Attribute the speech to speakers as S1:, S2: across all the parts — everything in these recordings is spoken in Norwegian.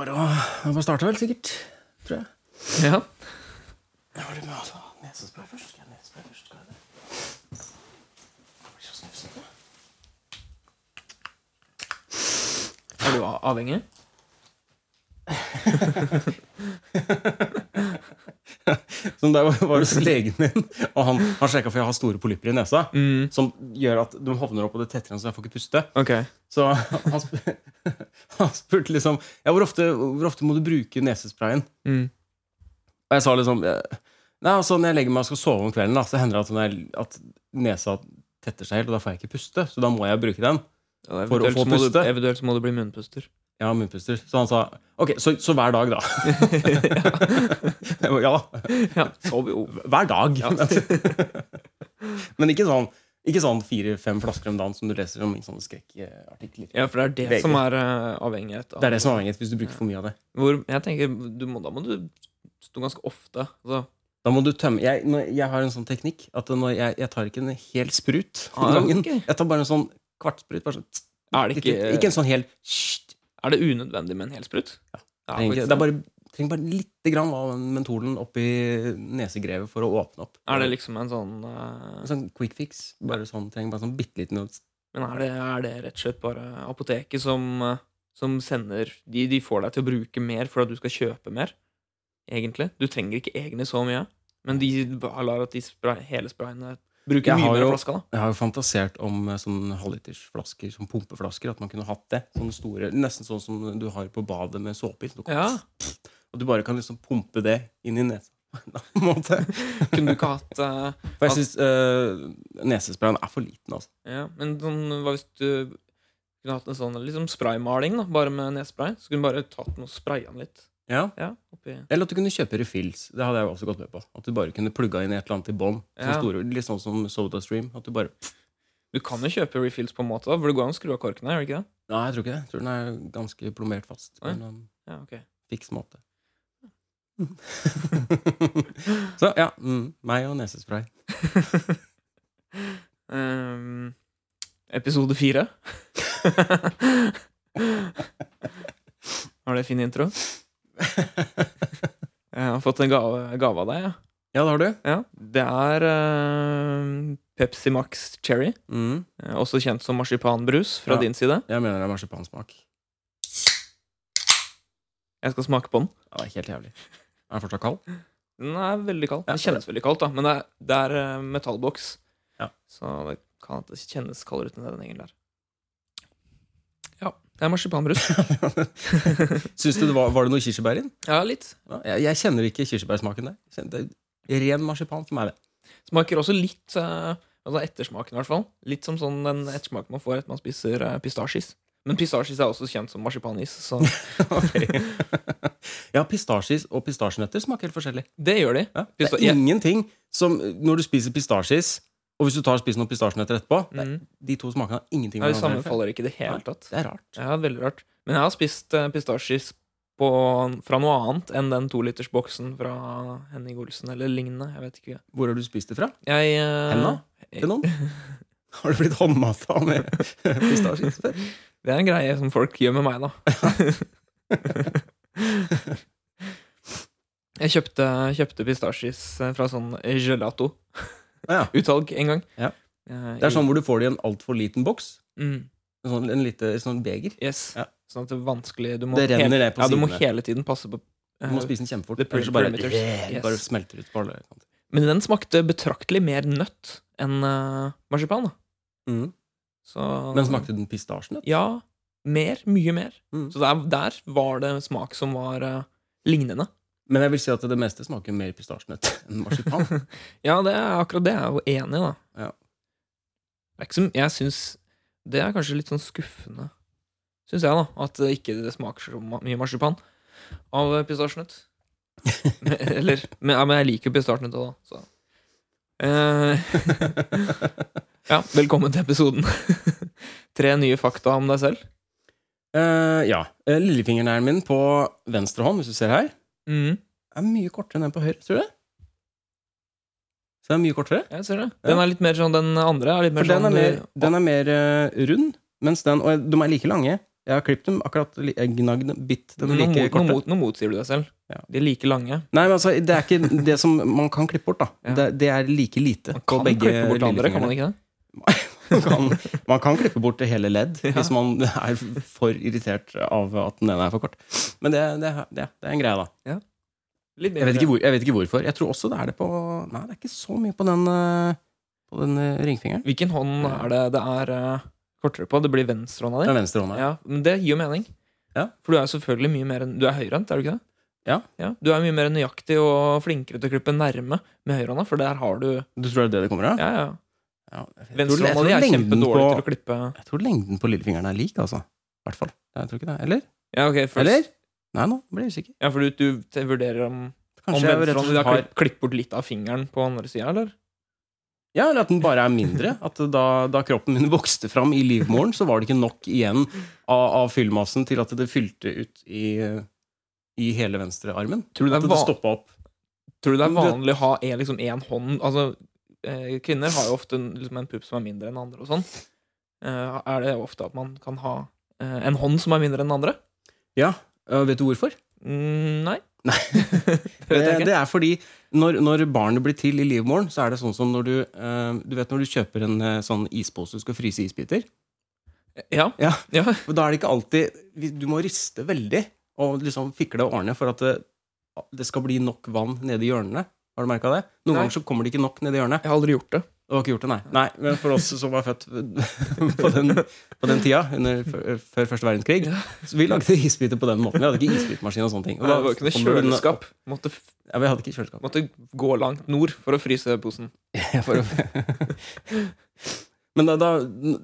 S1: Jeg bare starta vel, sikkert. Tror jeg.
S2: Ja.
S1: Jeg var litt med, altså. Nesespray først. Skal jeg ha nesespray først? Skal jeg det? Jeg blir så snufsete.
S2: Er du a- avhengig?
S1: Sånn der var var hos legen min, og han, han sjekka for jeg har store polypper i nesa. Som gjør at de hovner opp, og det tetter igjen, så jeg får ikke puste.
S2: Ok.
S1: Så han, sp han spurte liksom ja, hvor, ofte, 'Hvor ofte må du bruke nesesprayen?'
S2: Mm.
S1: Og jeg sa liksom eh, Nei, altså Når jeg legger meg og skal sove om kvelden, da, så hender det at, når jeg- at nesa tetter seg helt, og da får jeg ikke puste. Så da må jeg bruke den.
S2: Og
S1: For å
S2: eventuelt
S1: få
S2: så må du-
S1: puste.
S2: Eventuelt så må du bli munnpuster.
S1: Jeg har munnpuster. Så han sa ok, så, så hver dag, da. Jeg ba, ja da.
S2: Ja.
S1: Sov jo
S2: oh.
S1: hver dag. Men ikke sånn Ikke sånn fire-fem flasker om dagen som du leser om i sånne skrekkartikler.
S2: ja, for det er det
S1: Begge.
S2: som er eh, avhengighet. av-
S1: Det er det som er avhengighet hvis du bruker for mye av det.
S2: Hvor, jeg tenker, du må, Da må du stå ganske ofte. Altså,
S1: Da må du tømme Jeg, når, jeg har en sånn teknikk at når jeg, jeg tar ikke en hel sprut
S2: Ah,
S1: om gangen.
S2: ok.
S1: Jeg tar bare en sånn kvartsprut. Bare sånn, tss,
S2: er, det
S1: litt, litt.
S2: ikke,
S1: ikke en sånn hel sht,
S2: er det unødvendig med en hel sprut?
S1: trenger
S2: Ja.
S1: ikke-
S2: faktisk.
S1: Det er bare, trenger bare lite grann av den mentolen oppi nesegrevet for å åpne opp.
S2: Er det liksom en sånn eh,
S1: En sånn quick fix. Bare sånn, trenger bare sånn bitte liten
S2: Men er det, er det rett og slett bare apoteket som, eh, som sender de, de får deg til å bruke mer for at du skal kjøpe mer, egentlig? Du trenger ikke egne så mye, men de bare lar at de spray, hele sprayene bruker
S1: Jeg
S2: mye
S1: har
S2: mer
S1: jo-
S2: av flaska, da.
S1: Jeg har jo fantasert om eh, sånne halvlitersflasker, sånn pumpeflasker. At man kunne hatt det. Sånne store, Nesten sånn som du har på badet med såpe i. så du kan-
S2: Ja,
S1: Og du bare kan liksom pumpe det inn i nesa. På en måte.
S2: kunne du ikke hatt eh,
S1: For jeg syns nesesprayen er for liten, altså.
S2: ja, Men sånn, hva hvis du kunne hatt en sånn liksom spraymaling, da, bare med nesespray? Så kunne du bare tatt den og spraya den litt.
S1: Ja.
S2: Ja, oppi
S1: Eller at du kunne kjøpe refills. Det hadde jeg jo også gått med på. At du bare kunne plugga inn et eller annet i bånn. Sånne
S2: Ja.
S1: store- Litt sånn som SodaStream. At du bare
S2: Du kan jo kjøpe refills på en måte, da, for det går an å skru av korkene, gjør det ikke det?
S1: Nei, jeg tror ikke det. Jeg tror den er ganske plombert fast. um, på
S2: Oi.
S1: en eller annen
S2: Ja, ok.
S1: Fiks måte. Så ja. Mm, meg og nesespray.
S2: Ehm, episode fire. Var det fin intro? Jeg har fått en gave, gave av deg. Ja.
S1: Ja, det har du.
S2: Ja, det er ehm, Pepsi Max Cherry,
S1: Mm.
S2: eh, også kjent som marsipanbrus fra
S1: Ja.
S2: din side.
S1: Jeg mener det er marsipansmak.
S2: Jeg skal smake på den.
S1: Ja, det er helt jævlig. Er den fortsatt kald?
S2: Den er veldig kald.
S1: Ja,
S2: Den kjennes veldig kaldt, da, men det er, det er eh, metallboks.
S1: Ja.
S2: Så det kan at det kjennes kaldere ut enn det den egentlig er. Ja, det er marsipanbrus.
S1: Syns du det var, var det noe kirsebær i den?
S2: Ja, litt.
S1: Ja, jeg, jeg kjenner ikke kirsebærsmaken der. Jeg kjenner- Det er ren marsipan for meg, det.
S2: Smaker også litt eh, Altså ettersmaken, i hvert fall. Litt som sånn den ettersmaken man får etter man spiser eh, pistasjis. Men pistasjis er også kjent som marsipanis, så
S1: ja, pistasjis og pistasjenøtter smaker helt forskjellig.
S2: det gjør de.
S1: Ja, det
S2: Pista-
S1: er ingenting som Når du spiser pistasjis, og hvis du tar og spiser noen pistasjenøtter etterpå det er-
S2: Mhm.
S1: De to smakene har ingenting
S2: Ja, de
S1: hverandre å gjøre.
S2: sammenfaller ikke i det hele tatt.
S1: Det er rart.
S2: Ja, veldig rart. Men jeg har spist eh, pistasjis på, fra noe annet enn den tolitersboksen fra Henning Olsen eller lignende. Jeg vet ikke.
S1: Hvor har du spist det fra?
S2: Jeg, eh,
S1: Henda? Til noen? Har du blitt håndmata med pistasjis før?
S2: Det er en greie som folk gjør med meg, da. jeg kjøpte, kjøpte pistasjis fra sånn gelato-utvalg
S1: Ja,
S2: en gang.
S1: Ja.
S2: Eh,
S1: det er sånn hvor du får det i en altfor liten boks.
S2: i- mm,
S1: En sånn, en lite, en sånn beger.
S2: Yes.
S1: Ja.
S2: Sånn at det er vanskelig Du må,
S1: Det renner
S2: hele,
S1: ned på
S2: ja, du må
S1: sidene.
S2: hele tiden passe på eh,
S1: Du må spise den kjempefort.
S2: The
S1: Ellers så bare,
S2: perimeters.
S1: yeah,
S2: Yes.
S1: bare smelter ut på alle kanter.
S2: Men den smakte betraktelig mer nøtt enn eh, marsipan. da Mm.
S1: Mhm.
S2: Så-
S1: Men smakte den pistasjenøtt?
S2: Ja. Mer. Mye mer.
S1: Mm.
S2: Så der, der var det smak som var eh, lignende.
S1: Men jeg vil si at det meste smaker mer pistasjenøtt enn marsipan.
S2: Ja, det er akkurat det. Jeg er jo enig i, da.
S1: Ja.
S2: Det er ikke som, jeg syns det er kanskje litt sånn skuffende, syns jeg, da. At det ikke det smaker så ma- mye marsipan av eh, pistasjenøtt. Men- Eller men, ja, men jeg liker jo pistasjenøtt òg, da. Så. Eh, ja, velkommen til episoden. Tre nye fakta om deg selv.
S1: Eh, ja. Eh, Lillefingerneglen min på venstre hånd, hvis du ser her,
S2: Mhm,
S1: er mye kortere enn den på høyre. Tror du det? Så den er mye kortere.
S2: jeg ser det.
S1: Ja.
S2: Den er litt mer sånn Den andre er litt mer
S1: For den
S2: sånn
S1: er mer, eh,
S2: du-
S1: den er mer eh, rund, mens den Og de er like lange, Jeg har klippet dem akkurat li- jeg gnagd dem- bitt dem
S2: Nå,
S1: like
S2: mot- nå,
S1: korte.
S2: mot, nå motsier du deg selv.
S1: Ja.
S2: De er like lange.
S1: Nei, men altså, det er ikke det som man kan klippe bort, da.
S2: Ja.
S1: Det, det er like lite
S2: Man
S1: på
S2: kan
S1: begge
S2: klippe bort andre, kan man
S1: lillefingrene.
S2: ikke det?
S1: Man kan, man kan klippe bort det hele ledd
S2: Ja.
S1: hvis man er for irritert av at den ene er for kort. Men det, det, det, det er en greie, da.
S2: Litt
S1: Jeg vet, ikke hvor, jeg vet ikke hvorfor. Jeg tror også det er det på Nei, det er ikke så mye på den, eh, på den eh, ringfingeren.
S2: Hvilken hånd er det det er eh, kortere på? Det blir venstrehånda di?
S1: Den venstre hånda.
S2: Ja, men det gir jo mening.
S1: Ja.
S2: For du er jo selvfølgelig mye mer enn Du er høyrehendt, er du ikke det?
S1: Ja.
S2: Du er mye mer nøyaktig og flinkere til å klippe nærme med høyrehånda, for der har du
S1: Du tror det er det det kommer av?
S2: Ja, ja.
S1: Ja. Jeg, tror, jeg,
S2: Venstrehånda
S1: tror
S2: di er
S1: lengden
S2: kjempedårlig
S1: på-
S2: til å klippe
S1: jeg tror lengden på lillefingeren er lik, altså. I hvert fall. Jeg tror ikke det. Eller?
S2: Ja, ok, først.
S1: Eller? Nei, nå ble jeg usikker.
S2: Ja, for du, du te- vurderer om, om
S1: Kanskje jeg rett og
S2: venstrehånda di
S1: slett
S2: har
S1: har
S2: klipp- klippet bort litt av fingeren på andre sida, eller?
S1: Ja, eller at den bare er mindre. At da, da kroppen min vokste fram i livmoren, så var det ikke nok igjen av, av fyllmassen til at det fylte ut i, i hele venstre armen.
S2: Tror du det
S1: At
S2: er,
S1: det
S2: va
S1: stoppa opp.
S2: tror du det er
S1: Men det-
S2: vanlig å ha en, liksom, en hånd Altså, eh, kvinner har jo ofte en, liksom, en pupp som er mindre enn andre og sånn. Eh, er det ofte at man kan ha eh, en hånd som er mindre enn den andre?
S1: Øh, vet du hvorfor?
S2: Mm, nei. Eh,
S1: Nei.
S2: det
S1: Det,
S2: vet jeg ikke.
S1: det er fordi når, når barnet blir til i livmoren, så er det sånn som når du øh, Du vet når du kjøper en øh, sånn ispose du skal fryse isbiter?
S2: Ja.
S1: Ja.
S2: ja.
S1: For da er det ikke alltid vi- Du må riste veldig og liksom fikle og ordne for at det, det skal bli nok vann nede i hjørnene. Har du merka det? Noen
S2: Nei.
S1: ganger så kommer det ikke nok nede i hjørnet.
S2: Jeg har aldri gjort det.
S1: Du har ikke gjort det, nei. nei. Men for oss som var født på den, på den tida, under, før- før første verdenskrig,
S2: Ja.
S1: så vi lagde isbiter på den måten. Vi hadde ikke isbitmaskin og sånne ting. Og
S2: det
S1: da
S2: var ikke noe
S1: kommer det denne-
S2: kjøleskap. Måtte, f-
S1: Ja, vi hadde ikke kjøleskap.
S2: måtte gå langt nord for å fryse posen.
S1: For å- Men da, da,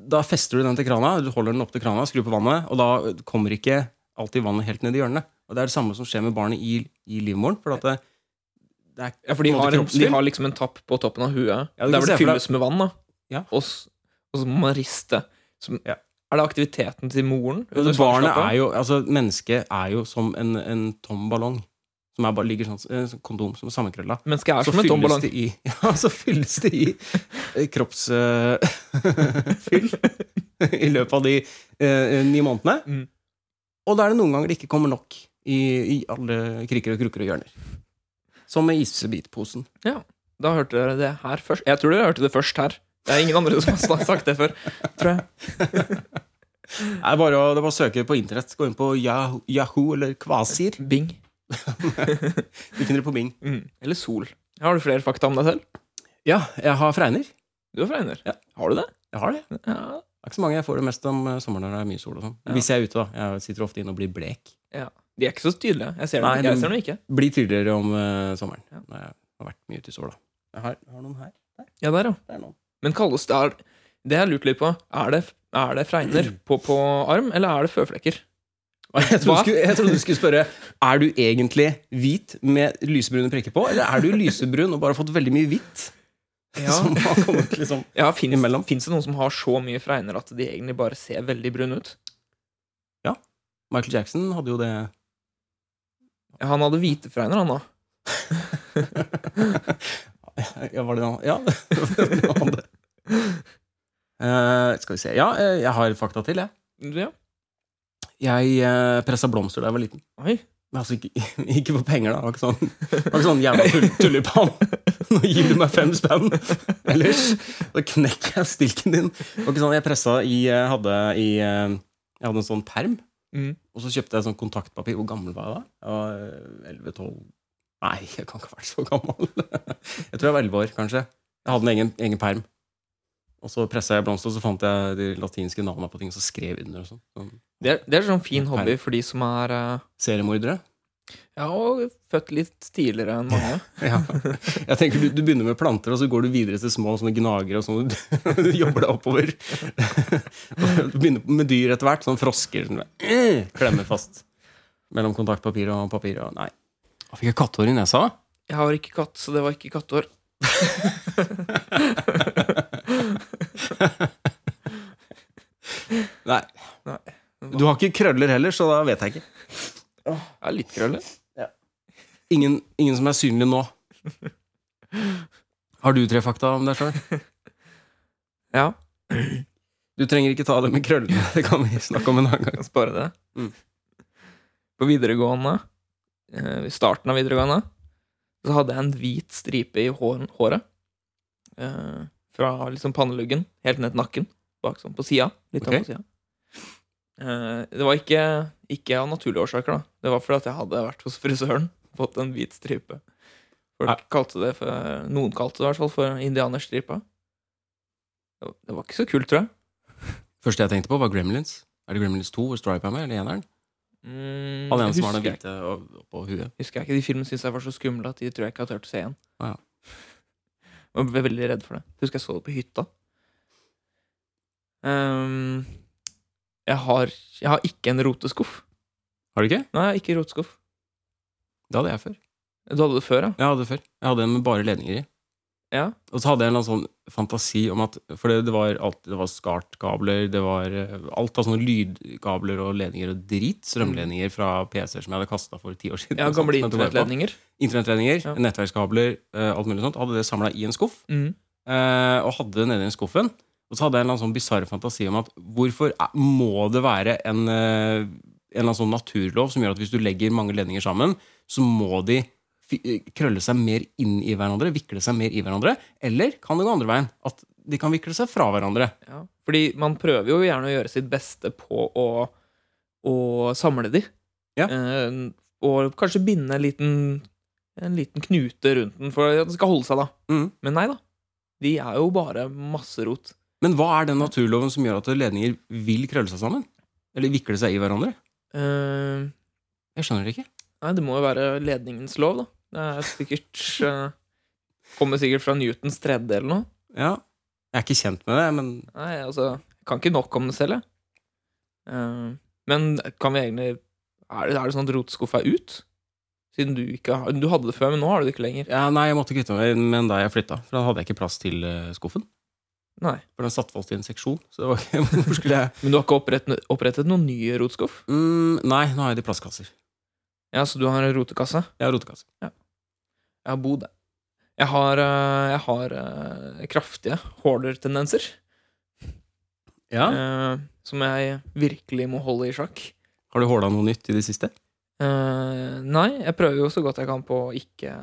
S1: da fester du den til krana, du holder den opp til krana, skrur på vannet, og da kommer ikke alltid vannet helt ned i hjørnet. Og det er det samme som skjer med barnet i, i livmoren. For at det, det er
S2: Ja, for de
S1: på en måte
S2: har, en, de
S1: kroppslig.
S2: har liksom en tapp på toppen av huet.
S1: Ja, du kan
S2: der hvor
S1: se
S2: det
S1: for deg-
S2: fylles med vann. da
S1: Ja.
S2: og, s- og så må man riste. Som,
S1: Ja.
S2: Er det aktiviteten til moren?
S1: Ja,
S2: under
S1: det barnet
S2: svangerskapet?
S1: er jo Altså, mennesket er jo som en, en tom ballong. Som er bare ligger sånn En sånn kondom som er sammenkrølla.
S2: Mennesket er
S1: Så
S2: som en tom
S1: fylles
S2: ballong.
S1: det i Ja, så fylles det i eh, kropps eh, fyll i løpet av de eh, ni månedene.
S2: Mm.
S1: Og da er det noen ganger det ikke kommer nok i, i alle kriker og krukker og hjørner. Som med isbitposen.
S2: Da hørte dere det her først. Jeg tror dere hørte det først her. Det er ingen andre som har snak- sagt det før. Tror jeg.
S1: Det er bare å, det er bare å søke på internett. Gå inn på Yahoo, Yahoo eller Kvasir.
S2: Bing.
S1: Du finner det på Bing.
S2: Mm. Eller Sol. Har du flere fakta om deg selv?
S1: Ja, jeg har fregner.
S2: Du er fra Einar.
S1: Ja.
S2: Har du det?
S1: Jeg har det.
S2: Ja.
S1: Det er ikke så mange. Jeg får det mest om eh, sommeren når det er mye sol. og sånn
S2: Ja.
S1: Hvis jeg er ute, da. Jeg sitter ofte inne og blir blek.
S2: De er ikke så tydelige. Jeg ser dem,
S1: Nei,
S2: jeg
S1: de-
S2: ser dem ikke.
S1: Blir tydeligere om eh, sommeren.
S2: Ja.
S1: Når jeg har vært mye ute i sola. Jeg har, har noen her.
S2: Ja, der, ja.
S1: Det er noen.
S2: Men kalles det er, Det jeg har lurt litt på, er det, er det fregner på, på arm, eller er det føflekker?
S1: Jeg trodde,
S2: Hva?
S1: du skulle, jeg trodde du skulle spørre Er du egentlig hvit med lysebrune prikker på, eller er du lysebrun og bare har fått veldig mye hvitt?
S2: Ja,
S1: Som har kommet liksom
S2: ja Fins
S1: Imellom.
S2: det noen som har så mye fregner at de egentlig bare ser veldig brune ut?
S1: Michael Jackson hadde jo det
S2: Ja, Han hadde hvite fregner, han da.
S1: Ja, var det han Ja. han hadde. Eh, skal vi se Ja, eh, jeg har fakta til, jeg.
S2: Ja.
S1: Jeg uh, pressa blomster da jeg var liten.
S2: Oi.
S1: Men altså, ikke, ikke for penger, da. Det var ikke sånn, det var ikke sånn jævla tull, tulipan. Nå gir du meg fem spenn, ellers så knekker jeg stilken din. Det var ikke sånn, Jeg pressa i eh, hadde, i eh, Jeg hadde en sånn perm,
S2: Mm.
S1: og så kjøpte jeg sånn kontaktpapir. Hvor gammel var jeg da? Jeg var 11-12 Nei, jeg kan ikke ha vært så gammel. Jeg tror jeg var 11 år, kanskje. Jeg hadde en egen, egen perm. Og så pressa jeg blomster, og så fant jeg de latinske navnene på ting, og så skrev jeg under og sånn. sånn.
S2: Det, er, det er sånn fin hobby for de som er eh,
S1: Seriemordere.
S2: ja, og født litt tidligere enn mange.
S1: Ja. Jeg tenker du, du begynner med planter, og så går du videre til små sånne gnagere. Og sånn, du jobber deg oppover. Du begynner med dyr etter hvert. Sånn frosker som eh, klemmer fast mellom kontaktpapir og papir. Og, nei. Jeg fikk jeg kattehår i nesa?
S2: Jeg har ikke katt, så det var ikke kattehår.
S1: Nei.
S2: Nei.
S1: Du har ikke krøller heller, så da vet jeg ikke.
S2: Ja, litt krøller.
S1: Ingen, ingen som er synlig nå. Har du tre fakta om deg sjøl?
S2: Ja.
S1: Du trenger ikke ta det med krøllene. Det kan vi snakke om en annen gang.
S2: Kan spare det.
S1: Mm.
S2: På videregående, eh, i starten av videregående, så hadde jeg en hvit stripe i hår, håret. Eh, fra liksom panneluggen helt ned til nakken. Bak sånn på sida. Litt
S1: Ok.
S2: av på sida. Eh, det var ikke, ikke av naturlige årsaker, da. Det var fordi at jeg hadde vært hos frisøren fått en hvit stripe. Folk kalte det for, Noen kalte det i hvert fall for indianerstripa. Det var, det var ikke så kult, tror jeg.
S1: Første jeg tenkte på, var Gremlins. Er det Gremlins 2 hvor Stripe er med, eller eneren?
S2: Mm,
S1: Han ene
S2: jeg
S1: som har den
S2: husker ikke.
S1: hvite og- på huet.
S2: Husker jeg ikke, De filmene syntes jeg var så skumle at de tror jeg ikke har turt å se igjen.
S1: Ah, ja.
S2: Jeg ble veldig redd for det. Husker jeg så det på hytta. Ehm, jeg, har, jeg har ikke en roteskuff.
S1: Har du ikke?
S2: Nei, jeg har ikke roteskuff.
S1: Det hadde jeg før.
S2: Du hadde det før, ja?
S1: Jeg hadde det før. Jeg hadde en med bare ledninger i.
S2: Ja.
S1: Og så hadde jeg en eller annen sånn fantasi om at For det, det var alt Det var SCART-kabler, det var eh, alt av sånne lydkabler og ledninger og drit. Strømledninger fra PC-er som jeg hadde kasta for ti år siden.
S2: Jeg har
S1: og sånt,
S2: gamle
S1: som jeg tok vare på.
S2: internettledninger.
S1: Internettledninger,
S2: Ja.
S1: nettverkskabler, eh, alt mulig sånt. Hadde det samla i en skuff,
S2: Mm.
S1: eh, og hadde det nedi skuffen. Og så hadde jeg en eller annen sånn bisarr fantasi om at hvorfor er, må det være en, eh, en eller annen sånn naturlov som gjør at hvis du legger mange ledninger sammen, så må de fi- eh, krølle seg mer inn i hverandre, vikle seg mer i hverandre? Eller kan det gå andre veien? At de kan vikle seg fra hverandre?
S2: Ja. Fordi man prøver jo gjerne å gjøre sitt beste på å, å samle de.
S1: Ja.
S2: Eh, og kanskje binde en liten, en liten knute rundt den for at den skal holde seg, da.
S1: Mhm.
S2: Men nei da. De er jo bare masse rot.
S1: Men hva er den naturloven som gjør at ledninger vil krølle seg sammen? Eller vikle seg i hverandre?
S2: Eh,
S1: Jeg skjønner det ikke.
S2: nei, det må jo være ledningens lov, da. Det er sikkert eh, Kommer sikkert fra Newtons tredje eller noe.
S1: Ja, jeg er ikke kjent med det, men
S2: Nei, altså Jeg kan ikke nok om det selv, jeg. Eh, men kan vi egentlig Er det, er det sånn at roteskuff er ut? Siden du ikke har Du hadde det før, men nå har du det ikke lenger.
S1: Ja, nei, jeg måtte kvitte meg med den da jeg flytta. For da hadde jeg ikke plass til eh, skuffen.
S2: Nei.
S1: For den satt fast i en seksjon. Så det var ikke, hvor skulle jeg
S2: Men du har ikke opprettet, opprettet noen nye rotskuff?
S1: mm, Nei, nå har jeg det i plastkasser.
S2: Ja, så du har en rotekasse?
S1: Jeg har rotekasse.
S2: Jeg har bodd der. Jeg har, eh, jeg har eh, kraftige hoarder-tendenser.
S1: Ja.
S2: eh, som jeg virkelig må holde i sjakk.
S1: Har du håla noe nytt i det siste?
S2: Eh, nei, jeg prøver jo så godt jeg kan på å ikke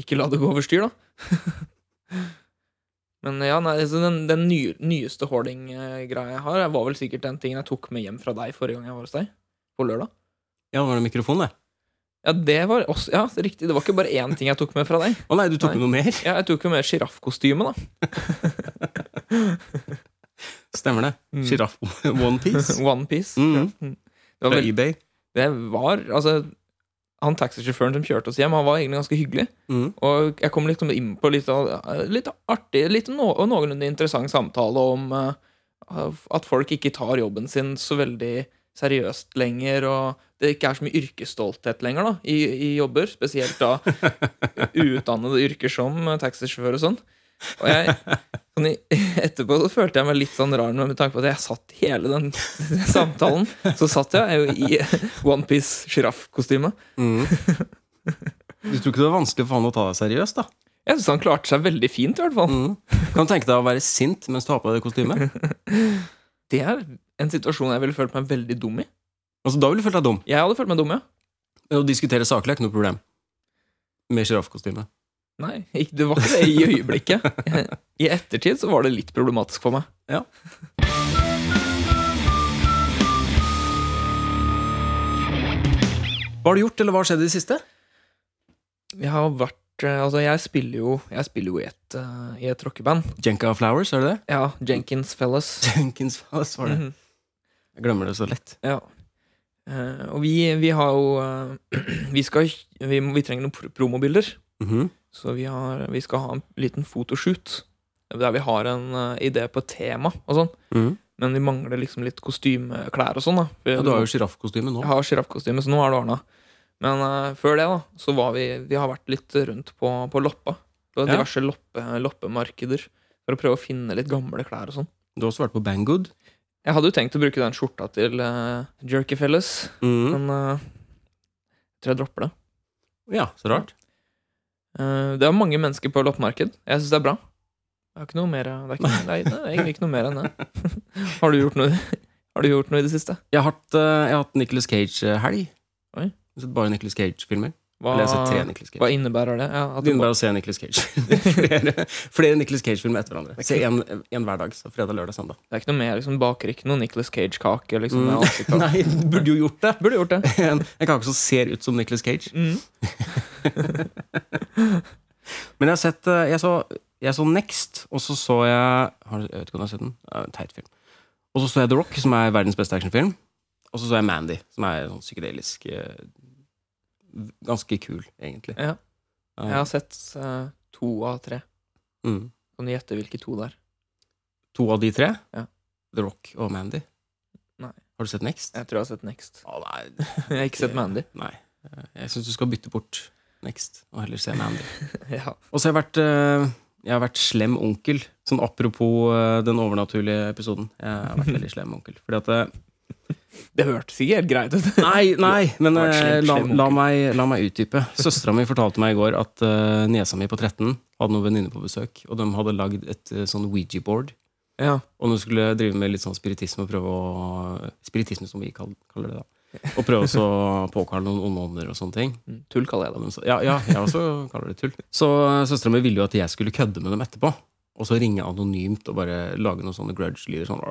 S2: Ikke la det gå over styr, da. Men ja, nei, så den, den ny, nyeste hoarding-greia jeg har, var vel sikkert den tingen jeg tok med hjem fra deg forrige gang jeg var hos deg. På lørdag.
S1: Ja, det var en mikrofon, det.
S2: Ja, det var også, ja, det er riktig. Det var ikke bare én ting jeg tok med fra deg.
S1: Å nei, du tok
S2: Nei.
S1: med noe mer?
S2: Ja, jeg tok jo med sjiraffkostyme, da.
S1: Stemmer det.
S2: Mm.
S1: Sjiraff One Piece.
S2: One Piece.
S1: Mm.
S2: Ja. Mm. Det,
S1: Fra
S2: var vel,
S1: eBay.
S2: det var Altså, han taxisjåføren som kjørte oss hjem, han var egentlig ganske hyggelig.
S1: Mm.
S2: Og jeg kom liksom inn på litt, av- litt artig litt no, og noenlunde interessant samtale om eh, at folk ikke tar jobben sin så veldig seriøst lenger, og det ikke er så mye yrkesstolthet lenger da, i, i jobber, spesielt da uutdannede yrker som eh, taxisjåfør og sånn. Og jeg, sånn i, etterpå så følte jeg meg litt sånn rar med tanke på at jeg satt hele den, samtalen. Så satt jeg jo i onepiece sjiraffkostyme.
S1: Mm. Du tror ikke det var vanskelig for han å ta deg seriøst, da?
S2: Jeg syns han klarte seg veldig fint, i hvert fall.
S1: Mm. Kan du tenke deg å være sint mens du har på deg det kostymet?
S2: Det er en situasjon jeg ville følt meg veldig dum i.
S1: Altså, da ville du følt deg dum.
S2: Jeg hadde følt meg dum, ja.
S1: Men å diskutere saklig er ikke noe problem. Med sjiraffkostyme.
S2: Nei, ikke, det var ikke det i øyeblikket. I ettertid så var det litt problematisk for meg.
S1: Ja. Hva har du gjort, eller hva har skjedd i det siste?
S2: Jeg har vært eh, Altså, jeg spiller jo, jeg spiller jo i et, eh, i et rockeband.
S1: Jenka Flowers, er det det?
S2: Ja, Jenkins Fellas.
S1: Jenkins Flowers var det.
S2: Mhm,
S1: Jeg glemmer det så lett.
S2: ja. Eh, og vi, vi har jo eh, Vi skal Vi, må- vi trenger noen pr- promobilder.
S1: Mhm.
S2: Så vi, har, vi skal ha en liten fotoshoot der vi har en eh, idé på et tema og sånn.
S1: Mhm.
S2: Men vi mangler liksom litt kostymeklær og sånn, da.
S1: ja, du har jo sjiraffkostyme nå.
S2: Jeg har sjiraffkostyme, så nå er det ordna. Men eh, før det, da, så var vi Vi har vært litt rundt på, på Loppa. På
S1: Ja.
S2: diverse loppe, loppemarkeder. For å prøve å finne litt gamle klær og sånn.
S1: Du har også vært på Banggood.
S2: Jeg hadde jo tenkt å bruke den skjorta til uh, Jerky Fellas,
S1: Mhm.
S2: men eh, jeg tror jeg dropper det.
S1: Ja, så rart.
S2: Eh, det er mange mennesker på loppemarked. Jeg syns det er bra. Jeg har ikke noe mer det er, ikke, nei, det er egentlig ikke noe mer enn det. Har du gjort noe, har du gjort noe i det siste?
S1: Jeg har hatt, eh, jeg har hatt Nicolas Cage-helg.
S2: Oi.
S1: Jeg har sett bare Nicolas Cage-filmer.
S2: Hva,
S1: Eller jeg har sett tre Nicolas Cage.
S2: hva innebærer det? Ja, at
S1: Det
S2: du bare,
S1: innebærer å se Nicolas Cage. flere, flere Nicolas Cage-filmer etter hverandre. Se en, en hver dag. Så fredag, lørdag, søndag.
S2: det er ikke noe mer liksom, baker ikke noe Nicolas Cage-kake. Liksom, med
S1: Mm.
S2: ansikt og-
S1: Nei, du burde jo gjort det!
S2: Burde gjort det.
S1: En, en kake som ser ut som Nicolas Cage.
S2: Mm.
S1: Men jeg har sett eh, Jeg så, jeg så Next, og så så jeg har, Jeg vet ikke om jeg har sett den. Det er en teit film. Og så så jeg The Rock, som er verdens beste actionfilm. Og så så jeg Mandy, som er sånn psykedelisk eh, Ganske kul, egentlig.
S2: Ja.
S1: Eh,
S2: Jeg har sett eh, to av tre.
S1: mm.
S2: Kan du gjette hvilke to det er?
S1: To av de tre?
S2: Ja.
S1: The Rock og Mandy.
S2: Nei.
S1: Har du sett Next?
S2: Jeg tror jeg har sett Next.
S1: Å, nei,
S2: Jeg har ikke sett Mandy.
S1: Nei. Eh, Jeg syns du skal bytte bort Next, og heller se Mandy.
S2: Ja.
S1: Og så har jeg vært eh, Jeg har vært slem onkel. Sånn apropos eh, den overnaturlige episoden. Jeg har vært veldig slem onkel. Fordi at eh,
S2: Det hørtes ikke helt greit ut.
S1: Nei, nei, men
S2: Du har vært slem,
S1: eh, la,
S2: slem onkel.
S1: la, meg, la meg utdype. Søstera mi fortalte meg i går at eh, niesa mi på 13 hadde noen venninner på besøk, og de hadde lagd et eh, sånn Ouija-board.
S2: Ja.
S1: Og hun skulle drive med litt sånn spiritisme og prøve å Spiritisme, som vi kall- kaller det, da. Og prøve også å påkalle noen onde ånder og sånne ting.
S2: Mm, Tull kaller jeg
S1: Og
S2: det.
S1: de sa, Ja, ja, jeg også kaller det tull. Så søstera mi ville jo at jeg skulle kødde med dem etterpå. Og så ringe anonymt og bare lage noen sånne grudge-lyder. Sånn,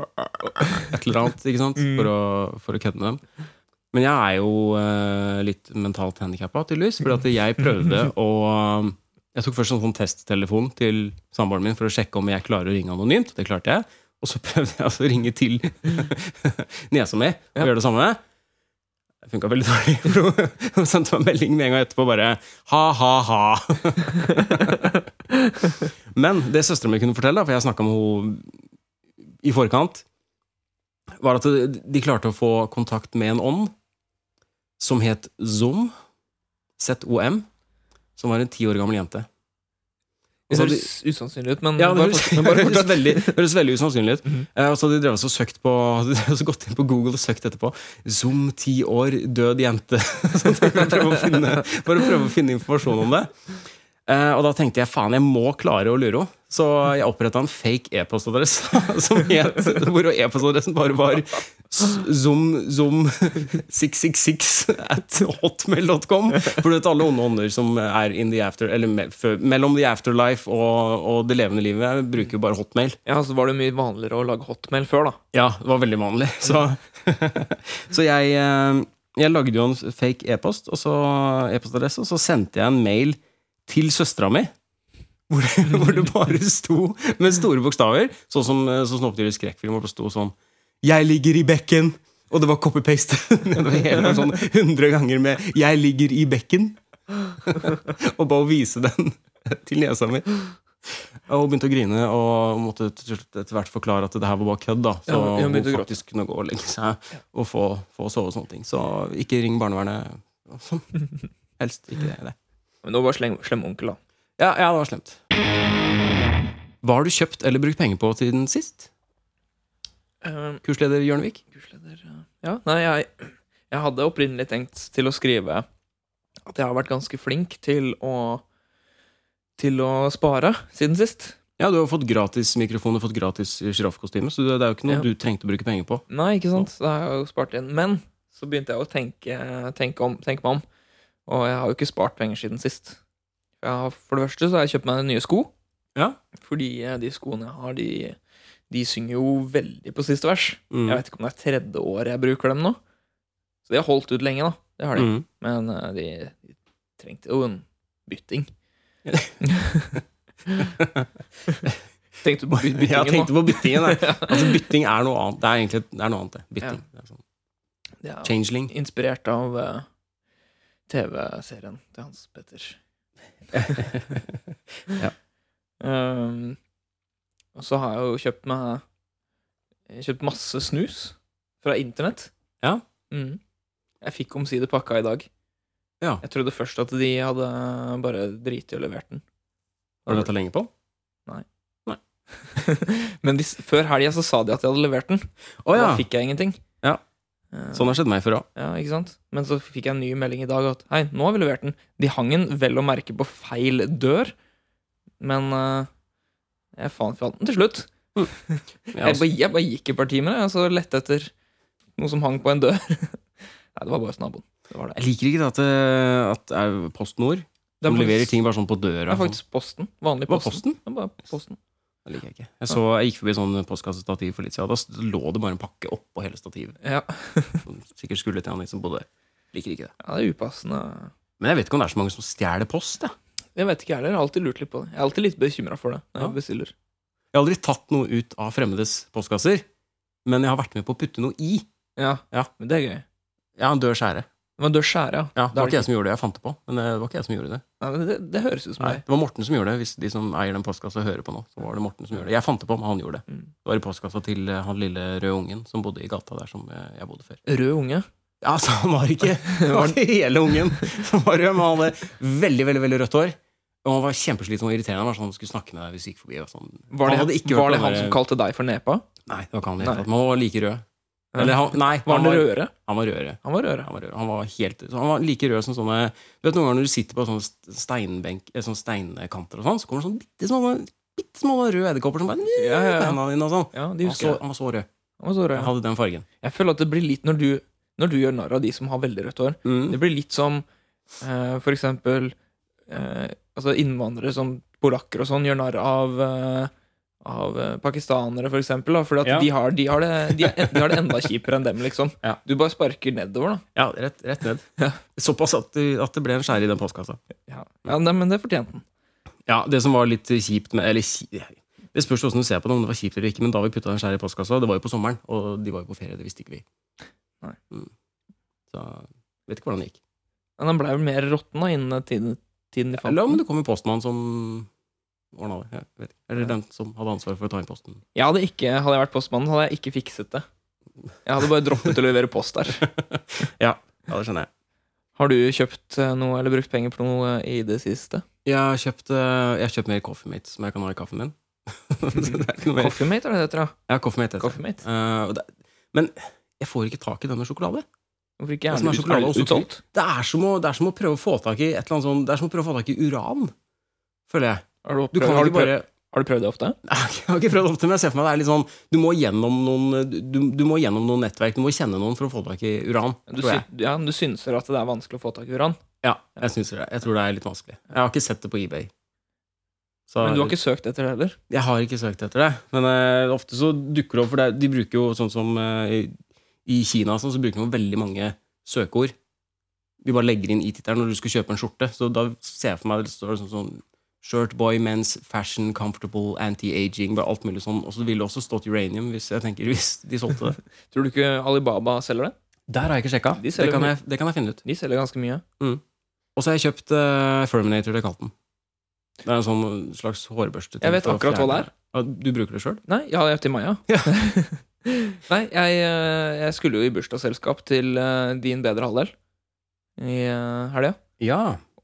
S1: et eller annet, ikke sant? For å, for å kødde med dem. Men jeg er jo eh, litt mentalt handikappa, tydeligvis. For at jeg prøvde å eh, Jeg tok først en sånn testtelefon til samboeren min for å sjekke om jeg klarer å ringe anonymt. Det klarte jeg. Og så prøvde jeg altså å ringe til niesa mi og
S2: Ja.
S1: gjøre det samme. Det funka veldig dårlig. for hun- Hun sendte meg en melding med en gang etterpå bare ha, ha, ha. Men det søstera mi kunne fortelle, for jeg snakka med henne i forkant, var at de klarte å få kontakt med en ånd som het Zom. ZOM. Som var en ti år gammel jente. Og
S2: Det
S1: så hadde-
S2: høres usannsynlig ut, men
S1: Mm. ja, det
S2: bare
S1: høres,
S2: fortsett,
S1: det
S2: men bare
S1: høres,
S2: fortsett.
S1: veldig, det høres veldig usannsynlig ut.
S2: Mhm.
S1: Eh, og så hadde de drevet og søkt på hadde de drevet og gått inn på Google og søkt etterpå. Zoom, ti år, død jente. sånn, for, å prøve å finne, for å prøve å finne informasjon om det. Eh, og da tenkte jeg faen, jeg må klare å lure henne. Så jeg oppretta en fake e-postadresse som het, hvor e-postadressen bare var zoomzoom666 at hotmail.com. For du vet alle onde ånder som er in the after, eller me, før- mellom the afterlife og, og det levende livet, bruker jo bare hotmail.
S2: Ja, så var det mye vanligere å lage hotmail før, da.
S1: Ja, det var veldig vanlig. Så, så jeg, eh, jeg lagde jo en fake e-post, og så e-postadresse, og så sendte jeg en mail til søstera mi. Hvor det, hvor det bare sto med store bokstaver, sånn som eh, sånn Snoppdyr i skrekkfilm, hvor det sto sånn 'Jeg ligger i bekken', og det var copy-paste nedover hele sånn 100 ganger med 'Jeg ligger i bekken'. og bare å vise den til niesa mi. Og hun begynte å grine og måtte til slutt etter hvert forklare at det her var bare kødd. da Så
S2: Ja, hun
S1: hun
S2: begynte å gråte.
S1: faktisk kunne gå og legge seg og få, få sove og sånne ting. Så ikke ring barnevernet. Sånn. Helst ikke det.
S2: Men nå var slem, slem onkel, da.
S1: Ja, ja, det var slemt. Hva har du kjøpt eller brukt penger på siden sist?
S2: Eh,
S1: Kursleder Jørnevik?
S2: kursleder eh, Ja, nei, jeg, jeg hadde opprinnelig tenkt til å skrive at jeg har vært ganske flink til å til å spare siden sist.
S1: Ja, du har fått gratis mikrofon og fått gratis sjiraffkostyme, så det er jo ikke noe
S2: Ja.
S1: du trengte å bruke penger på.
S2: Nei, ikke sant? Da har jeg jo spart inn. Men så begynte jeg å tenke, tenke, om, tenke meg om, og jeg har jo ikke spart penger siden sist. Jeg har, for det første så har jeg kjøpt meg nye sko,
S1: Ja.
S2: fordi eh, de skoene jeg har, de, de synger jo veldig på siste vers.
S1: Mm.
S2: Jeg vet ikke om det er tredje året jeg bruker dem nå. Så de har holdt ut lenge, da. Det har de.
S1: Mm.
S2: Men eh, de, de trengte jo en bytting. tenkte du på by-
S1: Jeg
S2: byttingen nå?
S1: tenkte på byttingen. Jeg. Altså, bytting er noe annet. Det er egentlig det er noe annet, det. Bytting. Det er sånn.
S2: Det er jo-
S1: Changeling.
S2: Inspirert av eh, TV-serien til Hans Petter.
S1: Ja.
S2: Ehm, og så har jeg jo kjøpt meg jeg har Kjøpt masse snus fra internett.
S1: Ja.
S2: Mm. Jeg fikk omsider pakka i dag.
S1: Ja.
S2: Jeg trodde først at de hadde bare driti og levert den.
S1: Har du venta lenge på?
S2: Men de, s- før helga så sa de at de hadde levert den.
S1: Å ja!
S2: Da fikk jeg ingenting.
S1: Ja.
S2: Eh,
S1: Sånn har skjedd meg før òg.
S2: Ja, ikke sant? Men så fikk jeg en ny melding i dag at hei, nå har vi levert den. De hang den vel å merke på feil dør, men eh, Jeg fant fant den til slutt.
S1: Jeg,
S2: Jeg
S1: også,
S2: bare, jeg bare gikk et par timer jeg, og så lette etter noe som hang på en dør. Nei, det var bare hos naboen. Det var det.
S1: jeg liker ikke det at, eh, at det er PostNord
S2: Det
S1: som
S2: er
S1: leverer
S2: faktisk-
S1: ting bare sånn på
S2: Det
S1: døra.
S2: er faktisk posten. Vanlig
S1: Det var
S2: posten.
S1: Posten?
S2: Det er bare posten.
S1: Det liker jeg ikke. Jeg, så, jeg gikk forbi sånn postkassestativ for litt siden. Da s- lå det bare en pakke oppå hele stativet.
S2: Ja.
S1: Som sikkert skulle til han liksom bodde der. Liker ikke det.
S2: ja, det er upassende.
S1: Men jeg vet ikke om det er så mange som stjeler post. Jeg.
S2: Jeg vet ikke jeg heller. Jeg har alltid lurt litt på det. Jeg er alltid litt bekymra for det når jeg
S1: Ja.
S2: bestiller.
S1: jeg har aldri tatt noe ut av fremmedes postkasser, men jeg har vært med på å putte noe i.
S2: Ja,
S1: Ja.
S2: men det er gøy.
S1: Jeg har en død skjære.
S2: Men dør skjære, ja.
S1: Ja, det
S2: Da er
S1: var ikke jeg som gjorde det, jeg fant det på. Men eh, det var ikke jeg som gjorde det.
S2: Nei, men det, det høres ut som
S1: Nei,
S2: deg.
S1: det var Morten som gjorde det. Hvis de som eier den postkassa hører på nå, så var det Morten som gjorde det. Jeg fant det på, men han gjorde det.
S2: Mm.
S1: Det var i postkassa til eh, han lille røde ungen som bodde i gata der som eh, jeg bodde før.
S2: Rød unge.
S1: Ja, så han var ikke Det var ikke hele ungen som var rød, men han hadde veldig, veldig veldig rødt hår. Og han var kjempeslitsom og irriterende. Han var sånn, han skulle snakke med deg hvis du gikk forbi. Og sånn. Han
S2: Var det han,
S1: hadde ikke hørt
S2: var det
S1: den
S2: han
S1: der-
S2: som kalte deg for nepa?
S1: Nei, det var ikke han i det
S2: Nei.
S1: hele tatt. Men han var like rød. Eller han, nei,
S2: Var
S1: han
S2: han
S1: var,
S2: rødere?
S1: han var rødere.
S2: Han var rødere.
S1: Han var, rød. han var helt så Han var like rød som sånne Du vet Noen ganger når du sitter på sånne st- steinbenk eh, Sånne steinkanter og sånn, så kommer det sånne bitte små Bitte små røde edderkopper som bare på
S2: Ja, ja, ja.
S1: hendene dine og sånn.
S2: ja de
S1: Han, så,
S2: husker jeg.
S1: han var så rød.
S2: Han var så rød.
S1: Han
S2: ja.
S1: hadde den fargen.
S2: Jeg føler at det blir litt når du, når du gjør narr av de som har veldig rødt hår. Det blir litt som eh, for eksempel eh, altså innvandrere som polakker og sånn gjør narr av eh, av eh, pakistanere, for eksempel. Da, fordi at
S1: Ja.
S2: de, har, de, har det, de, er, de har det enda kjipere enn dem, liksom.
S1: Ja.
S2: Du bare sparker nedover, da.
S1: Ja, rett, rett ned.
S2: Ja.
S1: Såpass at, du- at det ble en skjære i den postkassa.
S2: Ja, ja nei, men det fortjente den.
S1: Ja, det som var litt kjipt med Eller kji- det spørs hvordan du ser på det, om det var kjipt eller ikke, men da vi putta den skjære i postkassa, det var jo på sommeren, og de var jo på ferie, det visste ikke vi.
S2: Nei.
S1: Mm. Så vet ikke hvordan det gikk.
S2: Men den blei vel mer råtten da innen tiden, tiden de fant
S1: Eller om
S2: den.
S1: det kom en postmann som ordna det. Jeg vet ikke. Eller den som hadde ansvaret for å ta inn posten.
S2: Jeg hadde, ikke, hadde jeg vært postmannen, hadde jeg ikke fikset det. Jeg hadde bare droppet å levere post der.
S1: Ja, det skjønner jeg.
S2: Har du kjøpt eh, noe eller brukt penger på noe eh, i det siste?
S1: Jeg har kjøpt, eh, jeg har kjøpt mer Coffee Mate som jeg kan ha i kaffen min. det er ikke noe mer.
S2: Coffee Mate, er det det heter? da?
S1: Jeg har Coffee Mate. heter det.
S2: Coffee Mate?
S1: Eh, og det, men jeg får ikke tak i den med sjokolade.
S2: Hvorfor ikke?
S1: Ja,
S2: Er
S1: som er
S2: det ut-
S1: sjokolade
S2: er
S1: og
S2: det
S1: sukker.
S2: utsolgt?
S1: Det er som å, det er som å prøve å få tak i et eller annet sånn, det er som å prøve å få tak i uran, føler jeg.
S2: Har du,
S1: Du
S2: prøvd,
S1: kan
S2: har,
S1: ikke
S2: du prøvd,
S1: bare
S2: har du prøvd det ofte?
S1: Jeg har ikke prøvd ofte, men jeg ser for meg det er litt sånn Du må gjennom noen, du, du må gjennom noen nettverk, du må kjenne noen for å få tak i uran.
S2: Du,
S1: tror jeg.
S2: sy ja, du synser at det er vanskelig å få tak i uran.
S1: Ja, jeg synes det. Jeg tror det er litt vanskelig. Jeg har ikke sett det på eBay. Så
S2: Men du har ikke søkt etter det heller?
S1: Jeg har ikke søkt etter det. Men eh, ofte så dukker det opp, for det, er- de bruker jo sånn som eh, i, i Kina og sånn, så bruker de jo veldig mange søkeord. De bare legger inn i tittelen når du skal kjøpe en skjorte. Så da ser jeg for meg det står sånn sånn Shirtboy, men's, fashion, comfortable, anti-aging, bare alt mulig sånn. Og så ville det også stått uranium, hvis, jeg tenker, hvis de solgte det.
S2: Tror du ikke Alibaba selger det?
S1: Der har jeg ikke sjekka.
S2: De
S1: Det
S2: selger
S1: kan,
S2: mye.
S1: jeg, det kan jeg finne ut.
S2: De selger ganske mye.
S1: Og så har jeg kjøpt eh, Ferminator til katten. Det er en sånn slags hårbørste.
S2: Jeg vet akkurat hva det
S1: er. Du bruker det sjøl?
S2: Nei, ja, jeg har til Maja. Nei, jeg, eh, jeg skulle jo i bursdagsselskap til eh, din bedre halvdel i eh, helga.
S1: Ja.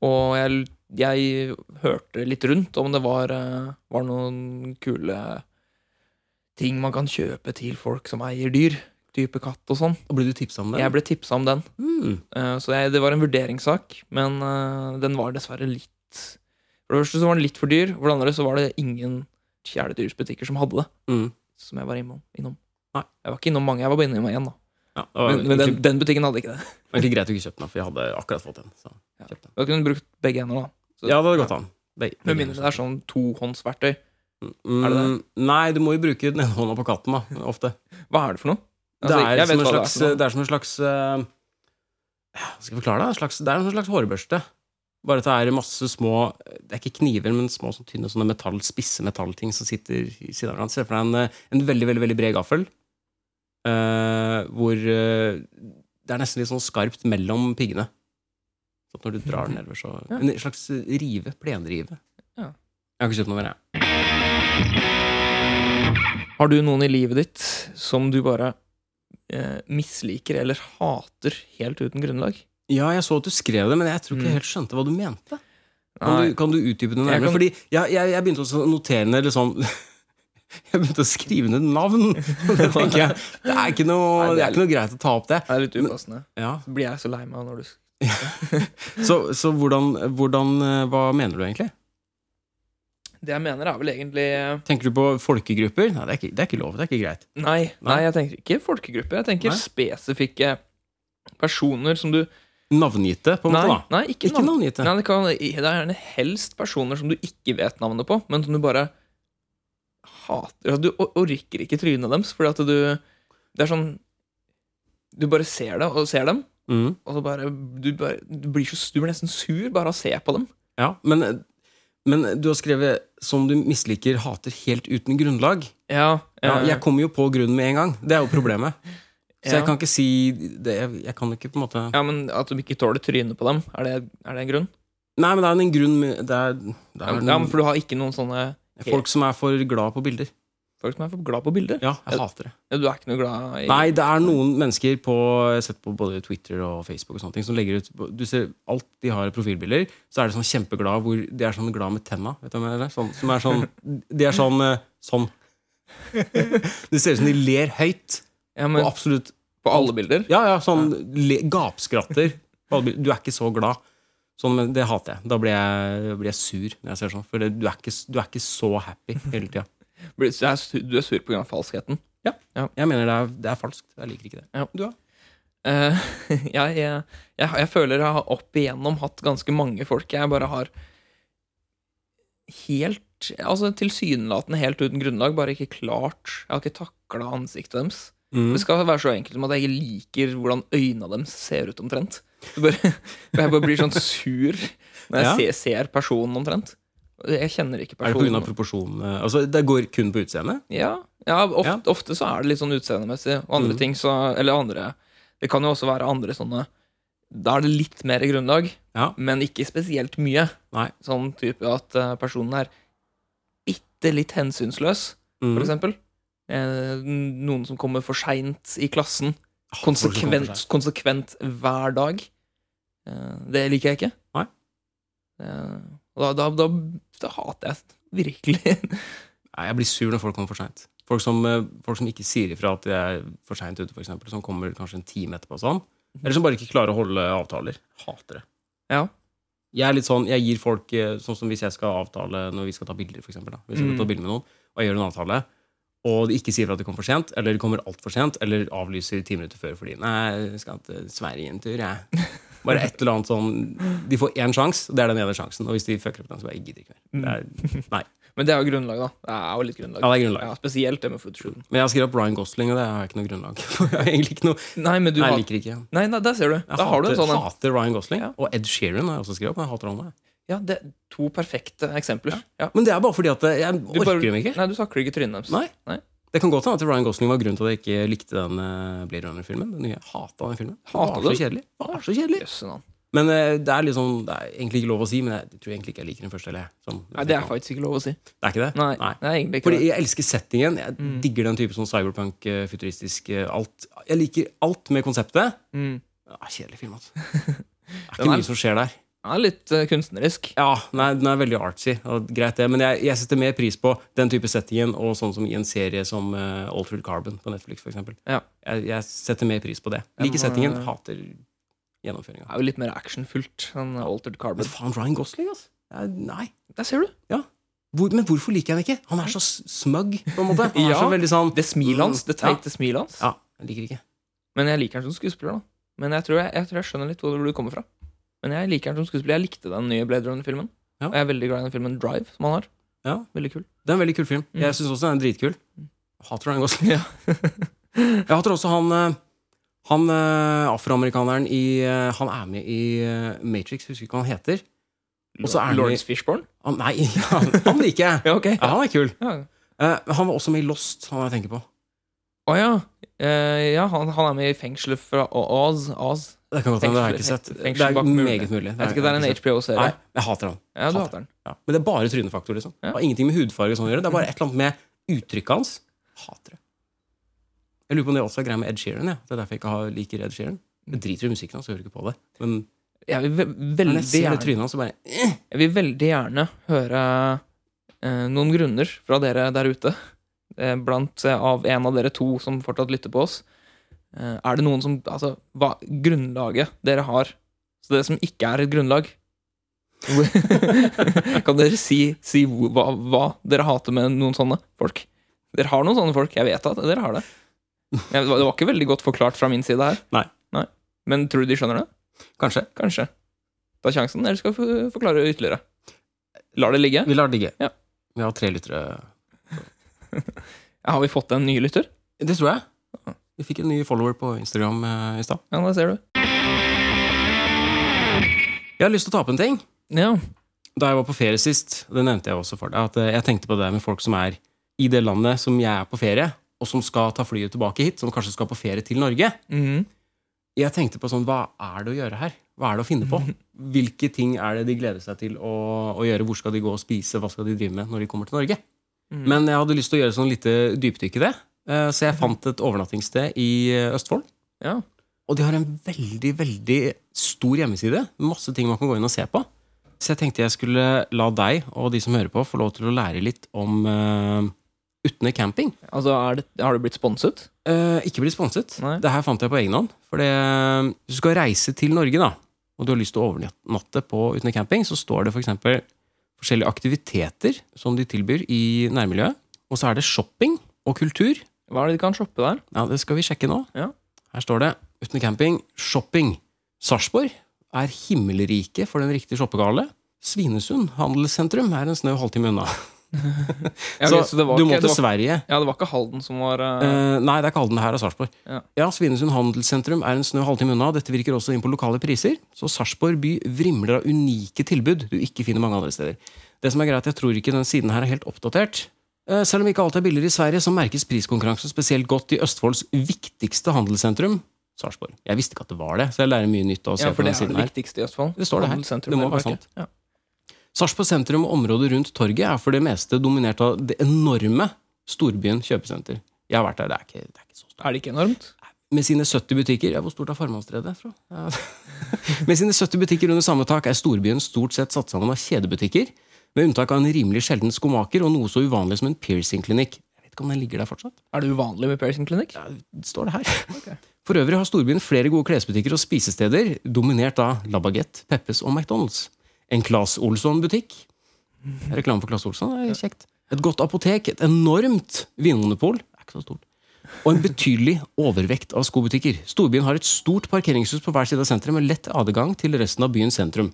S2: Og jeg, jeg hørte litt rundt om det var, eh, var noen kule ting man kan kjøpe til folk som eier dyr. Type katt og sånn.
S1: Og ble du tipsa om det?
S2: Jeg ble tipsa om den.
S1: Mm.
S2: Eh, Så jeg, det var en vurderingssak, men eh, den var dessverre litt For det første så var den litt for dyr, for det andre så var det ingen kjæledyrsbutikker som hadde det.
S1: Mm.
S2: Som jeg var innom. innom.
S1: Nei.
S2: Jeg var ikke innom mange, jeg var bare innom én, da.
S1: Ja, det var
S2: Men, men den,
S1: egentlig,
S2: den butikken hadde ikke det.
S1: det var egentlig greit å ikke kjøpe den, for jeg hadde akkurat fått en. Så.
S2: Ja.
S1: kjøpte den.
S2: Da kunne du brukt begge hender, da. Så-
S1: Ja, det hadde gått an. Begge-
S2: Med
S1: begge
S2: mindre det er sånn tohåndsverktøy.
S1: Mm,
S2: Er det
S1: Nei, du må jo bruke den ene hånda på katten, da, ofte.
S2: Hva er det for noe?
S1: Det
S2: Altså,
S1: er,
S2: jeg vet
S1: som en
S2: hva
S1: slags,
S2: det er for noe.
S1: det er som en slags eh, ja, Skal jeg forklare det? En slags, det er en slags hårbørste. Bare at det er masse små Det er ikke kniver, men små sånn tynne sånne metall, spisse metallting som sitter i siden av hverandre. Se for deg en, eh, en veldig, veldig veldig bred gaffel. eh, hvor eh, det er nesten litt sånn skarpt mellom piggene. Så at når du drar den nedover, så
S2: Ja.
S1: En slags rive. Plenrive.
S2: Ja.
S1: Jeg har ikke kjøpt noe mer, jeg.
S2: eh, Har du noen i livet ditt som du bare eh, misliker eller hater helt uten grunnlag?
S1: Ja, jeg så at du skrev det, men jeg tror ikke
S2: Mm.
S1: jeg helt skjønte hva du mente. Kan du, kan du utdype det
S2: Jeg
S1: nærmere?
S2: kan-
S1: Fordi jeg, jeg, jeg begynte også å notere ned litt sånn Jeg begynte å skrive ned navn! Og det tenker jeg Det er ikke noe,
S2: Nei, det er
S1: det er ikke noe greit å ta opp det.
S2: Det er litt upassende.
S1: Ja.
S2: Så blir jeg så lei meg når du
S1: Så, så hvordan, hvordan eh, Hva mener du egentlig?
S2: Det jeg mener, er vel egentlig eh,
S1: Tenker du på folkegrupper? Nei, det er ikke, det er ikke lov. Det er ikke greit.
S2: Nei, nei,
S1: Nei.
S2: jeg tenker ikke folkegruppe. Jeg tenker
S1: Nei.
S2: spesifikke personer som du
S1: Navngitte, på en
S2: Nei,
S1: måte. da
S2: nei ikke,
S1: Ikke
S2: navn.
S1: navngitte.
S2: Nei, det, kan, det er gjerne helst personer som du ikke vet navnet på, men som du bare hater. Altså, Du or- orker ikke trynet deres, fordi at du Det er sånn Du bare ser det, og ser dem,
S1: Mm.
S2: og så bare Du, bare, du, blir, så, du blir nesten sur bare av å se på dem.
S1: Ja, men, men du har skrevet 'som du misliker, hater helt uten grunnlag'.
S2: Ja,
S1: Ja,
S2: eh,
S1: jeg kommer jo på grunnen med en gang. Det er jo problemet. Så
S2: Ja.
S1: jeg kan ikke si det, jeg, jeg kan ikke på en måte
S2: ja, men at du ikke tåler trynet på dem, er det, er det en grunn?
S1: Nei, men det er en grunn med- Det er, det
S2: Ja,
S1: er
S2: men, ja,
S1: noen,
S2: men For du har ikke noen sånne
S1: folk som er for glad på bilder.
S2: folk som er for glad på bilder?
S1: Ja, jeg
S2: Ja.
S1: hater det.
S2: Du er ikke noe glad i
S1: Nei, det er noen mennesker på Jeg har sett på både Twitter og Facebook og sånne ting som legger ut Du ser alt de har i profilbilder, så er de sånn kjempeglad hvor de er sånn glad med tenna. Vet du hva jeg mener? Sånn, som er sånn De er sånn eh, sånn. Det ser ut som de ler høyt.
S2: ja,
S1: Og
S2: men,
S1: absolutt
S2: På alle bilder?
S1: Ja, ja, sånn le, gapskratter. Du er ikke så glad. Sånn, men det hater jeg. Da blir jeg, da blir jeg sur når jeg ser sånn. For det, du, er ikke, du er ikke så happy hele tida.
S2: Blir- så jeg er sur- Du er sur pga. falskheten?
S1: Jeg mener det er, det er falskt. Jeg liker ikke det.
S2: Eh, jeg, jeg, jeg, jeg føler jeg har opp igjennom hatt ganske mange folk jeg bare har helt Altså tilsynelatende helt uten grunnlag, bare ikke klart Jeg har ikke takla ansiktet deres.
S1: Mm.
S2: Det skal være så enkelt som at jeg ikke liker hvordan øynene deres ser ut, omtrent. Det bare, jeg bare blir sånn sur når jeg
S1: Ja.
S2: ser, ser personen, omtrent. Jeg kjenner ikke
S1: Er det pga.
S2: personen.
S1: proporsjonene? Altså, det går kun på utseendet?
S2: Ja, ja, ofte,
S1: Ja.
S2: ofte så er det litt sånn utseendemessig. Og andre
S1: Mm.
S2: ting så Eller andre Det kan jo også være andre sånne Da er det litt mer grunnlag,
S1: Ja.
S2: men ikke spesielt mye.
S1: Nei.
S2: Sånn type at eh, personen er bitte litt hensynsløs,
S1: Mm.
S2: for eksempel. Eh, noen som kommer for seint i klassen.
S1: Ah, folk som kommer for
S2: Konsekvent,
S1: seg.
S2: konsekvent hver dag. Eh, det liker jeg ikke.
S1: Nei.
S2: Eh, og da, da, da, da hater jeg virkelig
S1: Nei, jeg blir sur når folk kommer for seint. Folk, som, eh, folk som ikke sier ifra at de er for seint ute, f.eks. Som kommer kanskje en time etterpå. og Sånn. Eller som bare ikke klarer å holde avtaler. Hater det.
S2: Ja.
S1: Jeg er litt sånn, jeg gir folk eh, Sånn som hvis jeg skal avtale når vi skal ta bilder, for eksempel, da. Hvis jeg skal
S2: Mm.
S1: ta bilder med noen, og jeg gjør en avtale, og de ikke sier fra at de kommer for sent, eller de kommer altfor sent, eller avlyser ti minutter før fordi Nei, jeg skal til Sverige en tur, jeg. Bare et eller annet sånn De får én sjanse, og det er den ene sjansen. Og hvis de fucker opp den, så bare jeg gidder ikke mer. Det er,
S2: Men det er jo grunnlag, da. Det er jo litt grunnlag.
S1: Mm. ja, det er grunnlag.
S2: Ja, spesielt det med footshooten.
S1: Men jeg har skrevet opp Ryan Gosling, og det har jeg ikke noe grunnlag for. Jeg, har egentlig ikke noe,
S2: Nei, men du
S1: nei,
S2: har...
S1: jeg liker ikke Jeg
S2: Nei, nei, der ser du. Da har du en
S1: hater,
S2: sånn en.
S1: hater Ryan Gosling.
S2: Ja.
S1: Og Ed Sheeran har jeg også skrevet opp. Men jeg hater han også.
S2: Ja, det er to perfekte eksempler. Ja.
S1: Men det er bare fordi at jeg orker
S2: bare-
S1: dem ikke.
S2: Nei, du takler ikke trynet deres.
S1: Nei. Det kan godt hende at Ryan Gosling var grunnen til at jeg ikke likte den eh, Blade Runner-filmen. Den nye. Jeg hatet den filmen. Den
S2: Hatet
S1: var
S2: du
S1: så kjedelig. Den Var så kjedelig.
S2: Jøsse navn.
S1: Men eh, det er liksom Det er egentlig ikke lov å si, men jeg tror egentlig ikke jeg liker den første. Eller, jeg. sånn,
S2: Nei, det er faktisk ikke lov å si.
S1: Det er ikke det?
S2: Nei, det er egentlig ikke
S1: Fordi
S2: det.
S1: jeg elsker settingen. Jeg
S2: Mm.
S1: digger den type sånn cyberpunk, eh, futuristisk eh, alt. Jeg liker alt med konseptet.
S2: Mm.
S1: Ah, kjedelig film, altså. Det er
S2: Den
S1: ikke
S2: er-
S1: mye som skjer der.
S2: Den er litt eh, kunstnerisk.
S1: Ja, nei, Den er veldig artsy, og greit det, men jeg, jeg setter mer pris på den type settingen og sånn som i en serie som eh, Altered Carbon på Netflix. For eksempel.
S2: Ja.
S1: jeg, jeg setter mer pris på det.
S2: Jeg må-
S1: Liker settingen, hater gjennomføringa.
S2: Det er jo litt mer actionfullt enn Altered
S1: Men
S2: Carbon.
S1: faen, Ryan Gosling, altså! Jeg- Nei.
S2: Der ser du.
S1: Hvor, men hvorfor liker jeg den ikke? Han er så s- smug, på en måte. Han er
S2: Ja.
S1: så veldig sånn
S2: Det smilet hans. Det
S1: Ja.
S2: teite smilet hans.
S1: Ja, jeg liker ikke.
S2: Men jeg liker han som skuespiller, da. Men jeg tror jeg, jeg, tror jeg skjønner litt hvor du kommer fra. Men jeg liker han som skuespiller. Jeg likte den nye Blade Runner-filmen.
S1: Ja.
S2: Og jeg er veldig glad i den filmen Drive, som han har.
S1: Ja.
S2: Veldig kul.
S1: Det er en veldig kul film.
S2: Mm.
S1: Jeg syns også den er dritkul. Hater Ryan Gosling.
S2: Ja.
S1: Jeg hater også han eh, Han eh, afroamerikaneren i eh, Han er med i eh, Matrix, husker ikke hva han heter. Og så er han i-
S2: Lawrence Fishburne?
S1: Han, nei, han, han liker jeg.
S2: Ja, ok.
S1: Ja, han er kul.
S2: Ja.
S1: Eh, men han var også med i Lost, han jeg tenker på.
S2: Å ja. Eh, ja, han, han er med i fengselet fra O- Oz. Oz.
S1: Det kan godt hende, det har jeg ikke
S2: Fengsel-
S1: sett.
S2: fengsel
S1: Det er
S2: bak muren.
S1: meget mulig.
S2: Jeg vet ikke, det er en
S1: Nei,
S2: HBO-serie.
S1: jeg hater han.
S2: Ja, du
S1: hater
S2: hater den.
S1: Ja. Men det er bare trynefaktor, liksom. Det har ingenting med hudfarge og sånn å gjøre. Det er bare et eller annet med uttrykket hans. Hater det. Jeg lurer på om det også er greia med Ed Sheeran. Ja. Det er derfor jeg ikke har, liker Ed Sheeran. Jeg driter i musikken hans, jeg hører ikke på det. Men
S2: Jeg vil, ve-
S1: når
S2: veldig,
S1: jeg ser det
S2: gjerne,
S1: trynet hans, så bare
S2: jeg vil veldig gjerne høre eh, noen grunner fra dere der ute. Eh, blant eh, av en av dere to som fortsatt lytter på oss. Eh, er det noen som Altså, hva grunnlaget dere har? Så det som ikke er et grunnlag, kan dere si, si hvor- hva, hva dere hater med noen sånne folk? Dere har noen sånne folk. Jeg vet at dere har det. Jeg, det var ikke veldig godt forklart fra min side her.
S1: Nei.
S2: Men tror du de skjønner det?
S1: Kanskje.
S2: Kanskje. Ta sjansen, eller skal vi f- forklare ytterligere. Lar det ligge.
S1: Vi lar det ligge.
S2: Ja.
S1: Vi har tre lyttere.
S2: Har vi fått en ny lytter?
S1: Det tror jeg. Vi fikk en ny follower på Instagram eh, i stad.
S2: Ja, der ser du.
S1: Jeg har lyst til å ta opp en ting.
S2: Ja.
S1: Da jeg var på ferie sist, det nevnte jeg også for deg, at eh, jeg tenkte på det med folk som er i det landet som jeg er på ferie, og som skal ta flyet tilbake hit, som kanskje skal på ferie til Norge.
S2: Mhm.
S1: Jeg tenkte på sånn, hva er det å gjøre her? Hva er det å finne på? Hvilke ting er det de gleder seg til å, å gjøre? Hvor skal de gå og spise? Hva skal de drive med når de kommer til Norge?
S2: Mhm.
S1: Men jeg hadde lyst til å gjøre sånn lite dypdykk i det, eh, så jeg fant et overnattingssted i eh, Østfold.
S2: ja.
S1: Og de har en veldig, veldig stor hjemmeside. Masse ting man kan gå inn og se på. Så jeg tenkte jeg skulle la deg og de som hører på, få lov til å lære litt om uh, Utne camping.
S2: Altså, er det, har du blitt sponset?
S1: Eh, ikke bli sponset.
S2: Nei.
S1: Det her fant jeg på egen hånd. For det, eh, hvis du skal reise til Norge, da, og du har lyst til å overnatte på Utne camping, så står det f.eks. eksempel forskjellige aktiviteter som de tilbyr i nærmiljøet. Og så er det shopping og kultur.
S2: Hva er det de kan shoppe der?
S1: Ja, det skal vi sjekke nå.
S2: Ja.
S1: Her står det uten camping, shopping. Sarpsborg er himmelriket for den riktige shoppegale. Svinesund handelssentrum er en snau halvtime unna.
S2: Ja,
S1: så
S2: ok, så det var
S1: du
S2: ikke-
S1: må
S2: det
S1: til
S2: var-
S1: Sverige.
S2: Ja, det var ikke Halden som var eh,
S1: Eh, nei, det er ikke Halden, det her er Sarpsborg.
S2: Ja.
S1: Svinesund handelssentrum er en snau halvtime unna. Dette virker også inn på lokale priser. Så Sarpsborg by vrimler av unike tilbud du ikke finner mange andre steder. Det som er greit, jeg tror ikke den siden her er helt oppdatert. Eh, Selv om ikke alt er billigere i Sverige, så merkes priskonkurransen spesielt godt i Østfolds viktigste handelssentrum, Sarpsborg. Jeg visste ikke at det var det, så jeg lærer mye nytt av å se
S2: Ja, for
S1: på den
S2: det er
S1: siden
S2: det
S1: her.
S2: viktigste i Østfold.
S1: Det står det her.
S2: Handelssentrum
S1: Det må
S2: eller
S1: være
S2: hva det
S1: sant.
S2: heter.
S1: Sarpsborg sentrum og området rundt torget er for det meste dominert av det enorme storbyen kjøpesenter. Jeg har vært der, det er ikke, det er ikke så stort.
S2: Ja. Er det ikke enormt?
S1: Med sine 70 butikker ja, Hvor stort er Farmannstredet? fra? Ja. med sine 70 butikker under samme tak er storbyen stort sett satt sammen av kjedebutikker, med unntak av en rimelig sjelden skomaker og noe så uvanlig som en piercingklinikk. Jeg vet ikke om den ligger der fortsatt.
S2: Er det uvanlig med piercing klinikk?
S1: Ja, det står det her.
S2: Ok.
S1: For øvrig har storbyen flere gode klesbutikker og spisesteder, dominert av La Baguette, Peppes og McDonald's. En Claes Olsson-butikk. Reklame for Claes Olsson det er kjekt. Et godt apotek, et enormt vinmonopol. Det er ikke så stort. Og en betydelig overvekt av skobutikker. Storbyen har et stort parkeringshus på hver side av senteret med lett adgang til resten av byens sentrum.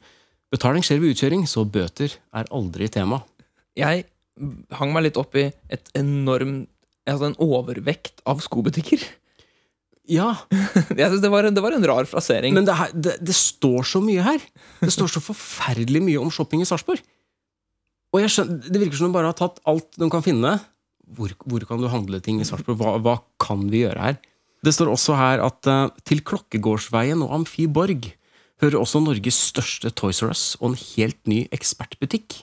S1: Betaling skjer ved utkjøring, så bøter er aldri tema.
S2: Jeg hang meg litt opp i et enorm Altså en overvekt av skobutikker.
S1: Ja,
S2: Jeg synes det, var en, det var en rar frasering.
S1: Men det, her, det, det står så mye her. Det står så forferdelig mye om shopping i Sarpsborg. Og jeg skjønner, Det virker som de bare har tatt alt de kan finne. Hvor, hvor kan du handle ting i Sarpsborg? Hva, hva kan vi gjøre her? Det står også her at eh, til Klokkegårdsveien og Amfi Borg hører også Norges største Toys R Us og en helt ny ekspertbutikk.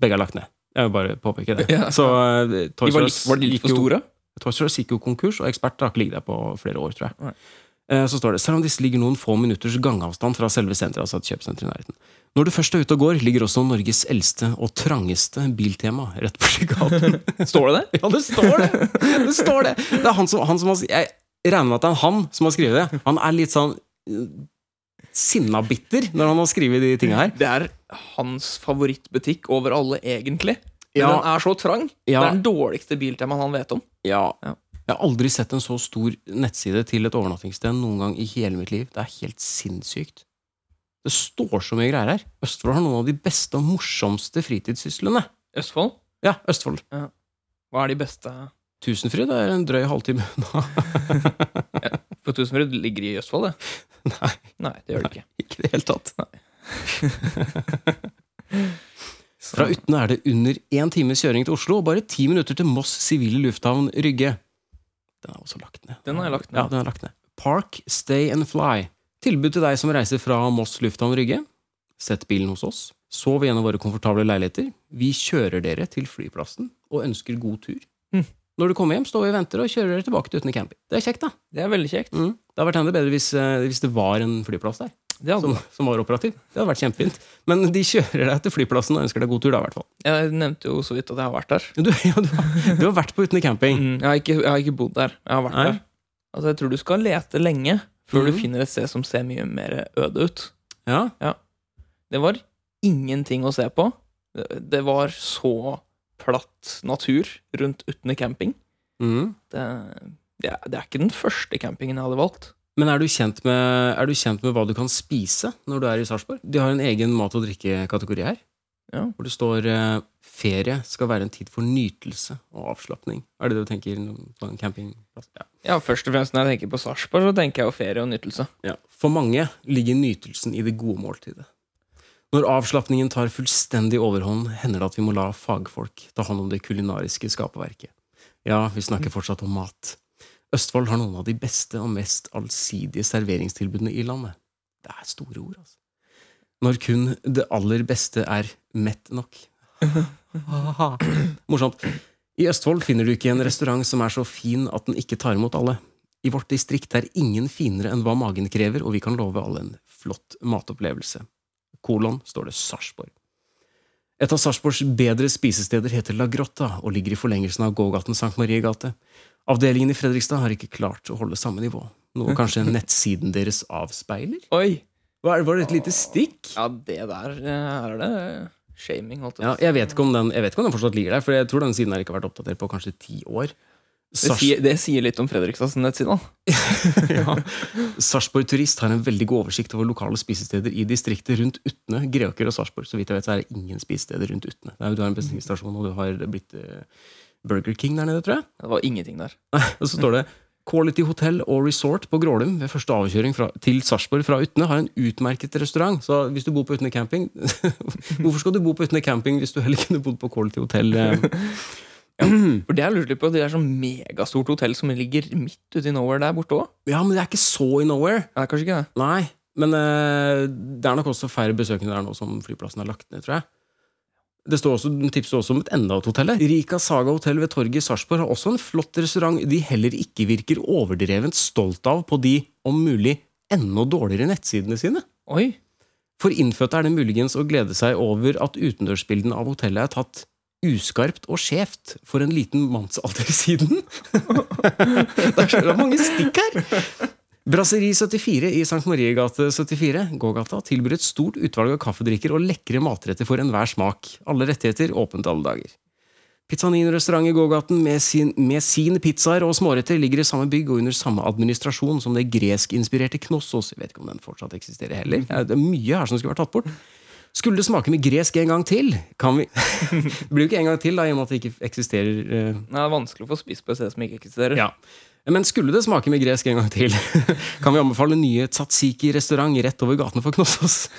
S1: Begge er lagt ned. Jeg vil bare påpeke det.
S2: Ja.
S1: Så eh,
S2: de
S1: Toys
S2: var,
S1: R
S2: litt,
S1: Us
S2: var de litt
S1: gikk
S2: for
S1: jo-
S2: store?
S1: Toys R Us gikk jo konkurs, og eksperter har ikke ligget der på flere år, tror
S2: Nei.
S1: jeg. Eh, Så står det selv om disse ligger noen få minutters gangavstand fra selve senteret. altså et kjøpesenter i nærheten. Når du først er ute og går, ligger også Norges eldste og trangeste biltema rett borti gaten.
S2: Står det det?
S1: ja, det står det! Det står det! Det er han som, han som har, Jeg regner med at det er han som har skrevet det. Han er litt sånn eh, sinnabitter når han har skrevet de tinga her.
S2: Det er hans favorittbutikk over alle, egentlig. Men
S1: Ja.
S2: Den er så trang.
S1: Ja.
S2: Det er den dårligste biltemaen han vet om.
S1: Ja.
S2: Ja.
S1: Jeg har aldri sett en så stor nettside til et overnattingssted noen gang i hele mitt liv. Det er helt sinnssykt. Det står så mye greier her. Østfold har noen av de beste og morsomste fritidssyslene.
S2: Østfold?
S1: Ja, Østfold.
S2: Hva er de beste
S1: Tusenfryd er en drøy halvtime unna.
S2: For Tusenfryd ligger i Østfold, det.
S1: Nei,
S2: Nei, det gjør det ikke.
S1: ikke i det hele tatt.
S2: Så-
S1: Fra Utne er det under én times kjøring til Oslo og bare ti minutter til Moss sivile lufthavn Rygge. Den er også lagt ned.
S2: Den har jeg lagt ned.
S1: Ja, den er lagt ned. Park, Stay and Fly. Tilbud til deg som reiser fra Moss lufthavn Rygge. Sett bilen hos oss. Sov i en av våre komfortable leiligheter. Vi kjører dere til flyplassen og ønsker god tur.
S2: Mm.
S1: Når du kommer hjem, står vi og venter og kjører dere tilbake til Utne camping. Det er kjekt, da.
S2: Det er veldig kjekt.
S1: Mm. Det hadde vært enda bedre hvis, eh, hvis det var en flyplass der
S2: Det hadde
S1: som, som var operativ. Det hadde vært kjempefint. Men de kjører deg til flyplassen og ønsker deg god tur, da, i hvert fall.
S2: Jeg nevnte jo så vidt at jeg har vært der. Mm,
S1: Du, ja, du, har- du har vært på Utne camping.
S2: Jeg, har ikke, jeg har ikke bodd der. Jeg har vært
S1: Nei.
S2: der. Altså, jeg tror du skal lete lenge
S1: Mhm.
S2: før du finner et sted som ser mye mer øde ut.
S1: Ja.
S2: Det var ingenting å se på. Det det var så platt natur rundt Utne camping.
S1: Mhm.
S2: Det, det, er, det er ikke den første campingen jeg hadde valgt.
S1: Men er du, kjent med, er du kjent med hva du kan spise når du er i Sarpsborg? De har en egen mat- og drikkekategori her.
S2: Ja.
S1: Hvor det står eh, 'ferie skal være en tid for nytelse og avslapning'. Er det det du tenker på en campingplass? Ja.
S2: Ja, Først og fremst når jeg tenker på Sarpsborg, så tenker jeg jo ferie og nytelse.
S1: Ja. For mange ligger nytelsen i det gode måltidet. Når avslapningen tar fullstendig overhånd, hender det at vi må la fagfolk ta hånd om det kulinariske skaperverket. Ja, vi snakker fortsatt om mat. Østfold har noen av de beste og mest allsidige serveringstilbudene i landet. Det er store ord, altså. Når kun det aller beste er mett nok. Morsomt. I Østfold finner du ikke en restaurant som er så fin at den ikke tar imot alle. I vårt distrikt er ingen finere enn hva magen krever, og vi kan love alle en flott matopplevelse. Kolon står det Sarpsborg. Et av Sarpsborgs bedre spisesteder heter La Grotta og ligger i forlengelsen av gågaten Sankt Marie gate. Avdelingen i Fredrikstad har ikke klart å holde samme nivå, noe kanskje nettsiden deres avspeiler?
S2: Oi!
S1: Hva er det, Var det et lite stikk?
S2: Ja, det der eh, Her er det shaming. Holdt jeg på
S1: Ja,
S2: å si.
S1: jeg, vet ikke om den, jeg vet ikke om den fortsatt ligger der, for jeg tror den siden her ikke har vært oppdatert på kanskje ti år.
S2: det,
S1: Sars-
S2: sier, det sier litt om Fredrikstads nettside. da.
S1: Ja. Sarpsborg Turist har en veldig god oversikt over lokale spisesteder i distriktet rundt Utne, Greåker og Sarpsborg. Så vidt jeg vet, så er det ingen spisesteder rundt Utne. Det er jo, du har en bensinstasjon, og du har blitt eh, Burger King der nede, tror jeg.
S2: Det var ingenting der.
S1: Og så står det Quality Hotel og Resort på Grålum ved første avkjøring fra, til Sarpsborg fra Utne har en utmerket restaurant. Så hvis du bor på Utne camping Hvorfor skal du bo på Utne camping hvis du heller kunne bodd på Quality Hotel? eh?
S2: For det jeg lurte litt på, det er sånn megastort hotell som ligger midt ute i nowhere der borte òg.
S1: Ja, men det er ikke så in nowhere.
S2: Ja, kanskje ikke det.
S1: Nei. Men eh, det er nok også færre besøkende der nå som flyplassen er lagt ned, tror jeg. Det står også, Den tipser også om et enda et hotell. her. Rika Saga hotell ved torget i Sarpsborg har også en flott restaurant de heller ikke virker overdrevent stolt av på de, om mulig, enda dårligere nettsidene sine.
S2: Oi!
S1: For innfødte er det muligens å glede seg over at utendørsbildene av hotellet er tatt uskarpt og skjevt for en liten mannsalder siden. det er så mange stikk her! Brasseri 74 i St. Mariegate 74 gågata, tilbyr et stort utvalg av kaffedrikker og lekre matretter for enhver smak. Alle rettigheter åpent alle dager. Pizzanin-restaurant i gågaten med, sin, med sine pizzaer og småretter ligger i samme bygg og under samme administrasjon som det greskinspirerte Knossos. Jeg vet ikke om den fortsatt eksisterer heller. Ja, Det er mye her som skulle vært tatt bort. Skulle det smake med gresk en gang til, kan vi Det blir jo ikke en gang til, da, i og med at det ikke eksisterer eh,
S2: Nei, det er vanskelig å få spist på et sted som ikke eksisterer.
S1: ja. Men skulle det smake med gresk en gang til, kan vi anbefale nye tzatziki-restaurant rett over gaten for Knossos.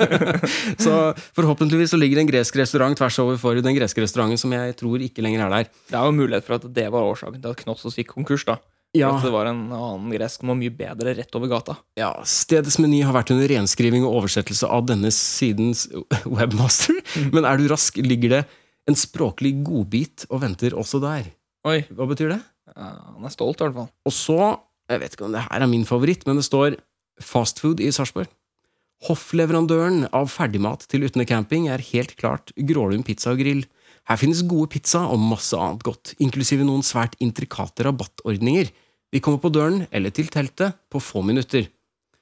S1: så forhåpentligvis så ligger det en gresk restaurant tvers over for den greske restauranten som jeg tror ikke lenger er der.
S2: Det er jo mulighet for at det var årsaken til at Knossos gikk konkurs. da
S1: Ja.
S2: For At det var en annen gresk som var mye bedre rett over gata.
S1: Ja, Stedets meny har vært under renskriving og oversettelse av denne sidens webmaster, men er du rask, ligger det en språklig godbit og venter også der.
S2: Oi,
S1: Hva betyr det?
S2: ja, Han er stolt, i hvert fall.
S1: Og så, jeg vet ikke om det her er min favoritt, men det står fastfood i Sarpsborg. Hoffleverandøren av ferdigmat til Utne camping er helt klart Grålum pizza og grill. Her finnes gode pizza og masse annet godt, inklusive noen svært intrikate rabattordninger. De kommer på døren eller til teltet på få minutter.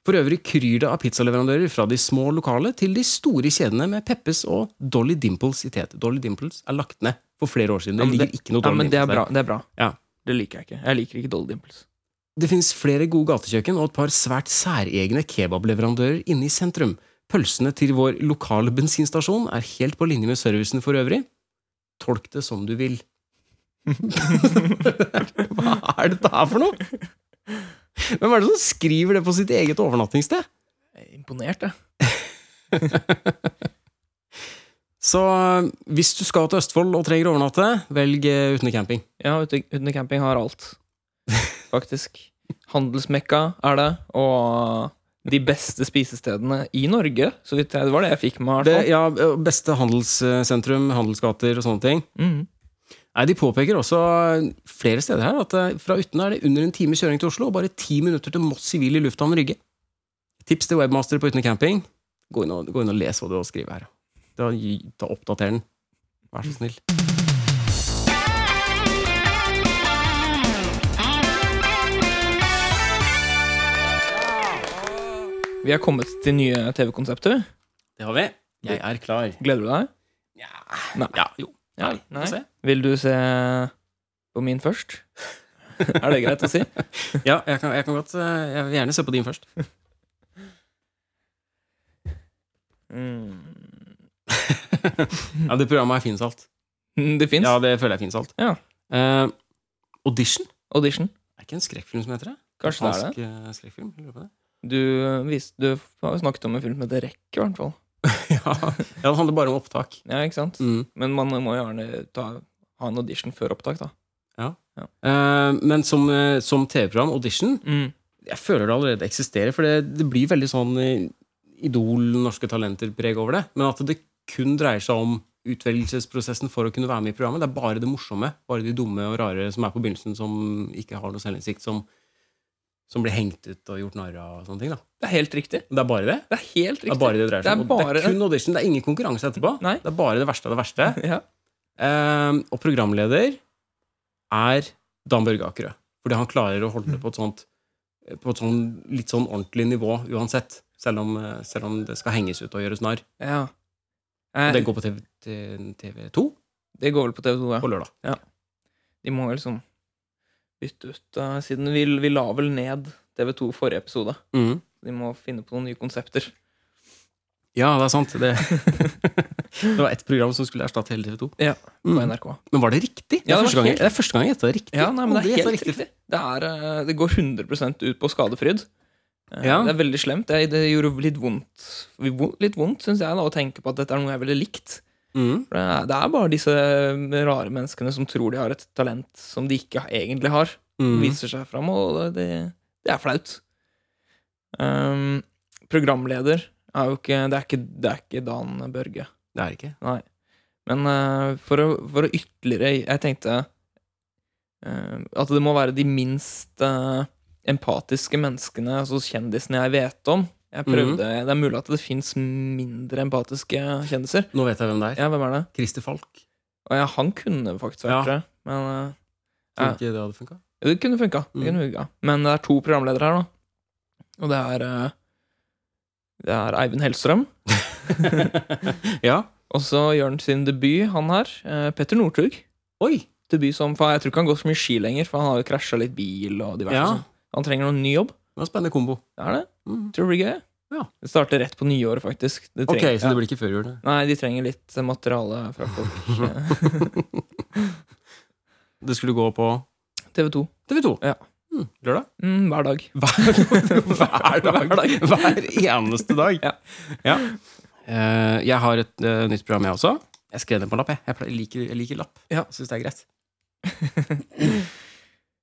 S1: For øvrig kryr det av pizzaleverandører fra de små lokale til de store kjedene med Peppes og Dolly Dimples i tet. Dolly Dimples er lagt ned for flere år siden.
S2: Ja,
S1: Det
S2: men
S1: ligger ikke noe
S2: Ja,
S1: Dolly
S2: men det er
S1: Dimples der.
S2: bra. Det er bra
S1: Ja.
S2: Det liker jeg ikke. Jeg liker ikke Dolly Dimples.
S1: Det finnes flere gode gatekjøkken og et par svært særegne kebableverandører inne i sentrum. Pølsene til vår lokale bensinstasjon er helt på linje med servicen for øvrig. Tolk det som du vil. Hva er dette her for noe?! Hvem er det som skriver det på sitt eget overnattingssted?
S2: Jeg er imponert, jeg.
S1: Så eh, hvis du skal til Østfold og trenger å overnatte, velg eh, Utne camping.
S2: Ja, ute, Utne camping har alt. Faktisk. Handelsmekka er det, og de beste spisestedene i Norge. Så vidt jeg, det var det jeg fikk med.
S1: Det,
S2: i hvert
S1: ja, eh, beste handelssentrum, handelsgater og sånne ting.
S2: fall. Mhm.
S1: Nei, De påpeker også eh, flere steder her at eh, fra Utne er det under en time kjøring til Oslo og bare ti minutter til Moss sivile lufthavn Rygge. Tips til webmaster på Utne camping. Gå inn og, gå inn og les hva du har skrevet her. Da, gi- da Oppdater den. Vær så snill.
S2: Vi er kommet til nye TV-konsepter.
S1: Det har vi. Jeg er klar.
S2: Gleder du deg? Nei.
S1: Ja, jo.
S2: Ja,
S1: Nei.
S2: nei. Vil du se på min først? er det greit å si?
S1: Ja, jeg kan, jeg kan godt eh, Jeg vil gjerne se på din først. Mm. Ja, Det programmet er finsalt.
S2: Det fins.
S1: Ja, det føler jeg er finsalt.
S2: Ja.
S1: Eh, Audition?
S2: Audition.
S1: Er det ikke en skrekkfilm som heter det?
S2: Kanskje det er det.
S1: Fransk, eh, skrekkfilm? lurer jeg på det.
S2: Du, vis- du har jo snakket om en film som heter Rekk, i hvert fall.
S1: Ja, ja, det handler bare om opptak.
S2: Ja, ikke sant?
S1: Mm.
S2: Men man må jo gjerne ta, ha en audition før opptak, da.
S1: Eh, men som, eh, som TV-program, Audition, jeg føler det allerede eksisterer. For det, det blir veldig sånn eh, Idol, Norske Talenter-preg over det. Men at det kun dreier seg om utvelgelsesprosessen for å kunne være med i programmet. Det er bare det morsomme, bare de dumme og rare som er på begynnelsen, som ikke har noe selvinnsikt, som, som blir hengt ut og gjort narr av. og sånne ting da.
S2: Det er helt riktig.
S1: Det er bare det.
S2: Det er helt
S1: Det
S2: riktig.
S1: er bare det det dreier seg om.
S2: Det
S1: Og
S2: er
S1: Det
S2: bare
S1: er kun audition. Det er ingen konkurranse etterpå.
S2: Nei.
S1: Det er bare det verste av det verste.
S2: Ja.
S1: Ehm, og programleder er Dan Børge Akerø. Fordi han klarer å holde det på et sånt På et sånn, litt sånn ordentlig nivå uansett. Selv om, eh, selv om det skal henges ut og gjøres narr.
S2: ja.
S1: Og
S2: Eh,
S1: det går på TV, til TV2
S2: det går vel på TV2, ja.
S1: på lørdag.
S2: De må jo liksom bytte ut eh, Siden vi, vi la vel ned TV2 forrige episode.
S1: Mhm.
S2: De må finne på noen nye konsepter.
S1: Ja, det er sant. Det, det var ett program som skulle erstatte hele TV2.
S2: Ja, på
S1: Mhm.
S2: NRK.
S1: Men var det riktig? Det
S2: Ja,
S1: er
S2: det
S1: første
S2: var
S1: gang jeg-
S2: helt-
S1: det er første gang jeg gjetta det riktig.
S2: Ja, nei, men
S1: Aldri
S2: Det er
S1: gjettet
S2: helt riktig. Det, er, eh, det går 100 ut på skadefryd. Eh,
S1: Ja.
S2: Det er veldig slemt. Det, det gjorde litt vondt, vo- litt vondt syns jeg, da, å tenke på at dette er noe jeg ville likt.
S1: Mhm.
S2: For det er, det er bare disse eh, rare menneskene som tror de har et talent som de ikke egentlig har,
S1: Mhm.
S2: viser seg fram, og det, det, det er flaut. Ehm, programleder er jo ikke Det er ikke, det er ikke Dan Børge.
S1: Det er ikke.
S2: Nei. Men eh, for, å, for å ytterligere Jeg tenkte eh, at det må være de minst eh, empatiske menneskene, altså kjendisene jeg vet om. Jeg prøvde, Det er mulig at det fins mindre empatiske kjendiser.
S1: Nå vet jeg hvem det er.
S2: Ja, hvem er det?
S1: Christer Falk.
S2: Og ja, han kunne faktisk vært det, men eh,
S1: Tror
S2: Ja.
S1: ikke det hadde funka.
S2: jo, det kunne funka. Det kunne funka. Men det er to programledere her, da. Og det er eh, Det er Eivind Hellstrøm.
S1: ja.
S2: Og så gjør han sin debut, han her. eh, Petter Northug.
S1: Oi!
S2: Debut som for Jeg tror ikke han går så mye ski lenger, for han har jo krasja litt bil og diverse.
S1: Ja.
S2: sånn. Han trenger noen ny jobb.
S1: Det var en spennende kombo.
S2: Det er det.
S1: Mhm.
S2: Tror det blir gøy.
S1: Ja.
S2: Det starter rett på nyåret, faktisk. De
S1: Ok,
S2: trenger-
S1: så det blir ikke før jul, det.
S2: ja. Nei, de trenger litt eh, materiale fra folk. Eh,
S1: Det skulle gå på
S2: TV 2.
S1: TV 2.
S2: Ja.
S1: Mm, lørdag?
S2: Mm, hver dag.
S1: Hver, hver dag.
S2: Hver dag.
S1: Hver eneste dag.
S2: Ja.
S1: Ja. Eh, jeg har et eh, nytt program, jeg også. Jeg skrev det på en lapp. Jeg, jeg, pleier, jeg, liker, jeg liker lapp.
S2: Ja.
S1: Jeg syns det er greit.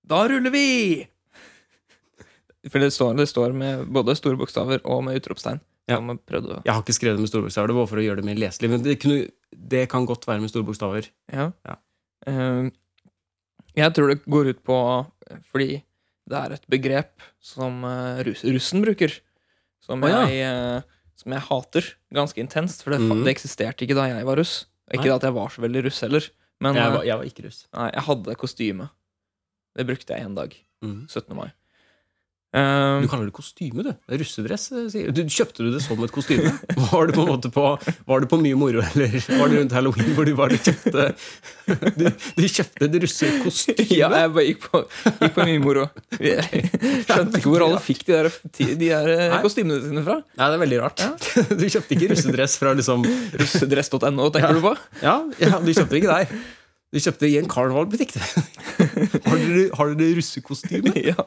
S2: Da ruller vi! For det står, det står med både store bokstaver og med utropstegn.
S1: Ja.
S2: Som jeg prøvde å
S1: Jeg har ikke skrevet det med store bokstaver. Det var for å gjøre det mer leselig. Men det, kunne, det kan godt være med store bokstaver.
S2: Ja.
S1: Ja.
S2: Eh, jeg tror det går ut på Fordi det er et begrep som eh, russ, russen bruker, som,
S1: Å, ja.
S2: jeg, eh, som jeg hater ganske intenst. For det, fa-
S1: Mhm.
S2: det eksisterte ikke da jeg var russ. Ikke
S1: Nei.
S2: at jeg var så veldig russ heller, men
S1: Jeg
S2: eh,
S1: var, jeg var ikke russ.
S2: nei, jeg hadde kostyme. Det brukte jeg én dag.
S1: Mhm.
S2: 17. mai. Eh,
S1: Du kaller det kostyme, du. Det er Russedress. eh, sier Du, kjøpte du det som et kostyme? Var det på en måte på Var det på mye moro, eller var det rundt halloween hvor du var og kjøpte Du, du kjøpte et russekostyme?
S2: Ja, jeg bare gikk på, gikk på mye moro. Jeg skjønte ikke hvor alle fikk de der, de der eh,
S1: Nei.
S2: kostymene sine fra.
S1: Nei, det er veldig rart. Du kjøpte ikke russedress fra liksom
S2: Russedress.no, tenker du på?
S1: Ja, ja du kjøpte ikke der. Du kjøpte i en karnevalbutikk. Har dere, har dere russekostyme?
S2: Ja.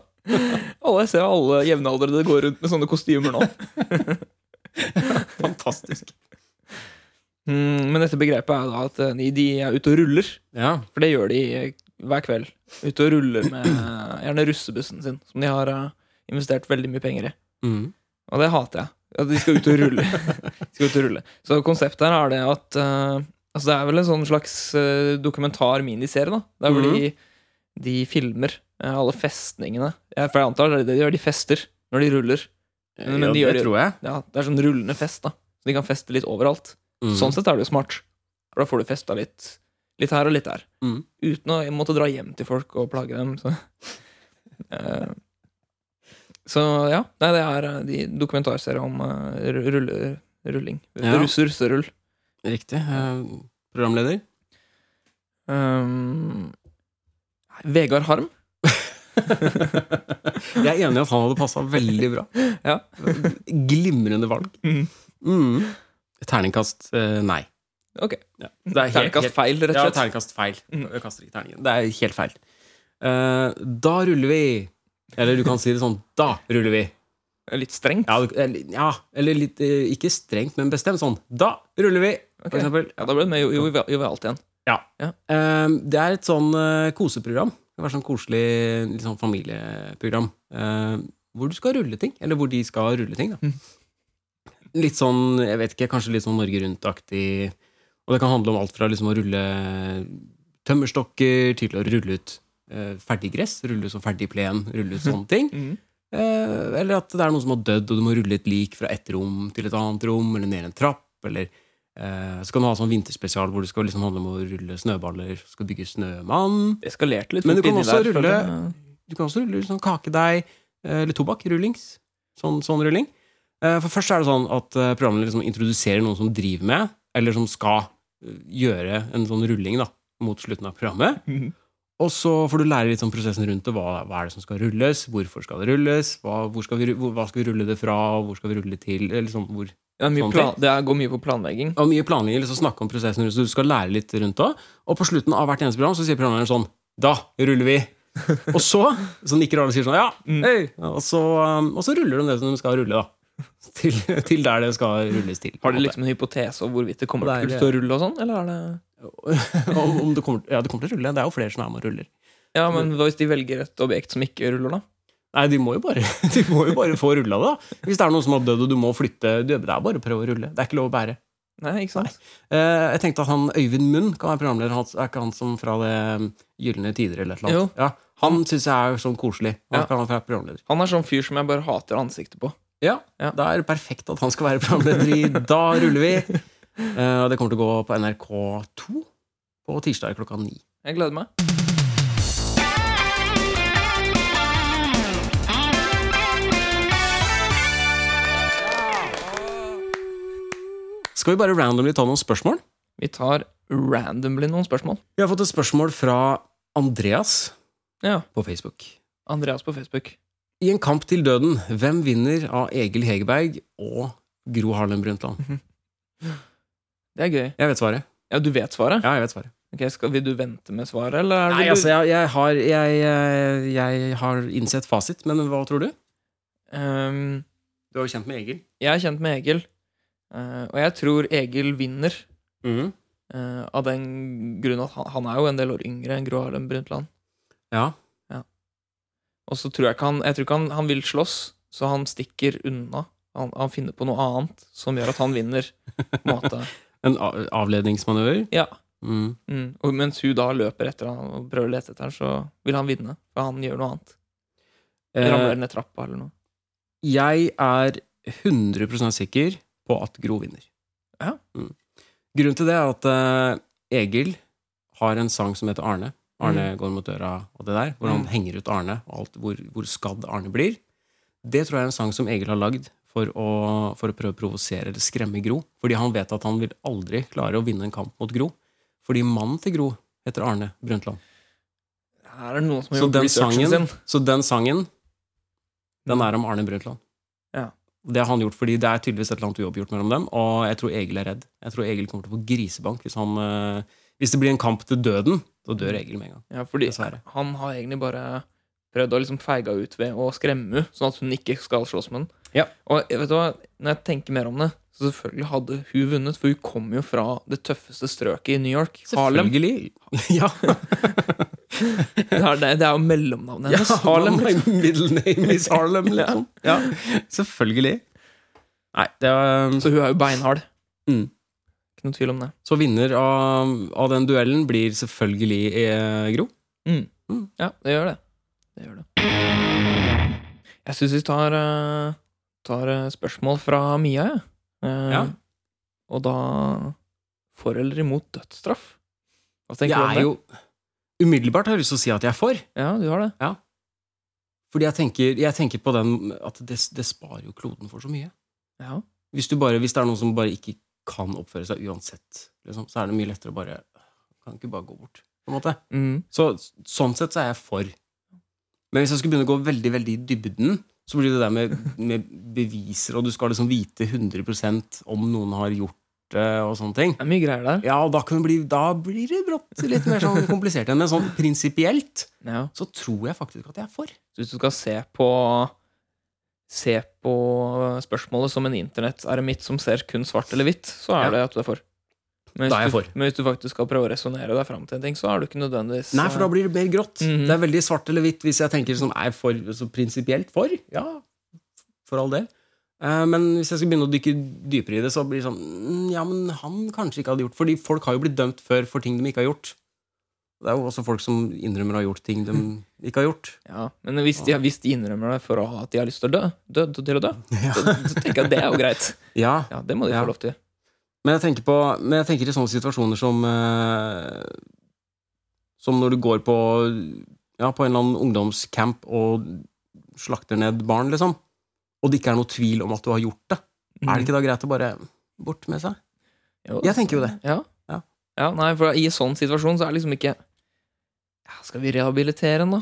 S2: Alle, jeg ser alle jevnaldrende går rundt med sånne kostymer nå.
S1: Fantastisk.
S2: Mm, Men dette begrepet er da at eh, de- de er ute og ruller.
S1: Ja.
S2: For det gjør de eh, hver kveld. Ute og ruller med eh, gjerne russebussen sin, som de har eh, investert veldig mye penger i.
S1: Mhm.
S2: Og det hater jeg. At de skal ut og rulle. De skal ut og rulle. Så konseptet her er det at eh, altså Det er vel en sånn slags eh, dokumentar-miniserie, da. Der hvor de, de filmer eh, alle festningene. Ja, for jeg antar det er det de gjør. De fester når de ruller. Men- men de
S1: ja,
S2: gjør
S1: det
S2: det-
S1: tror jeg.
S2: Ja, det er sånn rullende fest, da. Så de kan feste litt overalt.
S1: Mhm.
S2: Sånn sett er det jo smart. For da får du festa litt, litt her og litt der.
S1: Mhm.
S2: Uten å måtte dra hjem til folk og plage dem. Så, Eh, så ja. Nei, det er eh, de dokumentarserier om eh, ru- rulle, Rulling.
S1: Ja.
S2: Russ, russerull.
S1: Riktig. Eh, programleder?
S2: Um, Vegard Harm.
S1: Jeg er enig i at han hadde passa veldig bra.
S2: Ja.
S1: Glimrende valg.
S2: Mm.
S1: Mm. Terningkast eh, nei.
S2: Ok.
S1: Ja. Det er helt-
S2: Terningkast feil, rett
S1: Ja,
S2: og slett.
S1: terningkast feil.
S2: Mm.
S1: Jeg kaster ikke terningen. Det er helt feil. Eh, da ruller vi. Eller du kan si det sånn Da ruller vi.
S2: Litt strengt.
S1: Ja, du- eller, ja, eller litt eh, ikke strengt, men bestemt sånn. Da ruller vi,
S2: Ok.
S1: for eksempel.
S2: Ja, da ble det med jo- jo- jo- jovialt igjen.
S1: Eh, det er et sånn eh, koseprogram. Det var sånn koselig litt sånn familieprogram. eh, hvor du skal rulle ting. Eller hvor de skal rulle ting, da. Litt sånn, jeg vet ikke, kanskje litt sånn Norge Rundt-aktig. Og det kan handle om alt fra liksom å rulle tømmerstokker til å rulle ut eh, ferdig gress. Rulle ut som ferdig plen. Rulle ut sånne ting. Eh, eller at det er noen som har dødd, og du må rulle et lik fra ett rom til et annet rom, eller ned en trapp, eller eh, Så kan du ha sånn vinterspesial hvor det skal liksom handle om å rulle snøballer, skal bygge snømann.
S2: Det Eskalerte litt
S1: Men du
S2: fort
S1: kan
S2: inni
S1: også
S2: der,
S1: rulle-
S2: følte jeg.
S1: Du kan også rulle sånn kakedeig eh, eller tobakk. Rullings. Sånn, sånn rulling. Eh, For først er det sånn at eh, programmet liksom introduserer noen som driver med, eller som skal eh, gjøre en sånn rulling da, mot slutten av programmet.
S2: Mhm.
S1: Og så får du lære litt sånn prosessen rundt det. Hva, hva er det som skal rulles? Hvorfor skal det rulles? Hva, hvor skal vi, ru- hvor, hva skal vi rulle det fra? og Hvor skal vi rulle det til? Eller sånn, hvor,
S2: Ja, mye
S1: Sånne
S2: plan, det er- går mye på planlegging.
S1: og mye planlegging, liksom snakke om prosessen rundt, så du skal lære litt rundt det også. Og på slutten av hvert eneste program så sier programlederen sånn Da ruller vi! og så så nikker alle og sier sånn Ja!
S2: Mm.
S1: Hei! Og, så, um, og så ruller de det som de skal rulle, da. Til, til der det skal rulles til.
S2: Har de liksom en hypotese om hvorvidt det kommer
S1: Det er eh,
S2: til
S1: det.
S2: å rulle og sånn, eller er det
S1: om, om det kommer, ja, det kommer til å rulle. Det er jo flere som er med og ruller.
S2: Ja, men hva hvis de velger et objekt som ikke ruller, da?
S1: Nei, de må jo bare, de må jo bare få rulla det, da. Hvis det er noen som har dødd, og du må flytte du, Det er bare å prøve å rulle. Det er ikke lov å bære.
S2: Nei, ikke sant?
S1: Eh, jeg tenkte at han Øyvind Munn kan være programleder. Han, er ikke han som fra det um, Gylne tider eller et eller annet? Ja, han syns jeg er sånn koselig. Han
S2: Ja.
S1: kan være programleder.
S2: Han er sånn fyr som jeg bare hater ansiktet på.
S1: Ja,
S2: Ja.
S1: Da er det perfekt at han skal være programleder i Da ruller vi! Eh, og det kommer til å gå på NRK2 på tirsdag klokka ni.
S2: Jeg gleder meg.
S1: Skal vi bare randomly ta noen spørsmål?
S2: Vi tar randomly noen spørsmål.
S1: Vi har fått et spørsmål fra Andreas
S2: Ja.
S1: på Facebook.
S2: Andreas på Facebook.
S1: I en kamp til døden, hvem vinner av Egil Hegerberg og Gro Harlem Brundtland?
S2: Det er gøy.
S1: Jeg vet svaret.
S2: Ja, du vet svaret?
S1: Ja, jeg vet svaret.
S2: Ok, skal, Vil du vente med svaret, eller er det
S1: Nei,
S2: du-
S1: altså, jeg, jeg, har, jeg, jeg, jeg har innsett fasit, men hva tror du?
S2: Ehm,
S1: Du er jo kjent med Egil.
S2: Jeg er kjent med Egil, eh, og jeg tror Egil vinner.
S1: Mhm.
S2: eh, av den grunn at han, han er jo en del år yngre enn Gro Harlem Brundtland.
S1: Ja.
S2: Og så tror jeg ikke han Jeg tror ikke han, han vil slåss, så han stikker unna. Han, han finner på noe annet som gjør at han vinner. På en måte.
S1: En a- avledningsmanøver.
S2: Ja.
S1: Mm.
S2: Mm. Og mens hun da løper etter han og prøver å lete etter han, så vil han vinne. For han gjør noe annet.
S1: Eh,
S2: Ramler ned trappa eller noe.
S1: jeg er 100 sikker på at Gro vinner.
S2: Ja.
S1: Mm. Grunnen til det er at eh, Egil har en sang som heter Arne. Arne går mot døra og det der, hvor han
S2: Mm.
S1: henger ut Arne, og alt, hvor, hvor skadd Arne blir. Det tror jeg er en sang som Egil har lagd for å, for å prøve å provosere eller skremme Gro. Fordi han vet at han vil aldri klare å vinne en kamp mot Gro. Fordi mannen til Gro heter Arne Brundtland.
S2: Her er det noen som har
S1: Så
S2: gjort
S1: den
S2: researchen
S1: sangen,
S2: sin.
S1: så den sangen, den er om Arne Brundtland.
S2: Ja.
S1: Det har han gjort, fordi det er tydeligvis et eller annet uoppgjort mellom dem, og jeg tror Egil er redd. Jeg tror Egil kommer til å få grisebank hvis han eh, Hvis det blir en kamp til døden, da dør Egil med en gang.
S2: Ja, fordi
S1: Dessverre.
S2: han har egentlig bare prøvd å liksom feige henne ut ved å skremme henne, sånn at hun ikke skal slåss med den.
S1: Ja.
S2: Og jeg- vet du hva, når jeg tenker mer om det, så selvfølgelig hadde hun vunnet, for hun kom jo fra det tøffeste strøket i New York. Harlem.
S1: Selvfølgelig. Ja.
S2: Det er, det er jo mellomnavnet
S1: ja
S2: hennes. Harlem.
S1: my Middle name is Harlem, liksom. Ja. Selvfølgelig. Nei, det var um,
S2: Så hun er jo beinhard.
S1: Mm.
S2: Ikke noe tvil om det.
S1: Så vinner av, av den duellen blir selvfølgelig eh, Gro.
S2: Ja, det gjør det. Det gjør det. Jeg syns vi tar, eh, tar eh, spørsmål fra Mia, jeg. Eh,
S1: Ja.
S2: Og da for eller imot dødsstraff? Hva tenker
S1: Jeg
S2: du om
S1: er
S2: det?
S1: jo Umiddelbart har jeg lyst til å si at jeg er for.
S2: Ja, du har det.
S1: Fordi jeg tenker, jeg tenker på den at det, det sparer jo kloden for så mye.
S2: Ja.
S1: Hvis, du bare, hvis det er noen som bare ikke kan oppføre seg uansett, liksom, så er det mye lettere å bare Kan ikke bare gå bort, på en måte.
S2: Mm.
S1: Så sånn sett så er jeg for. Men hvis jeg skulle begynne å gå veldig veldig i dybden, så blir det der med, med beviser, og du skal liksom vite 100 om noen har gjort det, og sånne ting.
S2: Det er mye greier der.
S1: Ja, og da, kan det bli, da blir det brått litt mer sånn komplisert igjen. Men sånn prinsipielt
S2: Ja.
S1: så tror jeg faktisk at jeg er for.
S2: Så hvis du skal se på Se på spørsmålet som en internetteremitt som ser kun svart eller hvitt, så er
S1: Ja.
S2: det at du er for. Men hvis,
S1: Da er jeg
S2: du,
S1: for.
S2: men hvis du faktisk skal prøve å resonnere deg fram til en ting, så er du ikke nødvendigvis
S1: Nei, for da blir det mer grått.
S2: Mhm.
S1: Det er veldig svart eller hvitt hvis jeg tenker sånn, er jeg for, så prinsipielt for. Ja, for all del. Eh, Men hvis jeg skal begynne å dykke dypere i det, så blir det sånn mm, Ja, men han kanskje ikke hadde gjort Fordi folk har jo blitt dømt før for ting de ikke har gjort. Det er jo også folk som innrømmer å ha gjort ting de ikke har gjort.
S2: Ja, men hvis de, hvis de innrømmer det for å ha at de har lyst til å dø, dø, dø til å dø, så, så tenker jeg at det er jo greit.
S1: Ja,
S2: Ja, Det må de
S1: Ja.
S2: få lov til.
S1: Men jeg tenker, på, men jeg tenker i sånne situasjoner som eh, Som når du går på, ja, på en eller annen ungdomscamp og slakter ned barn, liksom. Og det ikke er noe tvil om at du har gjort det. Er
S2: Mhm.
S1: det ikke da greit å bare bort med seg?
S2: Jo.
S1: Jeg tenker jo det.
S2: Ja.
S1: Ja.
S2: Ja, nei, for i sånn situasjon så er det liksom ikke ja, Skal vi rehabilitere den, da?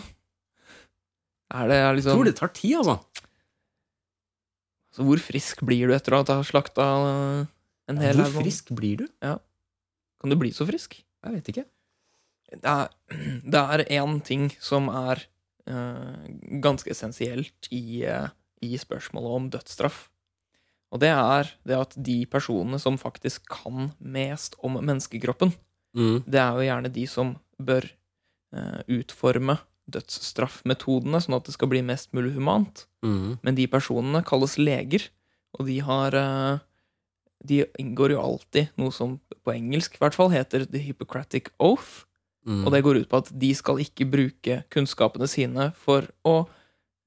S2: Er det er
S1: Jeg
S2: liksom
S1: tror det tar tid, altså.
S2: Så hvor frisk blir du etter å ha slakta en hel
S1: Hvor
S2: haug?
S1: frisk blir du?
S2: Kan du bli så frisk?
S1: Jeg vet ikke.
S2: Det er, det er én ting som er eh, ganske essensielt i, eh, i spørsmålet om dødsstraff. Og det er det at de personene som faktisk kan mest om menneskekroppen,
S1: Mm.
S2: det er jo gjerne de som bør eh, utforme dødsstraffmetodene, sånn at det skal bli mest mulig humant.
S1: Mm.
S2: Men de personene kalles leger, og de har eh, De inngår jo alltid noe som på engelsk i hvert fall heter the Hippocratic Oath.
S1: Mm.
S2: Og det går ut på at de skal ikke bruke kunnskapene sine for å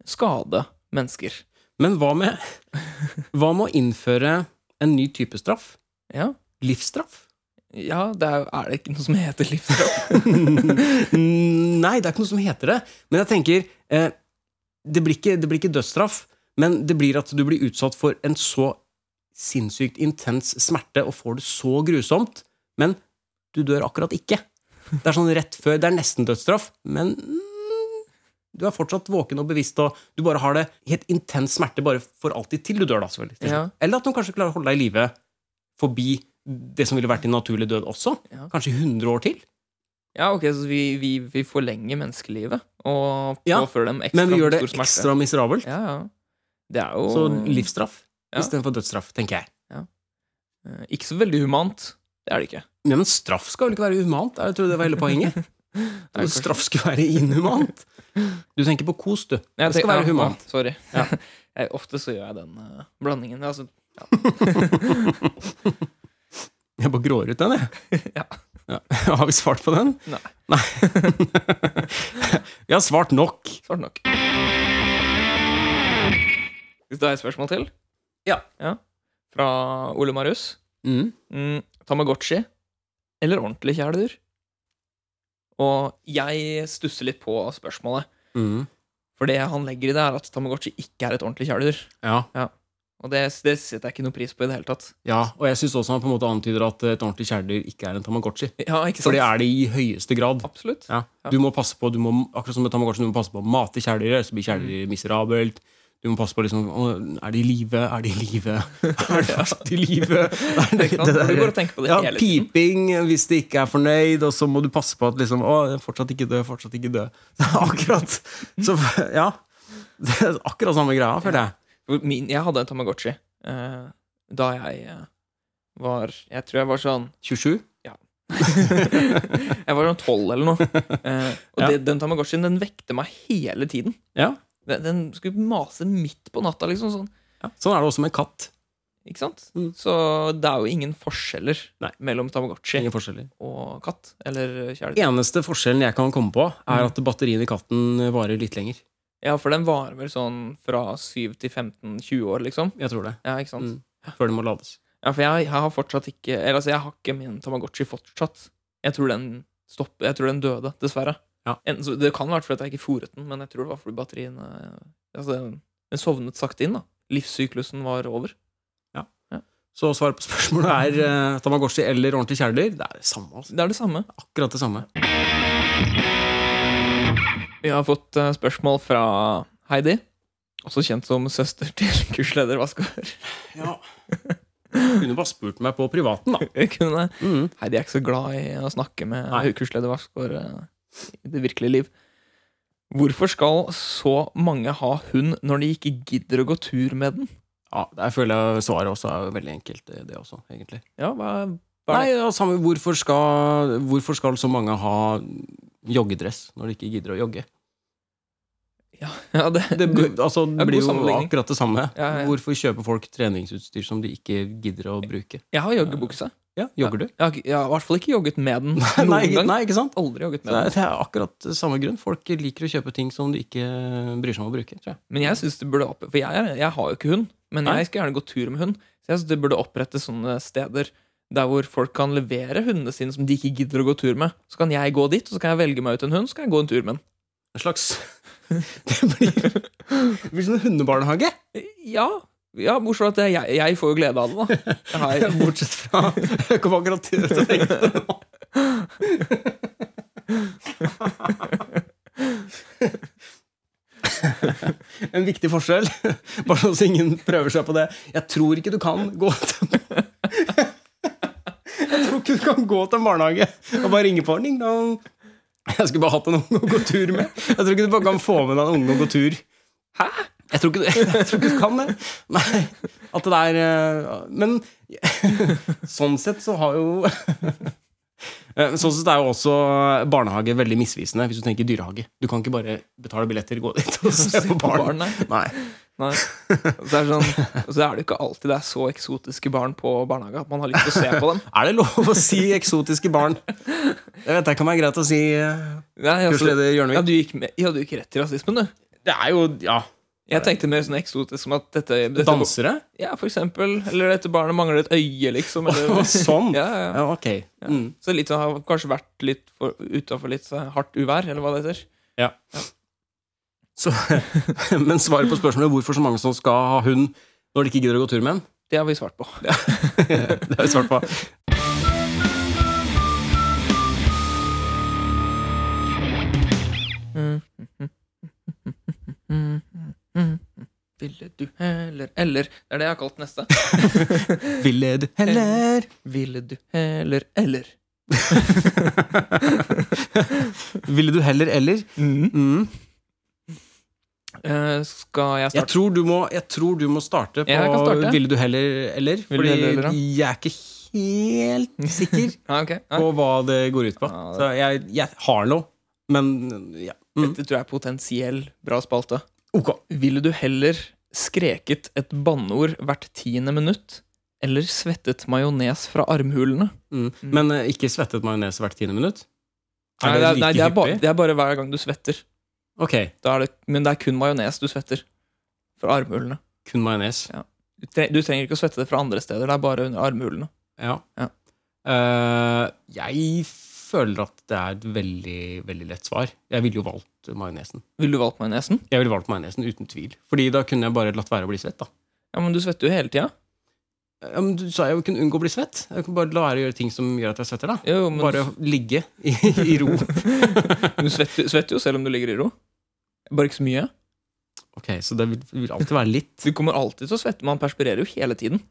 S2: skade mennesker.
S1: Men hva med, hva med å innføre en ny type straff?
S2: Ja,
S1: Livsstraff?
S2: ja det er, jo- er det ikke noe som heter livsstraff?
S1: Nei, det er ikke noe som heter det. Men jeg tenker eh, det, blir ikke, det blir ikke dødsstraff, men det blir at du blir utsatt for en så sinnssykt intens smerte og får det så grusomt, men du dør akkurat ikke. Det er sånn rett før, det er nesten dødsstraff, men mm, du er fortsatt våken og bevisst, og du bare har det helt intens smerte bare for alltid til du dør, da, selvfølgelig. til
S2: Ja.
S1: slutt. Eller at noen kanskje klarer å holde deg i live forbi det som ville vært din naturlige død også.
S2: Ja.
S1: Kanskje 100 år til.
S2: Ja, ok, så vi, vi, vi forlenger menneskelivet og
S1: Ja,
S2: påfører dem ekstra
S1: Men vi gjør det
S2: stor smerte.
S1: ekstra miserabelt.
S2: Ja, ja. Det er jo
S1: Så livsstraff
S2: Ja.
S1: istedenfor dødsstraff, tenker jeg.
S2: eh, ikke så veldig humant. Det er det ikke.
S1: Ja, men straff skal vel ikke være humant? Jeg tror det var hele poenget. altså,
S2: Nei, kanskje.
S1: straff skal være inhumant. Du tenker på kos, du.
S2: Jeg
S1: Det skal
S2: tenker-
S1: være humant.
S2: Ja, sorry. Jeg, ofte så gjør jeg den eh, blandingen. Altså,
S1: Jeg bare grår ut den, jeg.
S2: Ja.
S1: Ja. Har vi svart på den?
S2: Nei.
S1: Vi har svart nok.
S2: svart nok. Hvis det er et spørsmål til?
S1: Ja.
S2: Fra Ole Marius.
S1: Mm.
S2: Mm, Tamagotchi eller ordentlig kjæledyr? Og jeg stusser litt på spørsmålet.
S1: Mm.
S2: For det han legger i det, er at Tamagotchi ikke er et ordentlig kjæledyr.
S1: Ja.
S2: Og det, det setter jeg ikke noe pris på i det hele tatt.
S1: ja. Og jeg syns også han på en måte antyder at et ordentlig kjæledyr ikke er en Tamagotchi.
S2: Ja, ikke sant?
S1: For det er det i høyeste grad.
S2: Absolutt.
S1: Ja.
S2: Ja.
S1: Du må passe på du må, akkurat som med Tamagotchi, du må passe på å mate kjæledyret, ellers blir kjæledyret miserabelt. Du må passe på liksom, å, Er de i live? Er de i live? Er de faktisk i live? Er det,
S2: Ikke sant?
S1: det
S2: For du går
S1: der,
S2: og tenker på det
S1: ja,
S2: hele tiden.
S1: piping hvis de ikke er fornøyd, og så må du passe på at liksom, å, jeg er fortsatt ikke død, fortsatt ikke død. Det er akkurat så, Ja. Det er akkurat samme greia, føler jeg.
S2: Hvor Min, jeg hadde en Tamagotchi eh, da jeg eh, var Jeg tror jeg var sånn
S1: 27?
S2: Jeg var sånn 12 eller noe. Eh, og
S1: Ja.
S2: det, den Tamagotchien den vekte meg hele tiden.
S1: Ja.
S2: Den, den skulle mase midt på natta, liksom. sånn
S1: Sånn er det også med katt.
S2: Ikke sant?
S1: Mm.
S2: Så det er jo ingen forskjeller
S1: Nei.
S2: mellom Tamagotchi
S1: Ingen forskjeller.
S2: og katt. Eller kjæledyr.
S1: Eneste forskjellen jeg kan komme på, er at batteriet i katten varer litt lenger.
S2: Ja, for den varer vel sånn fra 7 til 15-20 år, liksom.
S1: Jeg tror det.
S2: Ja, ikke sant?
S1: Mm. Før det må lades.
S2: Ja, for jeg, jeg har fortsatt ikke Eller altså, jeg har ikke min Tamagotchi fortsatt. Jeg tror den stopp, jeg tror den døde, dessverre.
S1: Ja.
S2: Enten så, det kan være fordi jeg ikke fôret den, men jeg tror det var fordi eh, batteriene Altså, den, den sovnet sakte inn, da. Livssyklusen var over.
S1: Ja.
S2: ja.
S1: Så svaret på spørsmålet er eh, Tamagotchi eller ordentlig kjæledyr. Det er det samme. altså.
S2: Det er det samme.
S1: Akkurat det samme.
S2: Vi har fått eh, spørsmål fra Heidi, også kjent som søster til kursleder Vaskar.
S1: Ja. Kunne bare spurt meg på privaten, da.
S2: Kunne-
S1: Mm.
S2: Heidi er ikke så glad i å snakke med
S1: Nei.
S2: kursleder Vaskar eh, i det virkelige liv. Hvorfor skal så mange ha hund når de ikke gidder å gå tur med den?
S1: Ja, Der føler jeg svaret også er veldig enkelt, eh, det også, egentlig.
S2: Ja, hva, hva er
S1: Nei, ja, samme, hvorfor, skal, hvorfor skal så mange ha joggedress når de ikke gidder å jogge?
S2: det? Ja, det,
S1: Det, blir- altså, det
S2: god
S1: blir jo
S2: sammenligning.
S1: akkurat det samme.
S2: Ja, ja.
S1: Hvorfor kjøper folk treningsutstyr som de ikke gidder å bruke?
S2: Jeg har joggebukse.
S1: Ja, Jogger du?
S2: Jeg har, ikke- jeg har i hvert fall ikke jogget med den noen
S1: Nei, ikke-
S2: gang.
S1: nei, ikke sant?
S2: Aldri jogget
S1: Så
S2: med
S1: Det er,
S2: den.
S1: det er akkurat samme grunn. Folk liker å kjøpe ting som de ikke bryr seg om å bruke. tror jeg.
S2: Men jeg synes det burde opp... For jeg, er, jeg har jo ikke hund, men
S1: Nei.
S2: jeg skal gjerne gå tur med hund. Så jeg synes det burde opprettes sånne steder der hvor folk kan levere hundene sine som de ikke gidder å gå tur med. Så kan jeg gå dit, og så kan jeg velge meg ut en hund, så kan jeg gå en tur med den.
S1: En slags Det blir, det blir sånn hundebarnehage,
S2: Ja, ja bortsett fra at jeg, jeg får jo glede av det, da. Jeg har,
S1: bortsett fra Jeg kom akkurat til å tenke på det nå. En viktig forskjell, bare sånn så ingen prøver seg på det. Jeg tror ikke du kan gå til Jeg tror ikke du kan gå til en barnehage og bare ringe på. Ding, dong. Jeg skulle bare hatt en unge å gå tur med. Jeg tror ikke du bare kan få med deg en unge og gå tur.
S2: Hæ?
S1: Jeg tror ikke du, jeg tror ikke du kan det. Nei, at det der eh, Men sånn sett så har jo Eh, Sånn sett er jo også barnehage veldig misvisende hvis du tenker dyrehage. Du kan ikke bare betale billetter, gå dit og se på barn.
S2: barn, nei.
S1: Nei.
S2: Nei. Og Så er, det sånn, og så er det jo ikke alltid det er så eksotiske barn på barnehage at man har lyst til å se på dem.
S1: Er det lov å si eksotiske barn? Det vet jeg kan være greit å si. eh,
S2: Nei, altså,
S1: Kursleder
S2: ja,
S1: Hjørnevik.
S2: du gikk med, ja, du gikk rett til rasismen, du.
S1: Det er jo ja,
S2: Jeg tenkte mer sånn eksotisk som at dette, dette
S1: dansere.
S2: Ja, for eksempel. Eller dette barnet mangler et øye, liksom. Eller,
S1: Å, sånn.
S2: Ja, ja, ja.
S1: Ja, ok. Mm.
S2: Så litt sånn, har kanskje vært litt for, utenfor litt så hardt uvær, eller hva det heter.
S1: Så, men svaret på spørsmålet hvorfor så mange som skal ha hund når de ikke gidder å gå tur med den,
S2: Det har vi svart på.
S1: det har jeg svart på.
S2: Ville du heller Eller Det er det jeg har kalt neste.
S1: Ville du heller
S2: Ville du heller Eller.
S1: Ville du heller eller? Mm.
S2: Eh, skal jeg
S1: Jeg,
S2: starte?
S1: tror du må, jeg tror du må starte på
S2: Jeg kan starte.
S1: Ville du heller eller?
S2: du
S1: Fordi
S2: heller, eller, da?
S1: jeg er ikke helt sikker
S2: Ja, ok. Ja.
S1: på hva det går ut på.
S2: Ja, det-
S1: Så jeg, jeg har noe, men ja. Mm.
S2: Dette tror jeg er potensiell bra spalte.
S1: Ok.
S2: Ville du heller skreket et banneord hvert tiende minutt, eller svettet majones fra armhulene?
S1: Mm. Men eh, ikke svettet majones hvert tiende minutt?
S2: Nei, det er, nei, det, er bare,
S1: hyppig?
S2: det er bare hver gang du svetter.
S1: Ok,
S2: Da er det, men det er kun majones du svetter. Fra armhulene.
S1: kun majones.
S2: Du, tre, du trenger ikke å svette det fra andre steder. Det er bare under armhulene.
S1: Ja.
S2: Ja.
S1: Eh, jeg føler at det er et veldig, veldig lett svar. Jeg ville jo valgt majonesen.
S2: Ville du valgt majonesen?
S1: Jeg ville valgt majonesen uten tvil. Fordi da kunne jeg bare latt være å bli svett, da.
S2: Ja, men du svetter jo hele tida.
S1: Ja, men du sa jeg jo kunne unngå å bli svett. Jeg kunne bare la være å gjøre ting som gjør at jeg svetter, da.
S2: Jo, men
S1: Bare ligge i, i ro.
S2: du svetter, svetter jo selv om du ligger i ro. Bare ikke så mye.
S1: Ok, så det vil, vil alltid være litt.
S2: Du kommer alltid til å svette. Man perspirerer jo hele tiden.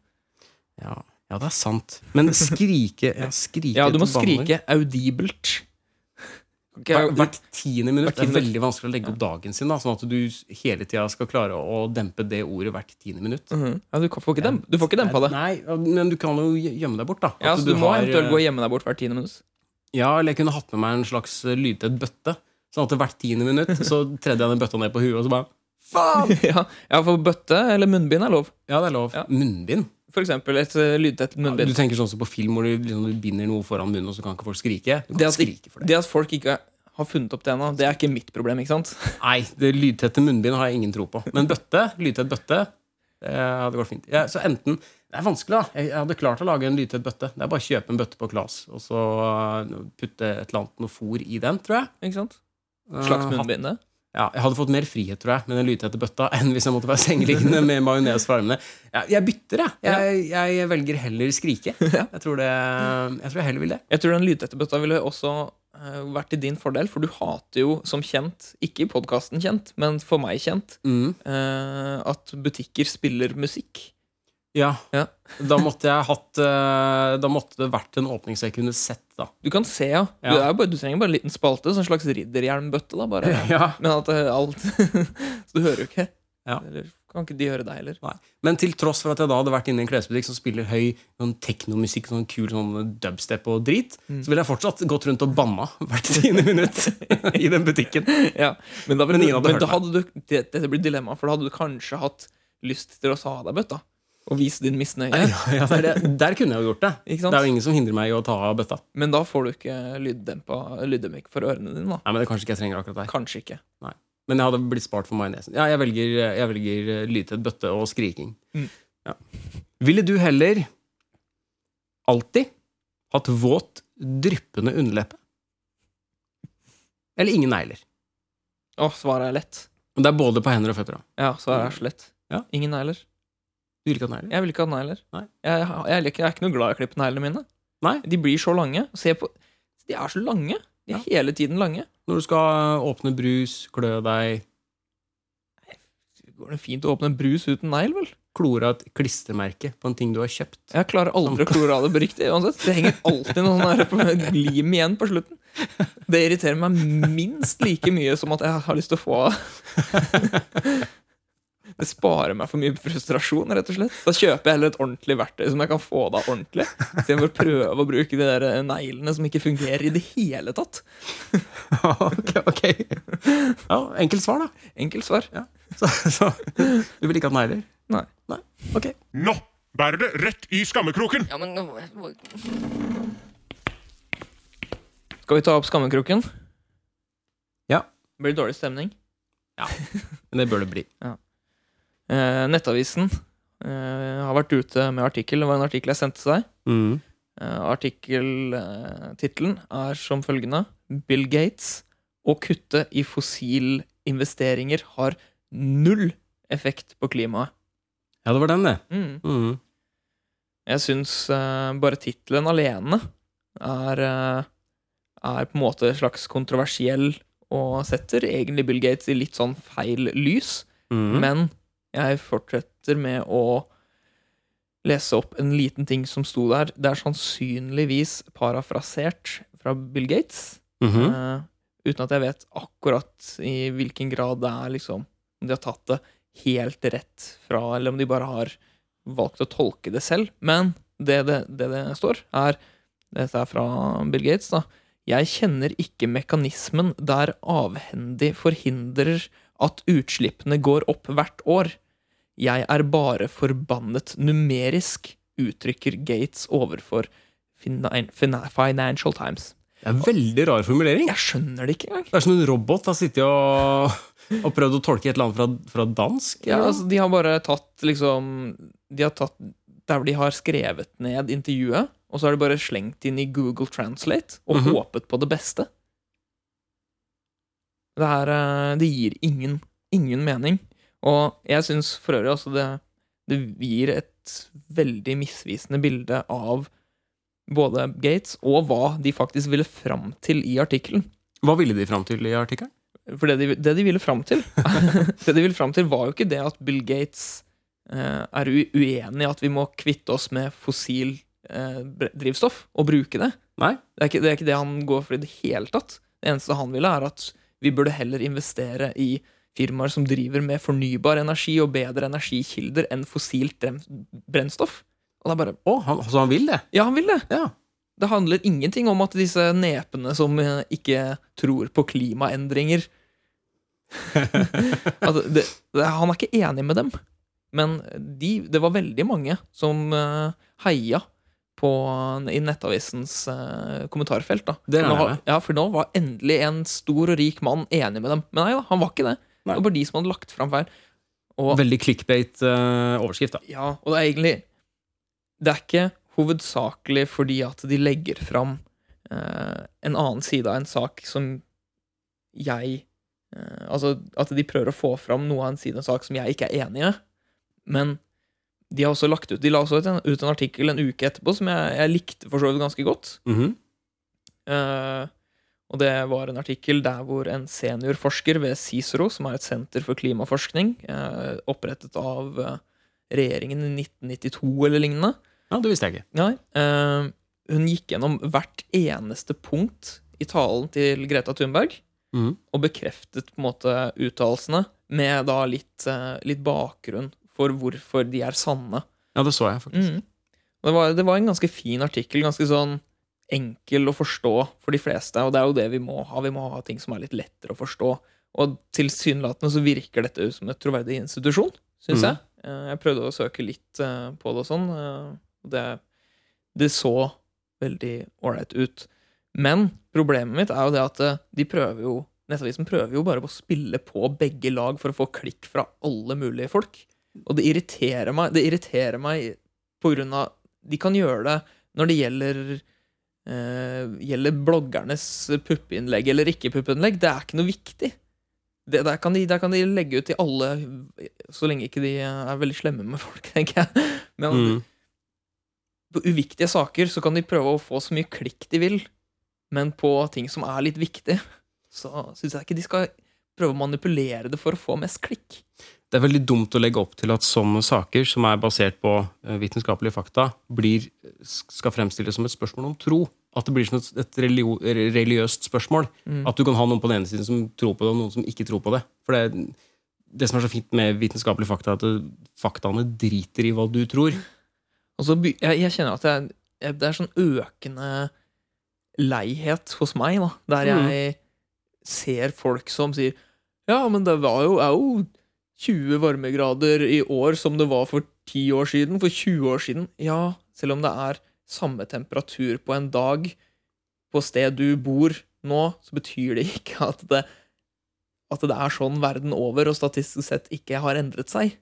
S1: Ja, ja det er sant. Men skrike ja, skrike
S2: Ja, du må
S1: etter banneord.
S2: skrike audibelt. Ok,
S1: Hver- Hvert tiende minutt.
S2: Hvert
S1: Det
S2: tiende
S1: er veldig vanskelig å legge opp dagen sin, da, sånn at du hele tida skal klare å dempe det ordet hvert tiende minutt.
S2: Mhm. ja, du, kan- får ikke dem, du får ikke dempa det.
S1: Nei, ja, men du kan jo gjemme deg bort, da.
S2: Ja,
S1: At
S2: så du, må
S1: har, eh,
S2: eventuelt gå og gjemme deg bort hvert tiende minutt.
S1: Ja, eller jeg kunne hatt med meg en slags eh, lydtett bøtte. Sånn at hvert tiende minutt så tredde jeg den bøtta ned på huet, og så bare Faen!
S2: ja, ja, for bøtte eller munnbind er lov.
S1: Ja, det er lov.
S2: Ja.
S1: Munnbind?
S2: For eksempel et eh, lydtett munnbind.
S1: Du tenker sånn som på film hvor du, liksom, du binder noe foran munnen, og så kan ikke folk skrike? Du kan
S2: Det at-
S1: skrike for det.
S2: Det at folk ikke har funnet opp det ennå, det er ikke mitt problem. ikke sant?
S1: Nei, det lydtette munnbind har jeg ingen tro på. Men bøtte, lydtett bøtte, det hadde gått fint. Ja, så enten Det er vanskelig, da. Jeg jeg hadde klart å lage en lydtett bøtte. Det er bare å kjøpe en bøtte på Klas, og så eh, putte et eller annet noe fôr i den, tror jeg.
S2: Ikke sant?
S1: Eh,
S2: Slags
S1: hatt-
S2: munnbind, det.
S1: Ja, jeg hadde fått mer frihet, tror jeg, med den lytete bøtta enn hvis jeg måtte være sengeliggende med majones for armene. Jeg, jeg bytter, jeg. jeg. Jeg velger heller skrike. Jeg tror, det, jeg tror jeg heller vil det.
S2: Jeg tror den lydetterbøtta ville også eh, vært til din fordel, for du hater jo som kjent, ikke i podkasten kjent, men for meg kjent,
S1: Mm.
S2: eh, at butikker spiller musikk.
S1: Ja.
S2: Ja.
S1: Da måtte jeg hatt eh, Da måtte det vært en åpning så jeg kunne sett, da.
S2: Du kan se, ja. Du,
S1: Ja.
S2: er jo bare, du trenger bare en liten spalte, sånn slags ridderhjelmbøtte, da, bare.
S1: Ja.
S2: Men at eh, alt Så du hører jo ikke.
S1: Ja.
S2: Eller kan ikke de høre deg heller.
S1: Nei. Men til tross for at jeg da hadde vært inne i en klesbutikk som spiller høy sånn teknomusikk, sånn kul sånn dubstep og drit, så ville jeg fortsatt gått rundt og banna hvert tiende minutt i den butikken.
S2: Ja. Men da,
S1: Men ingen hadde
S2: men
S1: hørt
S2: da hadde du det, Dette blir dilemma, for da hadde du kanskje hatt lyst til å ta av deg bøtta. Og vise din misnøye.
S1: Ja, ja, det er det. Der kunne jeg jo gjort det.
S2: Ikke
S1: Det er
S2: sant?
S1: jo ingen som hindrer meg i å ta av bøtta.
S2: Men da får du ikke lyddempa- lyddemping for ørene dine. da
S1: Nei, men det er kanskje ikke jeg trenger akkurat der.
S2: Kanskje ikke.
S1: Men jeg hadde blitt spart for majonesen. Ja, jeg velger, jeg velger eh, lydtett bøtte og skriking.
S2: Mm.
S1: Ja. Ville du heller alltid hatt våt, dryppende underleppe? Eller ingen negler?
S2: Å, svaret er lett.
S1: Og Det er både på hender og føtter. da.
S2: Ja, svaret er så lett.
S1: Ja.
S2: Ingen negler.
S1: Du vil ikke ha negler?
S2: Jeg vil ikke ha negler.
S1: Nei.
S2: Jeg, jeg, jeg, liker- jeg er ikke noe glad i å klippe neglene mine.
S1: Nei.
S2: De blir så lange. Se på De er så lange. De er hele tiden lange.
S1: Når du skal åpne brus, klø deg,
S2: Går det fint å åpne en brus uten negl, vel?
S1: klore av et klistremerke på en ting du har kjøpt.
S2: Jeg klarer
S1: Sånn.
S2: aldri å klore av det på riktig. uansett. Det henger alltid noe sånn der på- lim igjen på slutten. Det irriterer meg minst like mye som at jeg har lyst til å få av. Det sparer meg for mye frustrasjon, rett og slett. Da kjøper jeg heller et ordentlig verktøy som jeg kan få det av ordentlig, istedenfor å prøve å bruke de der neglene som ikke fungerer i det hele tatt.
S1: ok, ok. Ja, enkelt svar, da.
S2: Enkelt svar.
S1: Så, så. Du vil ikke ha negler?
S2: Nei.
S1: Nei. Ok.
S3: Nå bærer det rett i skammekroken!
S4: Ja, men nå-
S2: Skal vi ta opp skammekroken?
S1: Ja.
S2: Blir det dårlig stemning?
S1: Men det bør det bli.
S2: Eh, Nettavisen eh, har vært ute med artikkel. Det var en artikkel jeg sendte til deg.
S1: Mm.
S2: Eh, Artikkeltittelen er som følgende Bill Gates å kutte i fossilinvesteringer har null effekt på klimaet.
S1: Ja, det var den, det.
S2: Mm.
S1: Mm.
S2: Jeg syns eh, bare tittelen alene er, eh, er på en måte slags kontroversiell og setter egentlig Bill Gates i litt sånn feil lys.
S1: Mm.
S2: Men jeg fortsetter med å lese opp en liten ting som sto der. Det er sannsynligvis parafrasert fra Bill Gates.
S1: Mhm.
S2: eh, uten at jeg vet akkurat i hvilken grad det er liksom Om de har tatt det helt rett fra, eller om de bare har valgt å tolke det selv. Men det det, det, det står, er Dette er fra Bill Gates, da. Jeg kjenner ikke mekanismen der avhendig forhindrer at utslippene går opp hvert år. Jeg er bare forbannet numerisk, uttrykker Gates overfor Fina- Fina- Financial Times.
S1: Det er en veldig rar formulering.
S2: Jeg skjønner det ikke engang.
S1: Det er som en robot har sittet og, og prøvd å tolke et eller annet fra, fra dansk.
S2: Ja, altså, de har bare tatt liksom De har tatt der hvor de har skrevet ned intervjuet, og så har de bare slengt inn i Google Translate og
S1: Mhm.
S2: håpet på det beste. Det her eh, Det gir ingen, ingen mening. Og jeg syns for øvrig også det, det gir et veldig misvisende bilde av både Gates og hva de faktisk ville fram til i artikkelen.
S1: Hva ville de fram til i artikkelen?
S2: For det de, det de ville fram til Det de ville fram til var jo ikke det at Bill Gates eh, er u- uenig i at vi må kvitte oss med fossil eh, bre- drivstoff og bruke det.
S1: Nei.
S2: Det er, ikke, det er ikke det han går for i det hele tatt. Det eneste han ville, er at vi burde heller investere i firmaer som driver med fornybar energi og bedre energikilder enn fossilt brem- brennstoff. Og det er bare
S1: Å, han, så han vil det?
S2: Ja, han vil det!
S1: Ja.
S2: Det handler ingenting om at disse nepene som eh, ikke tror på klimaendringer at det, det, Han er ikke enig med dem. Men de, det var veldig mange som eh, heia på, i Nettavisens eh, kommentarfelt. da.
S1: Det regner
S2: Nå
S1: jeg
S2: har-
S1: med.
S2: Ja, For nå var endelig en stor og rik mann enig med dem. Men nei da, han var ikke det.
S1: Nei.
S2: Det var bare de som hadde lagt fram feil. Og
S1: Veldig clickbait-overskrift, da.
S2: ja, og det er egentlig Det er ikke hovedsakelig fordi at de legger fram eh, en annen side av en sak som jeg eh, altså, at de prøver å få fram noe av en sidesak som jeg ikke er enig i. Men de har også lagt ut De la også ut en, ut en artikkel en uke etterpå som jeg, jeg likte for så vidt ganske godt.
S1: Mhm.
S2: Eh, og det var en artikkel der hvor en seniorforsker ved Cicero, som er et senter for klimaforskning, eh, opprettet av eh, regjeringen i 1992 eller lignende,
S1: Ja, det visste jeg ikke.
S2: Nei. eh, hun gikk gjennom hvert eneste punkt i talen til Greta Thunberg
S1: Mhm.
S2: og bekreftet på en måte uttalelsene med da litt, eh, litt bakgrunn for hvorfor de er sanne.
S1: Ja, det så jeg faktisk.
S2: Mm. Det, var, det var en ganske fin artikkel. Ganske sånn enkel å forstå for de fleste. Og det er jo det vi må ha. Vi må ha ting som er litt lettere å forstå. Og tilsynelatende så virker dette ut som et troverdig institusjon, syns
S1: Mm.
S2: jeg. Eh, Jeg prøvde å søke litt eh, på det og sånn. eh, og Det, det så veldig ålreit ut. Men problemet mitt er jo det at eh, de prøver jo Nettavisen prøver jo bare på å spille på begge lag for å få klikk fra alle mulige folk. Og det irriterer meg, det irriterer meg på grunn av De kan gjøre det når det gjelder eh, Gjelder bloggernes puppeinnlegg eller ikke puppeinnlegg. Det er ikke noe viktig. Det, der, kan de, der kan de legge ut til alle, så lenge ikke de er veldig slemme med folk, tenker jeg. Men
S1: Mhm.
S2: på uviktige saker så kan de prøve å få så mye klikk de vil, men på ting som er litt viktig, så syns jeg ikke de skal prøve å manipulere det for å få mest klikk.
S1: Det er veldig dumt å legge opp til at sånne saker, som er basert på eh, vitenskapelige fakta, blir, skal fremstilles som et spørsmål om tro. At det blir som et, et relio, religiøst spørsmål.
S2: Mm.
S1: At du kan ha noen på den ene siden som tror på det, og noen som ikke tror på det. For det, det som er så fint med vitenskapelige fakta, er at det- faktaene driter i hva du tror.
S2: Og så by jeg, jeg kjenner at jeg, jeg, det er sånn økende leihet hos meg, da, der jeg ser folk som sier Ja, men det var jo, er jo 20 varmegrader i år som det var for 10 år siden, for 20 år siden. Ja, selv om det er samme temperatur på en dag på stedet du bor nå, så betyr det ikke at det, at det er sånn verden over, og statistisk sett ikke har endret seg.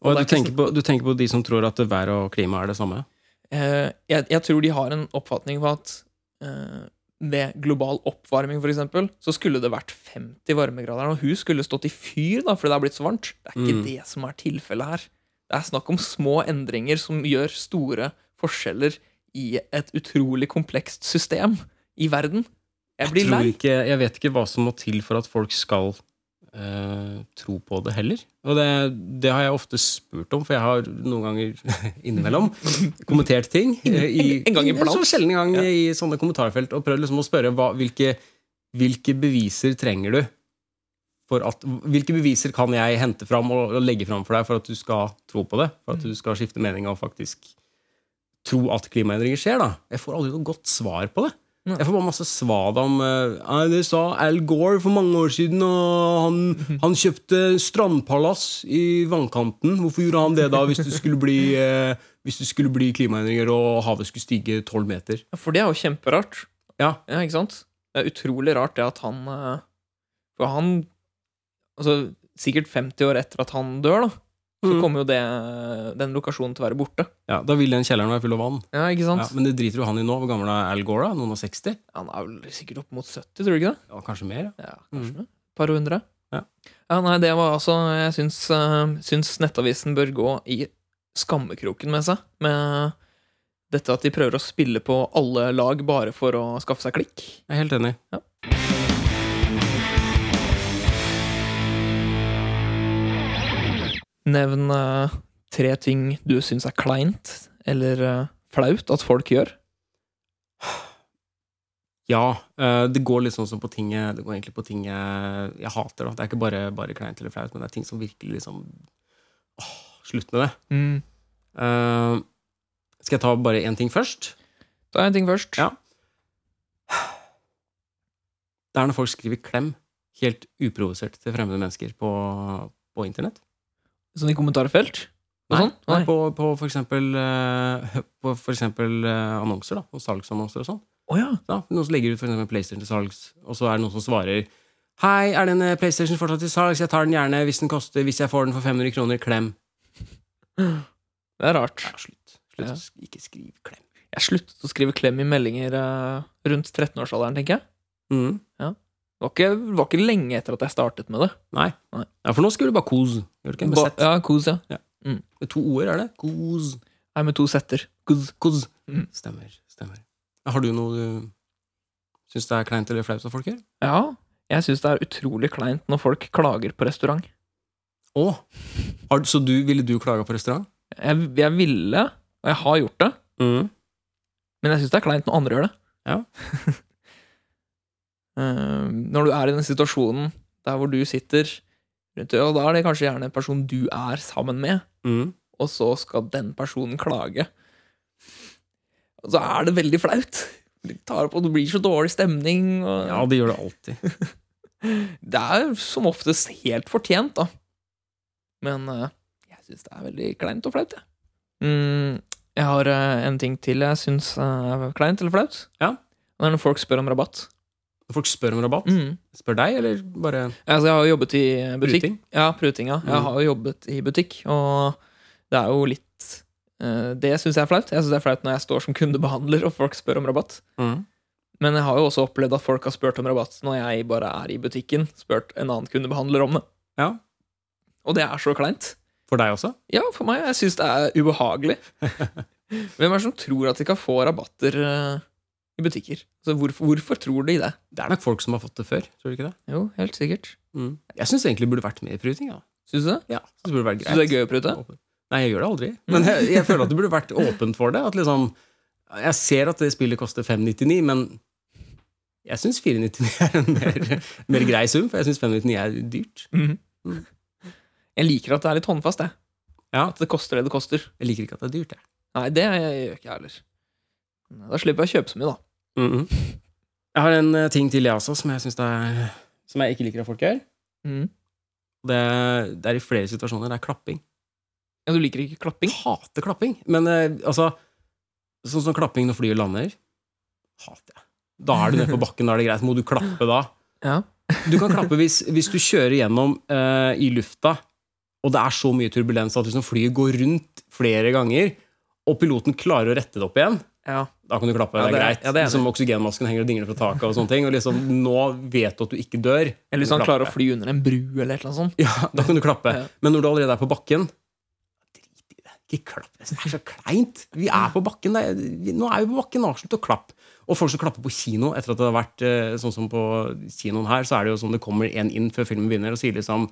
S1: Og
S2: Og
S1: du
S2: det er ikke
S1: tenker, på, du tenker på de som tror at vær og klima er det samme?
S2: Eh, jeg, jeg tror de har en oppfatning på at eh, ved global oppvarming for eksempel, så skulle det vært 50 varmegrader, og hun skulle stått i fyr da, fordi det har blitt så varmt. Det er ikke
S1: Mm.
S2: det som er tilfellet her. Det er snakk om små endringer som gjør store forskjeller i et utrolig komplekst system i verden. Jeg blir lei.
S1: tror ikke, jeg vet ikke hva som må til for at folk skal eh, tro på det heller. Og det, det har jeg ofte spurt om, for jeg har noen ganger innimellom kommentert ting. eh,
S2: En- en gang iblant.
S1: Så sjelden gang i sånne kommentarfelt, og prøvd liksom å spørre hva, hvilke, hvilke beviser trenger du? For at, hvilke beviser kan jeg hente fram og, og legge fram for deg for at du skal tro på det? For
S2: Mm.
S1: at du skal skifte mening og faktisk tro at klimaendringer skjer, da? Jeg får aldri noe godt svar på det.
S2: Nei.
S1: Jeg får bare masse svad om eh, «Nei, Det sa Al Gore for mange år siden, og han, han kjøpte strandpalass i vannkanten. Hvorfor gjorde han det da, hvis det skulle bli, eh, hvis det skulle bli klimaendringer og havet skulle stige tolv meter?
S2: For det er jo kjemperart.
S1: Ja.
S2: ikke sant? Det er utrolig rart det at han eh, For han Altså, sikkert 50 år etter at han dør, da, så
S1: Mm.
S2: kommer jo det, den lokasjonen til å være borte.
S1: Ja, Da vil den kjelleren være full av vann.
S2: Ja, ikke sant?
S1: Ja, men det driter jo han i nå. Hvor gammel er Al Gore? da? Noen og 60?
S2: Han er vel sikkert opp mot 70, tror du ikke det?
S1: Ja, kanskje mer? ja.
S2: Ja,
S1: Mm.
S2: kanskje Et par hundre?
S1: Ja.
S2: ja. Nei, det var altså Jeg syns, eh, syns Nettavisen bør gå i skammekroken med seg. Med dette at de prøver å spille på alle lag bare for å skaffe seg klikk.
S1: Jeg er helt enig.
S2: Ja. Nevn eh, tre ting du syns er kleint eller eh, flaut at folk gjør.
S1: Ja, eh, det går litt sånn som på ting jeg- Det går egentlig på ting jeg, jeg hater. Da. Det er ikke bare, bare kleint eller flaut, men det er ting som virkelig liksom Åh, Slutt med det. Eh, skal jeg ta bare én ting først?
S2: Da er en ting først.
S1: Ja. Det er når folk skriver 'klem' helt uprovosert til fremmede mennesker på, på internett.
S2: Sånn i kommentarfelt. og
S1: Nei,
S2: sånn? Nei.
S1: nei, på, på for eksempel, eh, på for eksempel eh, annonser, da. Og salgsannonser og sånn.
S2: Å ja.
S1: da. Noen som legger ut for eksempel PlayStation til salgs, og så er det noen som svarer Hei, er den eh, PlayStation fortsatt til salgs? Jeg tar den gjerne hvis den koster, hvis jeg får den for 500 kroner. Klem.
S2: Det er rart.
S1: Ja, slutt. Slutt
S2: Ja.
S1: å sk- Ikke skriv klem.
S2: Jeg sluttet å skrive klem i meldinger eh, rundt 13-årsalderen, tenker jeg.
S1: Mm.
S2: Det var ikke, det var ikke lenge etter at jeg startet med det.
S1: Nei.
S2: Nei.
S1: Ja, for nå skriver du bare kos. Gjør du ikke? Med
S2: Ba-
S1: sett.
S2: Ja, kos, ja.
S1: Med to ord, er det? Kos.
S2: Nei, med to setter.
S1: Kos. kos.
S2: Mm.
S1: Stemmer. Stemmer. Ja, Har du noe du syns det er kleint eller flaut av folk her?
S2: Ja, jeg syns det er utrolig kleint når folk klager på restaurant.
S1: Å! Har, så du, ville du klaga på restaurant?
S2: Jeg, jeg ville, og jeg har gjort det,
S1: Mm.
S2: men jeg syns det er kleint når andre gjør det.
S1: Ja.
S2: Eh, når du er i den situasjonen der hvor du sitter rundt og da er det kanskje gjerne en person du er sammen med,
S1: Mm.
S2: og så skal den personen klage. Og så er det veldig flaut. Du tar opp, og det blir så dårlig stemning. Og
S1: Ja, det gjør det alltid.
S2: Det er som oftest helt fortjent, da. Men eh, jeg syns det er veldig kleint og flaut, jeg. Mm, jeg har eh, en ting til jeg syns er kleint eller flaut.
S1: Ja.
S2: Det er når folk spør om rabatt.
S1: Når folk spør om rabatt,
S2: Mm.
S1: spør deg, eller bare
S2: Altså, jeg har jo jobbet i butikk.
S1: bruting?
S2: Ja, prutinga. Jeg
S1: Mm.
S2: har jo jobbet i butikk, og det er jo litt eh, Det syns jeg er flaut. Jeg syns det er flaut når jeg står som kundebehandler og folk spør om rabatt.
S1: Mm.
S2: Men jeg har jo også opplevd at folk har spurt om rabatt når jeg bare er i butikken. Spurt en annen kundebehandler om det.
S1: Ja.
S2: Og det er så kleint.
S1: For deg også?
S2: Ja, for meg. Jeg syns det er ubehagelig. Hvem er det som tror at de kan få rabatter eh, i butikker? Altså, hvorfor, hvorfor tror de det?
S1: Det er nok folk som har fått det før, tror du ikke det?
S2: Jo, helt sikkert.
S1: Mm. Jeg syns egentlig det burde vært med i pruting. Ja.
S2: Syns du det?
S1: Ja, så det burde vært greit.
S2: Syns du det er gøy å prute?
S1: Nei, jeg gjør det aldri. Men jeg, jeg føler at det burde vært åpent for det. At liksom, jeg ser at det spillet koster 599, men jeg syns 499 er en mer, mer grei sum, for jeg syns 599 er dyrt.
S2: Mhm. Jeg liker at det er litt håndfast, jeg.
S1: Ja.
S2: At det koster det det koster.
S1: Jeg liker ikke at det er dyrt, jeg.
S2: Nei, det gjør ikke jeg heller. Da slipper jeg å kjøpe så mye, da.
S1: Mhm. Jeg har en eh, ting til, jeg også, som jeg synes det er Som jeg ikke liker av folk her. Mm.
S2: Mhm.
S1: Det, det er i flere situasjoner. Det er klapping.
S2: Ja, du liker ikke klapping?
S1: Jeg hater klapping. Men eh, altså Sånn som klapping når flyet lander, hater jeg. Da er du nede på bakken, da er det greit. Må du klappe da?
S2: Ja.
S1: Du kan klappe hvis, hvis du kjører gjennom eh, i lufta, og det er så mye turbulens at liksom flyet går rundt flere ganger, og piloten klarer å rette det opp igjen,
S2: Ja.
S1: da kan du klappe. det,
S2: Ja,
S1: er
S2: det-
S1: greit.
S2: ja, det er
S1: liksom, oksygenmasken henger og dingler fra taket, og sånne ting. Og liksom, nå vet du at du ikke dør.
S2: Eller hvis
S1: kan
S2: han
S1: du
S2: klarer å
S1: klappe.
S2: fly under en bru, eller et eller annet sånt.
S1: Ja, da kan du klappe.
S2: Ja.
S1: Men når du allerede er på bakken Drit i det. Ikke klapp. Det er så kleint. Vi er på bakken. Det er, vi, nå er vi på bakken. Avslutt å klappe. Og folk som klapper på kino etter at det har vært eh, sånn som på kinoen her, så er det jo sånn det kommer en inn før filmen begynner og sier liksom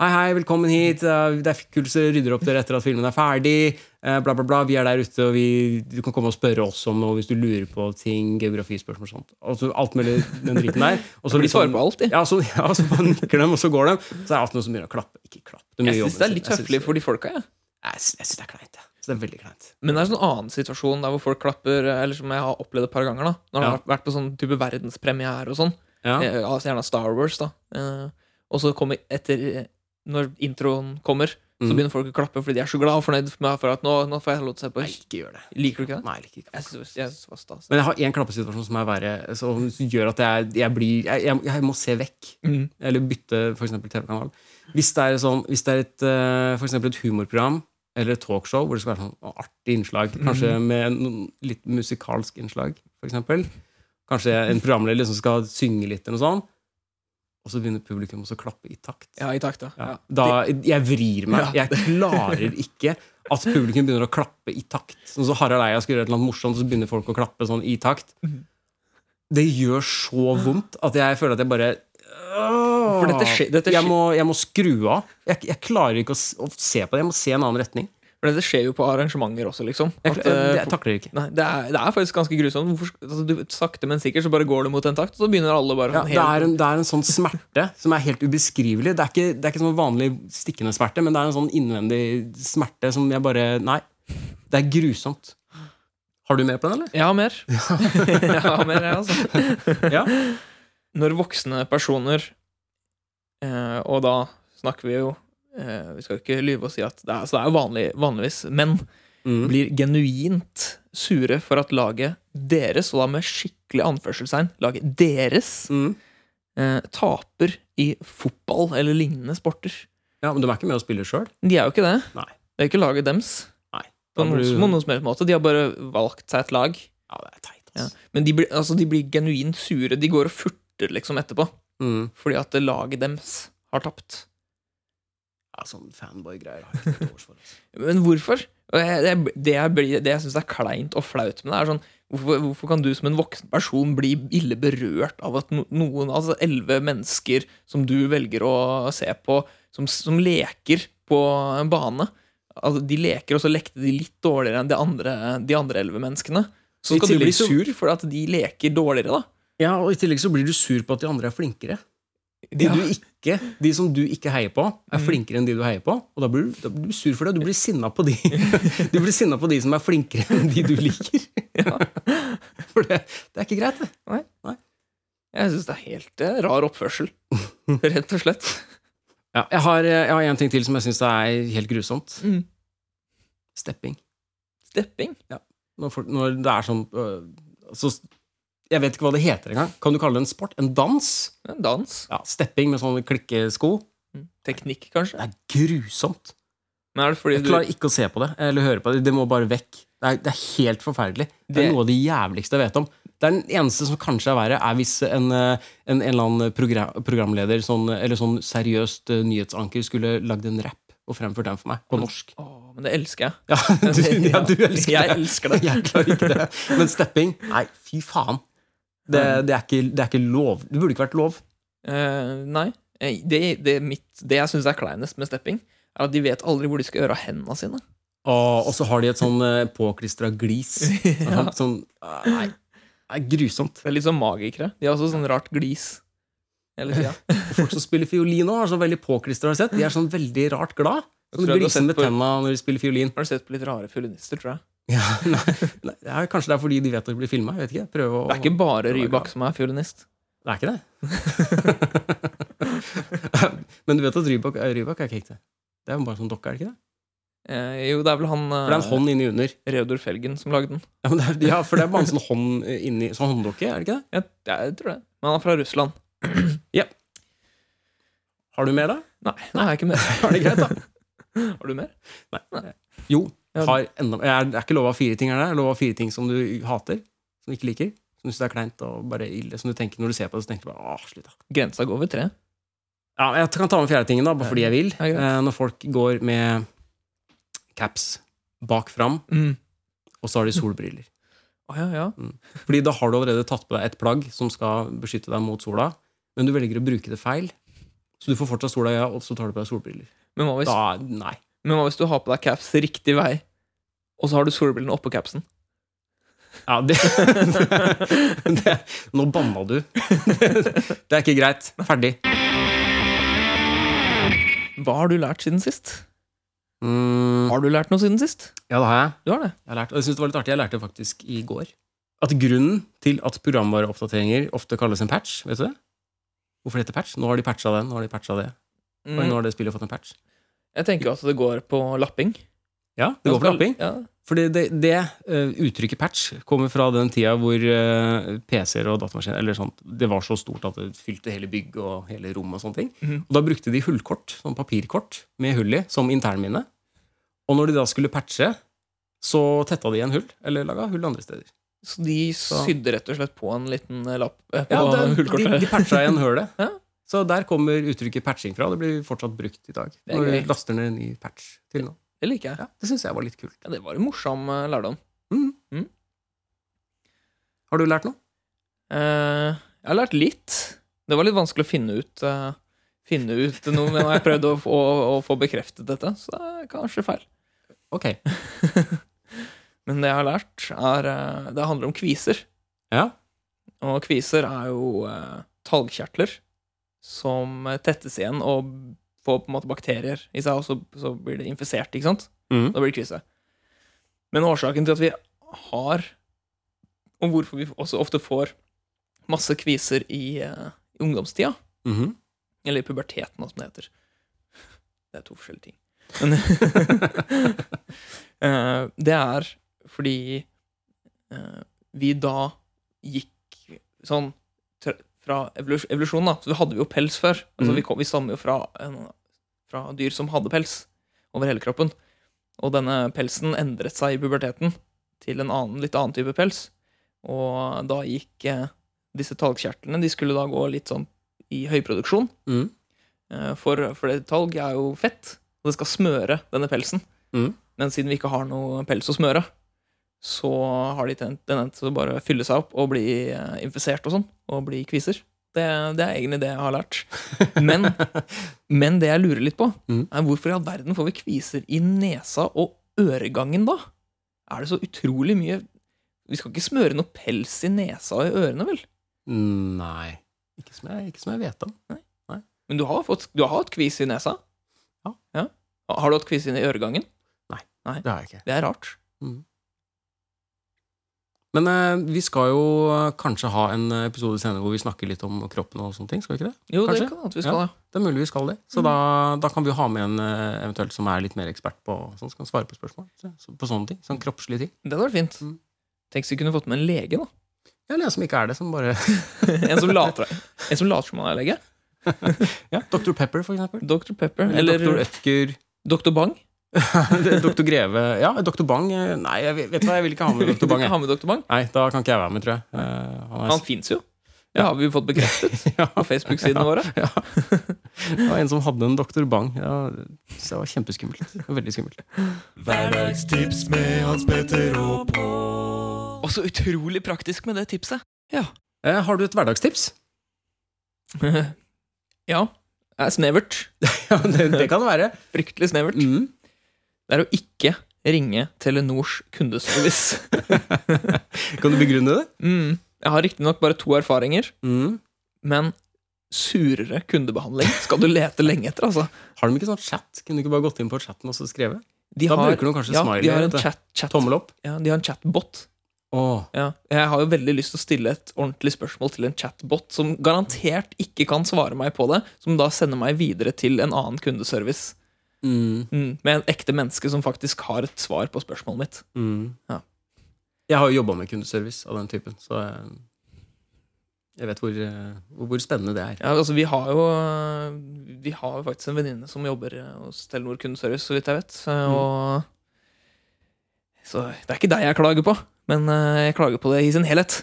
S1: Hei, hei, velkommen hit. Eh, Det er kult så rydder opp dere etter at filmen er ferdig. Eh, Bla, bla, bla. Vi er der ute, og vi, du kan komme og spørre oss om noe hvis du lurer på ting, geografispørsmål og sånt. Altså, alt mulig den driten der. Og så
S2: For de
S1: litt sånn-
S2: svarer på alt, de.
S1: ja, så, ja, så bare nikker de, og så går de. Så er det alltid noen som begynner å klappe. Ikke klapp. De gjør
S2: Jeg syns
S1: jobben
S2: det er
S1: sin.
S2: litt
S1: Jeg synes-
S2: høflig for de folka, jeg.
S1: Jeg syns jeg syns det er kleint. Ja. Så det er veldig kleint.
S2: Men det er en sånn annen situasjon der hvor folk klapper, eh, eller som jeg har opplevd et par ganger, da. Når det
S1: Ja.
S2: har vært på sånn type verdenspremiere og sånn.
S1: Ja.
S2: Eh, altså Gjerne Star Wars, da. Eh, Og så kommer etter eh, Når introen kommer, så
S1: Mm.
S2: begynner folk å klappe fordi de er så glad og fornøyd med for at nå, nå får jeg lov til å se på.
S1: Nei, ikke gjør det.
S2: Liker du ikke det?
S1: Nei, jeg liker ikke
S2: Jeg synes, jeg synes det var stas.
S1: Men jeg har én klappesituasjon som er verre, som gjør at jeg, jeg blir jeg, jeg, jeg må se vekk.
S2: Mm.
S1: Eller bytte for eksempel TV-kanal. Hvis det er, sånn, hvis det er et, eh, for eksempel et humorprogram eller et talkshow hvor det skal være sånn artig innslag, kanskje med noen litt musikalsk innslag, for eksempel. Kanskje en programleder liksom skal synge litt, eller noe sånt. Og så begynner publikum også å klappe i takt.
S2: Ja, i takt, da.
S1: Ja.
S2: Ja.
S1: Da, jeg vrir meg.
S2: Ja.
S1: Jeg klarer ikke at publikum begynner å klappe i takt. Sånn så Harald Eia skal gjøre et eller annet morsomt, så begynner folk å klappe sånn i takt.
S2: Mhm.
S1: Det gjør så vondt at jeg føler at jeg bare For
S2: dette skje- dette skje-
S1: jeg, må, jeg må skru av. Jeg, jeg klarer ikke å, s- å se på det. Jeg må se en annen retning.
S2: For det skjer jo på arrangementer også, liksom.
S1: Jeg,
S2: At,
S1: kl-
S2: eh,
S1: det- jeg takler det ikke.
S2: Nei, det, er, det er faktisk ganske grusomt. Hvorfor, sk- altså, du, sakte, men sikkert så bare går du mot en takt, og så begynner alle bare
S1: Ja,
S2: sånn
S1: det, er en, det er en sånn smerte som er helt ubeskrivelig. Det er ikke, det er ikke sånn vanlig stikkende smerte, men det er en sånn innvendig smerte som jeg bare Nei. Det er grusomt. Har du med på den, eller?
S2: Jeg har mer. jeg har mer, jeg, altså.
S1: Ja.
S2: Når voksne personer, eh, og da snakker vi jo eh, Vi skal jo ikke lyve og si at det er, så det er jo vanlig, vanligvis menn,
S1: Mm.
S2: blir genuint sure for at laget deres, og da med skikkelig anførselstegn, laget deres,
S1: Mm.
S2: eh, taper i fotball eller lignende sporter.
S1: ja, men de er ikke med og spiller sjøl?
S2: De er jo ikke det.
S1: Nei.
S2: Det er jo ikke laget dems.
S1: Nei. Da
S2: På noen,
S1: blir du-
S2: på noen som helst måte. De har bare valgt seg et lag.
S1: Ja, det er teit,
S2: Ja.
S1: altså.
S2: Men de blir, altså, de blir genuint sure. De går og furter liksom etterpå.
S1: Mm.
S2: fordi at det laget deres har tapt.
S1: Ja, sånn fanboy-greier har jeg ikke noe års for. Altså.
S2: Men hvorfor? Og jeg- Det, det jeg, blir- det jeg syns er kleint og flaut med det, er sånn hvorfor, hvorfor kan du som en voksen person bli ille berørt av at no- noen, altså elleve mennesker som du velger å se på, som, som leker på en bane altså De leker, og så lekte de litt dårligere enn de andre de andre elleve menneskene. Så
S1: I
S2: skal du bli
S1: tillegg så-
S2: sur for at de leker dårligere, da.
S1: Ja, og I tillegg så blir du sur på at de andre er flinkere. De,
S2: Ja. Mm.
S1: du ikke, de som du ikke heier på, er flinkere enn de du heier på. Og da blir du, da blir du sur for det. Du blir sinna på de Du blir sinna på de som er flinkere enn de du liker. For det, det er ikke greit, det.
S2: Jeg syns det er helt eh, rar oppførsel. Rett og slett.
S1: Jeg har, eh, jeg har en ting til som jeg syns er helt grusomt.
S2: Mm.
S1: Stepping.
S2: Stepping.
S1: Når, folk, når det er sånn øh, altså, Jeg vet ikke hva det heter engang. Kan du kalle det en sport? En dans?
S2: En dans.
S1: Ja, Stepping med sånne klikkesko.
S2: Teknikk, kanskje.
S1: Det er grusomt.
S2: Men er det fordi
S1: Jeg
S2: du
S1: klarer ikke å se på det eller høre på det. Det må bare vekk. Det er, det er helt forferdelig. Det,
S2: Det-
S1: er noe av det jævligste jeg vet om. Det er Den eneste som kanskje er verre, er hvis en, eh, en, en eller annen progra programleder sånn, eller sånn seriøst eh, nyhetsanker skulle lagd en rap og fremført den for meg på norsk.
S2: Å, men det elsker jeg.
S1: Ja, du, ja, du elsker
S2: Jeg
S1: det.
S2: elsker det.
S1: Jeg klarer ikke det. Men stepping Nei, fy faen. Det, det, er ikke, det er ikke lov. Det burde ikke vært lov.
S2: Eh, nei. Eh, Det, det, mitt, det jeg syns er kleinest med stepping, er at de vet aldri hvor de skal gjøre av hendene sine.
S1: Og, og så har de et sånn eh, påklistra glis.
S2: Ja.
S1: Sånn, nei, det er grusomt.
S2: Det er litt sånn magikere. De har også sånn rart glis. Hele tida.
S1: Folk som spiller fiolin nå, er sånn veldig påklistra. De er sånn veldig rart glad.
S2: Jeg
S1: Sånn
S2: tror jeg du har
S1: gliser
S2: sett
S1: med
S2: på-
S1: tenna når de spiller fiolin.
S2: Har du sett på litt rare fiolinister, tror jeg.
S1: Ja, nei, nei, det er kanskje det er fordi de vet at de blir filma. Det
S2: Det er ikke bare Rybak som er fiolinist.
S1: det er ikke det. Men du vet at Rybak, Rybak er ikke ekte? Det er jo bare sånn dokke, er det ikke det?
S2: Eh, jo, det er vel han
S1: For det er en
S2: eh,
S1: hånd inni under.
S2: Reodor Felgen som lagde den.
S1: Ja, men det er, ja for det er bare en sånn hånd inni Sånn hånddokke, er det ikke det?
S2: Jeg, jeg tror det. Men han er fra Russland.
S1: Har du mer, da?
S2: Nei, nå har jeg ikke mer.
S1: Er det greit, da?
S2: Har du mer?
S1: Jo.
S2: Ja.
S1: Har enda, jeg er, det er ikke lov å ha fire ting, er det? Det er lov å ha fire ting som du hater, som du ikke liker, som du syns er kleint og bare ille, som du tenker når du ser på det, så tenker du bare åh, slutt, da.
S2: Grensa går ved tre.
S1: Ja, men Jeg kan ta med fjerde tingen, da, bare fordi jeg vil.
S2: Ja, greit.
S1: Eh, Når folk går med caps bak fram,
S2: Mm.
S1: og så har de solbriller.
S2: Å, ja, ja.
S1: Fordi da har du allerede tatt på deg et plagg som skal beskytte deg mot sola, men du velger å bruke det feil. Så du får fortsatt sola i øya, og så tar du på deg solbriller.
S2: Men hva hvis,
S1: Da, nei.
S2: men hva hvis du har på deg caps riktig vei, og så har du solbrillene oppå capsen?
S1: Ja, det, det Nå banna du. Det er ikke greit. Ferdig.
S2: Hva har du lært siden sist?
S1: Mm,
S2: Har du lært noe siden sist?
S1: ja, det har jeg.
S2: Du har det.
S1: Jeg har lært, og jeg synes det var litt artig, jeg lærte det faktisk i går. At grunnen til at programvareoppdateringer ofte kalles en patch, vet du det? Hvorfor heter det patch? Nå har de patcha den, nå har de patcha det. Oi,
S2: Mm.
S1: nå har det spillet fått en patch.
S2: Jeg tenker jo at det går på lapping.
S1: Ja, det går for lapping.
S2: Ja.
S1: Fordi det, det eh, uttrykket patch kommer fra den tida hvor eh, PC-er og datamaskiner eller sånt, det var så stort at det fylte hele bygg og hele rom og sånne ting.
S2: Mhm.
S1: Og da brukte de hullkort, sånn papirkort med hull i, som internminne. Og når de da skulle patche, så tetta de igjen hull, eller laga hull andre steder.
S2: Så de
S1: Så-
S2: sydde rett og slett på en liten eh, lapp eh, på
S1: Ja, det, de,
S2: hullkortet.
S1: de patcha igjen hølet.
S2: Ja.
S1: Så der kommer uttrykket patching fra. Det blir fortsatt brukt i dag.
S2: Det er
S1: Når
S2: gøy.
S1: du laster ned en ny patch til nå.
S2: Det liker jeg.
S1: Ja, det syns jeg var litt kult.
S2: Ja, det var en morsom eh, lærdom.
S1: Har du lært noe?
S2: Eh, jeg har lært litt. Det var litt vanskelig å finne ut, eh, finne ut noe, men jeg prøvde å, få- å, å få bekreftet dette, så det er kanskje feil.
S1: Ok.
S2: Men det jeg har lært, er eh, Det handler om kviser.
S1: Ja.
S2: Og kviser er jo eh, talgkjertler som eh, tettes igjen og får på en måte bakterier i seg, og så, så blir det infisert, ikke sant?
S1: Mhm.
S2: Da blir det kvise. Men årsaken til at vi har, og hvorfor vi også ofte får masse kviser i, eh, i ungdomstida,
S1: Mhm.
S2: eller i puberteten, som det heter. Det er to forskjellige ting. Men, Eh, det er fordi eh, vi da gikk sånn tr- fra evolus evolusjonen, da. Så vi hadde jo pels før. Altså,
S1: Mhm.
S2: vi, kom, vi stammer jo fra, en- fra dyr som hadde pels over hele kroppen. Og denne pelsen endret seg i puberteten til en annen, litt annen type pels. Og da gikk eh, disse talgkjertlene De skulle da gå litt sånn i høyproduksjon.
S1: Mm.
S2: Eh, For, for det talg er jo fett, og det skal smøre denne pelsen.
S1: Mm.
S2: Men siden vi ikke har noe pels å smøre, så har de ten- tendens til å bare fylle seg opp og bli eh, infisert og sånn, og bli kviser. Det, det er egentlig det jeg har lært. Men, men det jeg lurer litt på,
S1: Mm.
S2: er hvorfor i all verden får vi kviser i nesa og øregangen da? Er det så utrolig mye Vi skal ikke smøre noe pels i nesa og i ørene, vel?
S1: Nei. Ikke som, jeg, ikke som jeg vet om.
S2: Men du har, fått, du har hatt kvis i nesa?
S1: Ja.
S2: Har du hatt kvis i øregangen?
S1: Det har jeg ikke.
S2: Det er rart.
S1: Men eh, vi skal jo eh, kanskje ha en episode senere hvor vi snakker litt om kroppen og sånne ting. skal vi ikke det?
S2: Jo,
S1: Kanskje?
S2: det kan at vi skal ja.
S1: Det er mulig vi skal det.
S2: Mhm.
S1: Så da, da kan vi jo ha med en eh, eventuelt som er litt mer ekspert på sånn, som kan svare på spørsmål. Så, så- på sånne ting. Sånn kroppslige ting.
S2: Det hadde vært fint.
S1: Mm.
S2: Tenk hvis vi kunne fått med en lege, da.
S1: Ja, Eller en som ikke er det, som bare
S2: En som later, en som, later som han er lege.
S1: ja, Dr. Pepper, for eksempel.
S2: Dr. Pepper.
S1: Eller
S2: Eller
S1: Dr. Ødger.
S2: Dr. Bang.
S1: Dr. Greve. Ja, Dr. Bang. eh, Nei, jeg vet vet du hva, jeg vil ikke ha med
S2: Du
S1: Dr. Bang.
S2: kan
S1: Jeg.
S2: ha med Dr. Bang.
S1: Nei, da kan ikke jeg være med, tror jeg. Eh, han er
S2: Han fins jo. Det har vi jo fått bekreftet
S1: ja.
S2: på Facebook-sidene våre.
S1: Det var en som hadde en Dr. Bang. Ja, så det var kjempeskummelt. Veldig skummelt.
S4: Hverdagstips med Hans Petter og Pål.
S2: Og så utrolig praktisk med det tipset. Ja.
S1: Eh, har du et hverdagstips?
S2: ja. Det er snevert.
S1: Ja, det, det kan det være.
S2: Fryktelig snevert.
S1: Mm.
S2: Det er å ikke ringe Telenors kundeservice.
S1: Kan du begrunne det?
S2: Mm. Jeg har riktignok bare to erfaringer,
S1: Mm.
S2: men surere kundebehandling skal du lete lenge etter, altså.
S1: Har de ikke sånn chat? Kunne du ikke bare gått inn på chatten og så skrevet?
S2: De
S1: Da
S2: har,
S1: bruker de kanskje
S2: ja,
S1: smiley.
S2: de har en
S1: vet du.
S2: chat, chat,
S1: Tommel opp.
S2: ja, de har en chatbot.
S1: Åh,
S2: Ja. Jeg har jo veldig lyst til å stille et ordentlig spørsmål til en chatbot som garantert ikke kan svare meg på det, som da sender meg videre til en annen kundeservice.
S1: Mm.
S2: Mm. Med en ekte menneske som faktisk har et svar på spørsmålet mitt.
S1: Mm.
S2: Ja.
S1: Jeg har jo jobba med kundeservice av den typen, så eh, jeg vet hvor, eh, hvor- hvor spennende det er.
S2: Ja, altså Vi har jo Vi har jo faktisk en venninne som jobber hos Telenor kundeservice, så vidt jeg vet. Eh,
S1: Mm.
S2: Og, Så det er ikke deg jeg klager på, men eh, jeg klager på det i sin helhet.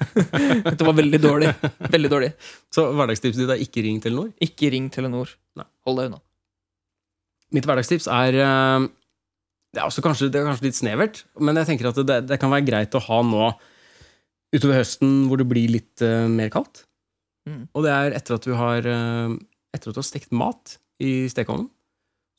S2: Dette var veldig dårlig. Veldig dårlig.
S1: Så hverdagstipset ditt er ikke ring Telenor?
S2: Ikke ring Telenor.
S1: Nei.
S2: Hold deg unna.
S1: Mitt hverdagstips er eh, det er, også kanskje, det er kanskje litt snevert, men jeg tenker at det, det kan være greit å ha nå utover høsten hvor det blir litt eh, mer kaldt.
S2: Mm.
S1: Og det er etter at du har eh, etter at du har stekt mat i stekeovnen,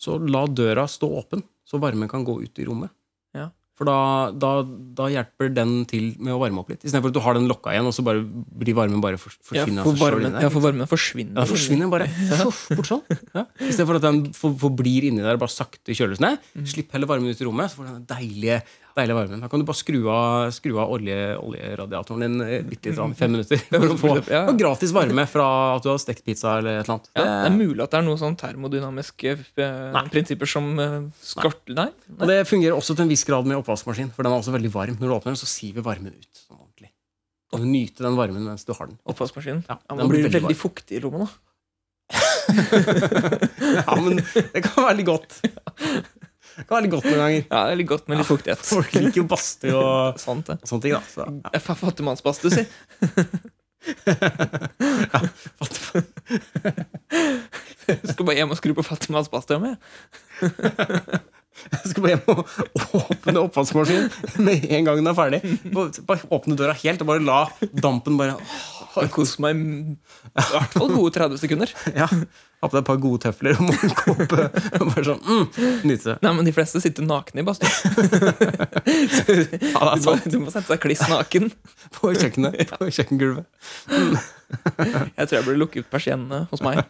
S1: så la døra stå åpen, så varmen kan gå ut i rommet.
S2: Ja.
S1: For da, da, da hjelper den til med å varme opp litt. Istedenfor at du har den lokka igjen, og så bare blir varmen bare for,
S2: Ja,
S1: forsvinner. av
S2: for
S1: seg selv
S2: varmen,
S1: inni der.
S2: ja, for varmen forsvinner.
S1: Ja, den forsvinner bare. Sjoff, Bort sånn. Ja. Istedenfor at den for- forblir inni der og bare sakte kjøles ned.
S2: Mm.
S1: Slipp heller varmen ut i rommet, så får du den deilige, deilige varmen. Da kan du bare skru av, skru av olje, oljeradiatoren din eh, bitte litt sånn, fem minutter. For å få
S2: Ja.
S1: og gratis varme fra at du har stekt pizza eller et eller annet.
S2: Ja, det er mulig at det er noen sånn termodynamiske eh,
S1: Nei.
S2: prinsipper som eh, skart... Nei.
S1: Og det fungerer også til en viss grad med oppvaskmaskin, for den er også veldig varm. Når du åpner den, så siver varmen ut sånn ordentlig. Og nyte den varmen mens du har den.
S2: Oppvaskmaskinen.
S1: Ja,
S2: Ja,
S1: den
S2: men det blir
S1: veldig
S2: veldig fuktig i rommet, da.
S1: varm. Ja, men det kan være litt godt. Det kan være litt godt noen ganger.
S2: Ja, det er litt godt med litt
S1: Folk
S2: fuktighet. Sånn,
S1: liker jo badstue og
S2: Sant, det.
S1: sånne ting, da. Så, ja.
S2: Det er fa- fattigmannsbass, du sier.
S1: Fatt-
S2: Jeg skal bare hjem og skru på fattigmannsbass. Jeg,
S1: Jeg skal bare hjem og åpne oppvaskmaskinen med en gang den er ferdig. Bare bare åpne døra helt og bare la dampen bare
S2: jeg koser meg i hvert fall gode 30 sekunder.
S1: ja, Ha på deg et par gode tøfler og morgenkåpe. og Bare sånn mm, Nyte.
S2: Nei, men De fleste sitter nakne i badstuen.
S1: Ja, det er
S2: Du, må-
S1: sant.
S2: du må sette deg kliss naken.
S1: På kjøkkenet. På kjøkkengulvet.
S2: Jeg tror jeg burde lukke ut persiennene hos meg.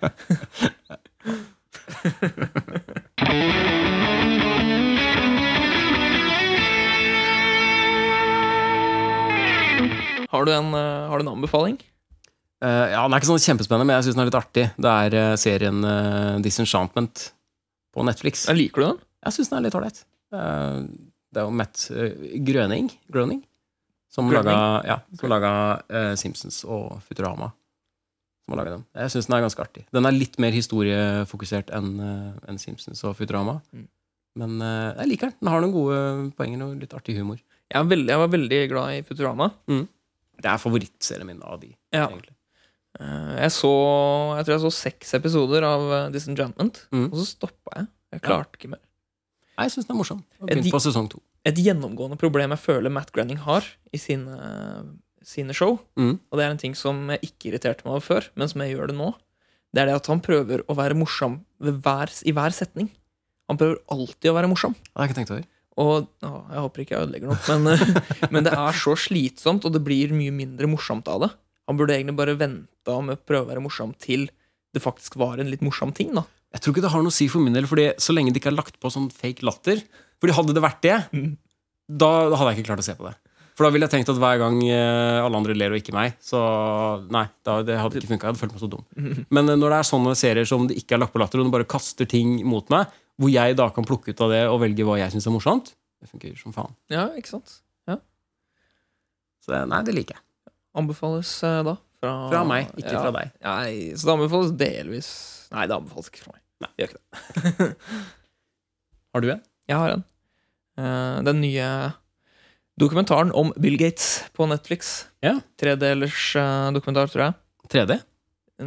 S2: Har du en, eh, har du en anbefaling?
S1: Eh, ja, Den er ikke sånn kjempespennende, men jeg syns den er litt artig. Det er eh, serien eh, Disenchantment på Netflix.
S2: Ja, Liker du den?
S1: Jeg syns den er litt ålreit. Eh, Det er jo Matt eh, Grøning, Grøning som
S2: Grøning?
S1: laga, ja, som laga eh, Simpsons og Futurama. Som har laget den. Jeg syns den er ganske artig. Den er litt mer historiefokusert enn eh, enn Simpsons og Futurama.
S2: Mm.
S1: Men eh, jeg liker den. Den har noen gode poenger og litt artig humor.
S2: Jeg, er veldig, jeg var veldig glad i Futurama.
S1: Det er favorittserien min av de.
S2: Ja.
S1: egentlig.
S2: Eh, Eh, Jeg så Jeg tror jeg så seks episoder av eh, Disenchantment,
S1: Mm.
S2: og så stoppa jeg. Jeg klarte ikke mer.
S1: Nei, jeg syns den er morsom. Jeg har
S2: Er
S1: Begynt
S2: de-
S1: på sesong to.
S2: Et gjennomgående problem jeg føler Matt Granning har i sine, sine show,
S1: Mm.
S2: og det er en ting som jeg ikke irriterte meg over før, men som jeg gjør det nå, det er det at han prøver å være morsom ved hver, i hver setning. Han prøver alltid å være morsom.
S1: Det har jeg ikke tenkt over.
S2: Og å, jeg håper ikke jeg ødelegger noe, men, eh, men det er så slitsomt, og det blir mye mindre morsomt av det. Han burde egentlig bare venta med å prøve å være morsom til det faktisk var en litt morsom ting. da
S1: Jeg tror ikke det har noe å si for min del, Fordi så lenge de ikke har lagt på sånn fake latter Fordi hadde det vært det,
S2: Mm.
S1: da hadde jeg ikke klart å se på det. For da ville jeg tenkt at hver gang eh, alle andre ler og ikke meg, så nei, da, det hadde ikke funka. Jeg hadde følt meg så dum. Men eh, når det er sånne serier som det ikke er lagt på latter, og de bare kaster ting mot meg, hvor jeg da kan plukke ut av det og velge hva jeg syns er morsomt, det funker som faen.
S2: Ja, ikke sant?
S1: Så det, nei, det liker jeg.
S2: Anbefales eh, da fra,
S1: Fra meg, ikke
S2: ja.
S1: fra deg.
S2: Nei, så det anbefales delvis Nei, det anbefales ikke fra meg. Nei, gjør ikke det.
S1: Har du en?
S2: Jeg har en. Eh, den nye dokumentaren om Bill Gates på Netflix.
S1: Ja.
S2: Tredelers eh, dokumentar, tror jeg.
S1: 3D?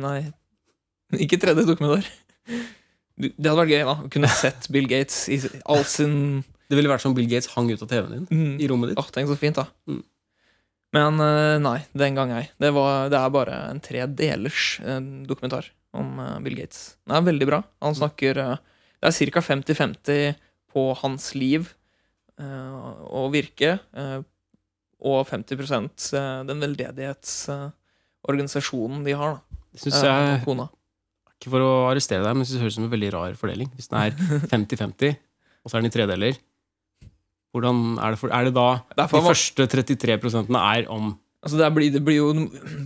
S2: Nei, ikke tredje dokumentar. Du, det hadde vært gøy da å kunne sett Bill Gates i all sin
S1: Det ville vært som Bill Gates hang ut av TV-en din
S2: mm,
S1: i rommet ditt.
S2: Åh, tenk så fint, da.
S1: Mm.
S2: Men eh, nei, den gang ei. Det, var, det er bare en tredelers eh, dokumentar om eh, Bill Gates. Den er veldig bra.
S1: Mm.
S2: Han snakker eh, Det er ca. 50-50 på hans liv eh, og virke, eh, og 50 eh, den veldedighetsorganisasjonen de har, da.
S1: Det synes
S2: eh,
S1: jeg
S2: og kona.
S1: Ikke for å arrestere deg, men jeg synes det høres ut som en veldig rar fordeling. Hvis den er 50-50, og så er den i tredeler, hvordan er det, for, er det da
S2: Det er
S1: de
S2: for-
S1: første 33 er om
S2: Altså det, blir, det blir jo,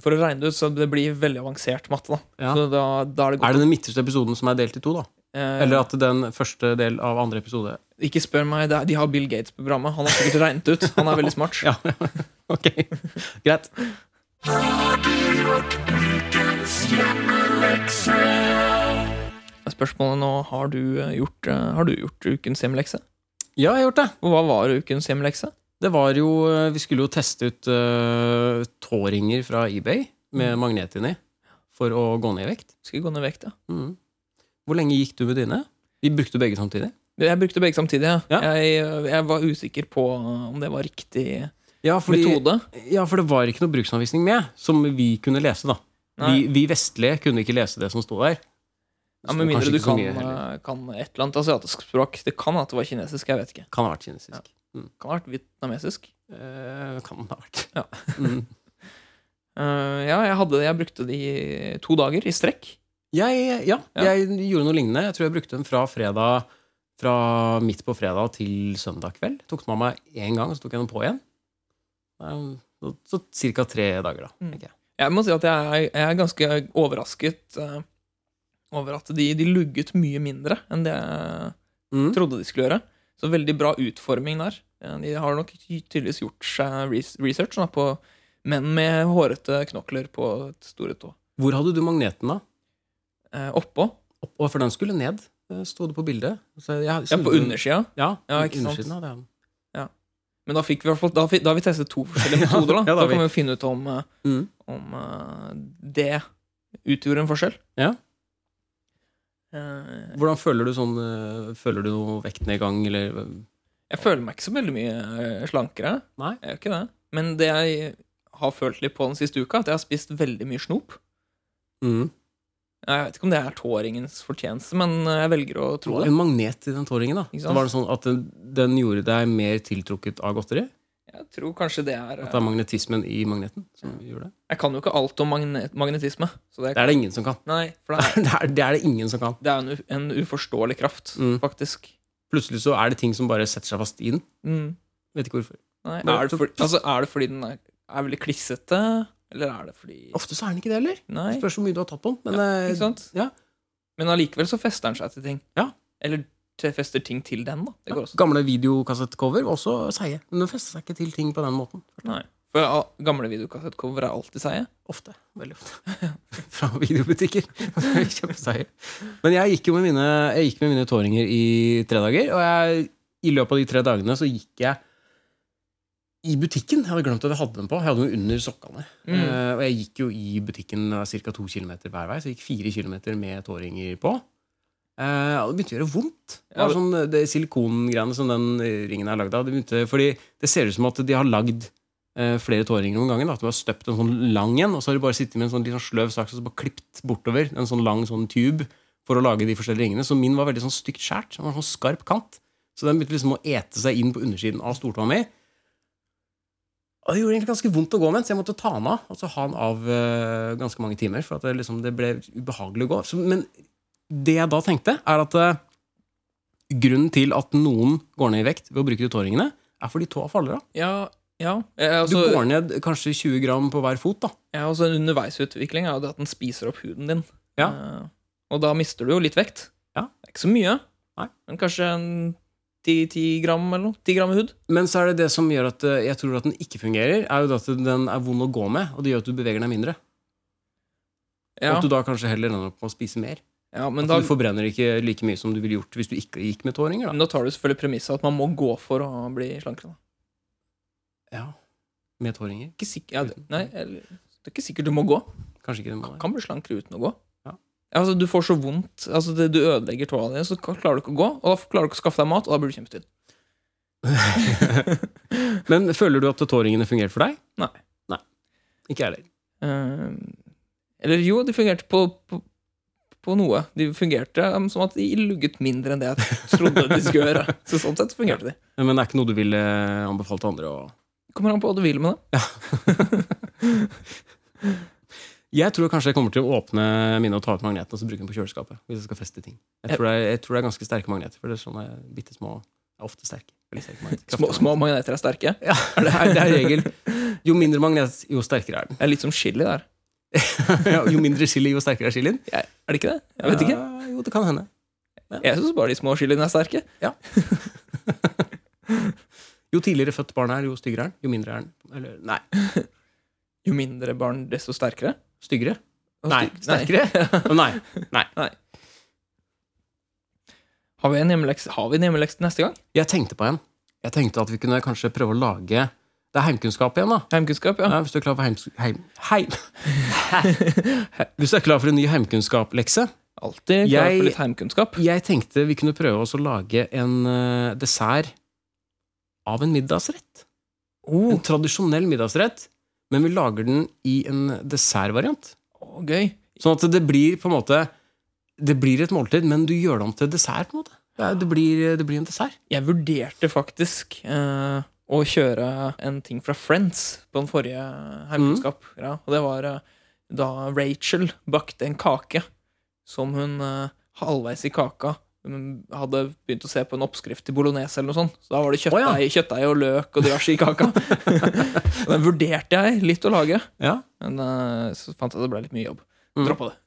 S2: For å regne det ut, så det blir veldig avansert matte. da
S1: Ja.
S2: Så da, da er det
S1: Er
S2: godt.
S1: det den midterste episoden som er delt i to, da?
S2: Eh,
S1: Eller at den første del av andre episode
S2: Ikke spør meg, det er, de har Bill Gates på programmet. Han har sikkert regnet ut. Han er veldig smart.
S1: Ja, ok. Greit.
S2: Spørsmålet nå har du eh, gjort, eh, har du gjort ukens hjemmelekse.
S1: Ja, jeg har gjort det.
S2: Og hva var ukens hjemmelekse?
S1: Det var jo eh, Vi skulle jo teste ut eh, tåringer fra eBay med magnet inni for å gå ned i vekt.
S2: Skal vi gå ned i vekt, ja?
S1: Mhm. Hvor lenge gikk du med dine? Vi brukte begge samtidig.
S2: Du, Jeg brukte begge samtidig. Ja.
S1: Ja.
S2: Jeg, eh, jeg var usikker på eh, om det var riktig
S1: Ja,
S2: metode.
S1: Ja, for det var ikke noe bruksanvisning med, som vi kunne lese, da. Vi,
S2: Nei.
S1: vi vestlige kunne ikke lese det som sto der.
S2: Ja,
S1: Så
S2: Med mindre
S1: kanskje
S2: du
S1: ikke så
S2: kan,
S1: mye heller.
S2: eh, kan et eller annet asiatisk språk. Det kan at det var kinesisk. Jeg vet ikke.
S1: Kan ha vært kinesisk.
S2: Kan ha vært vietnamesisk.
S1: Eh, kan ha vært.
S2: Ja.
S1: Mm.
S2: Eh, ja, jeg, hadde, jeg brukte de to dager i strekk.
S1: Jeg, ja,
S2: Ja.
S1: jeg gjorde noe lignende. Jeg tror jeg brukte den fra fredag fra midt på fredag til søndag kveld. Tok den av meg én gang, så tok jeg den på igjen. Eh, Så, så ca. tre dager, da.
S2: Mm.
S1: tenker jeg.
S2: Jeg må si at jeg er, jeg er ganske overrasket eh, over at de, de lugget mye mindre enn det jeg
S1: Mm.
S2: trodde de skulle gjøre. Så veldig bra utforming der. Eh, De har nok ty- tydeligvis gjort seg res- research da, på menn med hårete knokler på et store tå.
S1: Hvor hadde du magneten, da?
S2: Eh, oppå.
S1: Opp, og for den skulle ned, eh, sto det på bildet. Så jeg,
S2: Ja, på undersida.
S1: Ja,
S2: Ja, ikke sant.
S1: undersiden av det.
S2: Men da, fikk vi, i hvert fall- da, fikk, da har vi testet to forskjellige
S1: Ja,
S2: metoder. Da,
S1: ja, da
S2: da,
S1: har vi-
S2: kan vi jo finne ut om, eh,
S1: Mm.
S2: om eh, det utgjorde en forskjell.
S1: Ja.
S2: Eh,
S1: Hvordan føler du sånn øh, Føler du noe vektnedgang, eller øh,
S2: Jeg føler meg ikke så veldig mye eh, slankere.
S1: Nei.
S2: Jeg gjør ikke det. Men det jeg har følt litt på den siste uka, at jeg har spist veldig mye snop.
S1: Mm.
S2: Jeg vet ikke om det er tåringens fortjeneste, men eh, jeg velger å
S1: Det
S2: tro
S1: var
S2: det.
S1: en magnet i den tåringen, da.
S2: Ikke
S1: Så
S2: sant?
S1: var det sånn at den, den gjorde deg mer tiltrukket av godteri?
S2: Jeg tror kanskje det er eh,
S1: At det er magnetismen i magneten som gjorde det?
S2: Jeg kan jo ikke alt om magne- magnetisme. Så det,
S1: Det er det ingen som kan.
S2: Nei, for det er,
S1: Det er det, er det ingen som kan.
S2: det er en, u- en uforståelig kraft,
S1: Mm.
S2: faktisk.
S1: Plutselig så er det ting som bare setter seg fast i den.
S2: Mm.
S1: Vet ikke hvorfor.
S2: Nei,
S1: Nei,
S2: er, det
S1: så-
S2: fordi, altså, er det fordi den er, er veldig klissete, eller er det fordi
S1: Ofte så er den ikke det heller.
S2: Nei,
S1: Spørs hvor mye du har tatt på den. Men øh,
S2: ikke sant?
S1: ja.
S2: Men allikevel så fester den seg til ting.
S1: Ja.
S2: Eller til- fester ting til den, da. Det går også.
S1: gamle videokassettcover var også seige. Men den fester seg ikke til ting på den måten.
S2: Nei. For al- gamle videokassettcover er alltid seige.
S1: Ofte. Veldig ofte. Fra videobutikker. Kjempeseier. Men jeg gikk jo med mine, jeg gikk med mine tåringer i tre dager, og jeg, i løpet av de tre dagene så gikk jeg i butikken. Jeg hadde glemt at jeg hadde den på. Jeg hadde den under sokkene. Eh, og jeg gikk jo i butikken ca. to kilometer hver vei, så jeg gikk fire kilometer med tåringer på. Eh, og det begynte å gjøre vondt. Det var sånn, det Silikongreiene som den ringen er lagd av. Det begynte, fordi det ser ut som at de har lagd eh, flere tåringer om gangen. da, At de har støpt en sånn lang en, og så har de bare sittet med en sånn litt sånn sløv saks og så bare klippet bortover en sånn lang sånn tube for å lage de forskjellige ringene. Så min var veldig sånn stygt skåret. Den var sånn skarp kant. Så den begynte liksom å ete seg inn på undersiden av stortåa mi. Og det gjorde egentlig ganske vondt å gå med den, så jeg måtte ta den av. Og så ha den av eh, ganske mange timer, for at det, liksom, det ble ubehagelig å gå. Så, men det jeg da tenkte, er at eh, grunnen til at noen går ned i vekt ved å bruke de tåringene, er fordi tåa faller av.
S2: Ja, ja. Eh,
S1: Du
S2: Altså,
S1: går ned kanskje 20 gram på hver fot, da.
S2: ja, altså en underveisutvikling er jo det at den spiser opp huden din.
S1: Ja.
S2: Eh, og da mister du jo litt vekt.
S1: Ja.
S2: Det er ikke så mye,
S1: Nei.
S2: men kanskje en 10 gram eller noe. 10 gram hud.
S1: Men så er det det som gjør at eh, jeg tror at den ikke fungerer, er jo det at den er vond å gå med, og det gjør at du beveger deg mindre. Og
S2: Ja,
S1: at du da kanskje heller ender opp med å spise mer.
S2: ja men
S1: At
S2: da
S1: du forbrenner ikke like mye som du ville gjort hvis du ikke gikk med tåringer, da.
S2: Men da tar du selvfølgelig premisset at man må gå for å bli slankere. Da.
S1: Ja. Med tåringer.
S2: Ikke sikk- ja, det, nei, eller, det er ikke sikkert du må gå.
S1: Kanskje ikke det må
S2: Du kan bli slankere uten å gå.
S1: Ja.
S2: Altså, du får så vondt. Altså, det, du ødelegger tåa di, så klarer du ikke å gå. Og da klarer du ikke å skaffe deg mat, og da blir du kjempetynn.
S1: Men føler du at tåringene fungerte for deg?
S2: Nei.
S1: Nei. Ikke jeg heller.
S2: Eh, eller jo, de fungerte på, på, på noe. De fungerte um, som at de lugget mindre enn det jeg trodde de skulle gjøre. Så sånn sett fungerte de.
S1: Men det er ikke noe du ville eh, anbefalt andre å
S2: Kommer an på hva du vil med det.
S1: Jeg tror kanskje jeg kommer til å åpne mine og ta ut magnetene og så bruke dem på kjøleskapet. Hvis jeg skal feste ting. Jeg tror det er, jeg tror det er ganske sterke magneter. For det er sånne bitte små er ofte sterke. Veldig sterke magneter.
S2: Små,
S1: Kraftige
S2: små magneter er sterke.
S1: Ja, det er, det er regel. Jo mindre magnet, jo sterkere er den.
S2: Det er litt som chili der.
S1: Ja, jo mindre chili, jo sterkere er chilien.
S2: Jeg, er det ikke det? Jeg vet ikke.
S1: Ja, jo, det kan hende.
S2: Jeg syns bare de små chiliene er sterke.
S1: Jo tidligere født barnet er, jo styggere er den. Jo mindre er den. Eller, nei,
S2: Jo mindre barn, desto sterkere.
S1: styggere?
S2: Og
S1: Nei,
S2: stygt-
S1: sterkere? Å, Nei. nei.
S2: Har vi en hjemmelekse, har vi en hjemmelekse til neste gang?
S1: Jeg tenkte på en. Jeg tenkte at vi kunne kanskje prøve å lage Det er heimkunnskap igjen, da.
S2: Heimkunnskap, ja.
S1: Ja, hvis du er klar for heims... Heim... Heim... Hvis du er klar for en ny heimkunnskap-lekse
S2: Alltid klar
S1: Jeg-
S2: for litt heimkunnskap.
S1: Jeg tenkte vi kunne prøve oss å lage en eh, dessert av en middagsrett. En
S2: Oh,
S1: tradisjonell middagsrett, men vi lager den i en dessertvariant.
S2: å, gøy.
S1: Sånn at det blir på en måte Det blir et måltid, men du gjør det om til dessert. på en måte Det, er- det, blir, det blir en dessert.
S2: Jeg vurderte faktisk eh, å kjøre en ting fra Friends på den forrige heimkunnskap. Ja, og det var eh, da Rachel bakte en kake som hun eh, halvveis i kaka mm, hadde begynt å se på en oppskrift til bolognese eller noe sånt. Så da var det kjøttdeig,
S1: Å,
S2: kjøttdeig og løk og diverse i kaka. Og den vurderte jeg litt å lage,
S1: Ja.
S2: men eh, så fant jeg at det ble litt mye jobb.
S1: Mm.
S2: Droppa det.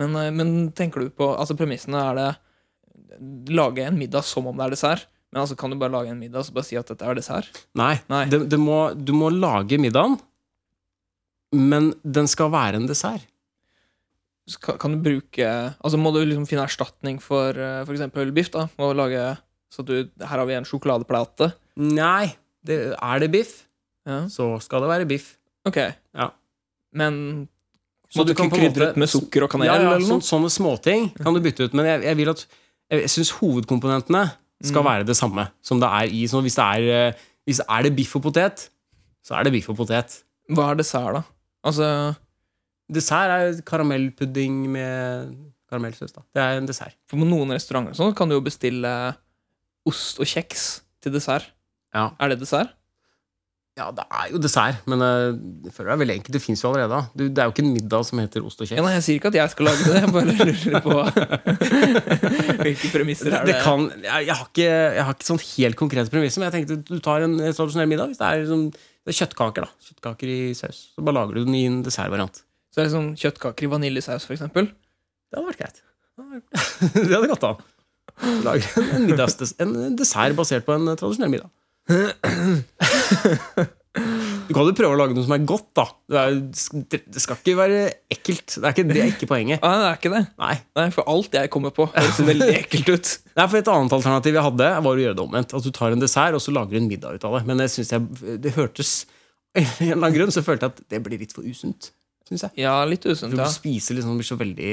S2: Men, eh, men tenker du på Altså premissene er det lage en middag som om det er dessert. Men altså, kan du bare lage en middag og så bare si at dette er dessert?
S1: Nei,
S2: Nei.
S1: Det, det må, du må lage middagen, men den skal være en dessert.
S2: Så kan, kan du bruke Altså må du liksom finne erstatning for eh, for eksempel biff, da. Og lage Så at du Her har vi en sjokoladeplate.
S1: Nei, det, er det biff,
S2: Ja.
S1: så skal det være biff.
S2: Ok.
S1: Ja.
S2: Men
S1: Så
S2: må du
S1: du kan
S2: ikke
S1: på en
S2: krydre
S1: måte-
S2: ut med sukker og kanel
S1: ja, ja,
S2: eller
S1: sånn-
S2: noe?
S1: sånne småting kan du bytte ut, men jeg, jeg vil at Jeg syns hovedkomponentene skal
S2: Mm.
S1: være det samme som det er i. Så hvis det er, eh, hvis det er det biff og potet, så er det biff og potet.
S2: Hva er dessert, da? Altså
S1: Dessert er karamellpudding med karamellsaus, da. Det er en dessert.
S2: For på noen restauranter og sånn kan du jo bestille ost og kjeks til dessert.
S1: Ja.
S2: Er det dessert?
S1: Ja, det er jo dessert, men eh, jeg føler det er veldig enkelt. Det fins jo allerede. da. Du, det er jo ikke en middag som heter ost og kjeks.
S2: Ja, nei, jeg sier ikke at jeg skal lage det, jeg bare lurer på hvilke premisser
S1: det,
S2: er
S1: det kan, jeg, jeg, har ikke, jeg har ikke sånn helt konkrete premisser, men jeg tenkte du tar en eh, tradisjonell middag. Hvis det er, liksom, det er kjøttkaker, da. Kjøttkaker i saus. Så bare lager du den i en dessertvariant.
S2: Så det er sånn kjøttkaker i vaniljesaus, for eksempel.
S1: Det hadde vært greit. Det hadde gått an. Lager en, en, middagsdes- en dessert basert på en eh, tradisjonell middag. Du kan jo prøve å lage noe som er godt, da. Det, er, det skal ikke være ekkelt. Det er ikke, det er ikke poenget.
S2: Ah, Nei, det er ikke det.
S1: Nei.
S2: Nei, For alt jeg kommer på, høres veldig ekkelt ut.
S1: Nei, for Et annet alternativ jeg hadde, var å gjøre det omvendt. At du tar en dessert og så lager du en middag ut av det. Men jeg synes jeg, det hørtes av en eller annen grunn så følte jeg at det blir litt for usunt. Synes jeg.
S2: Ja, litt
S1: Du
S2: usunt,
S1: ja.
S2: ja.
S1: spiser liksom blir så veldig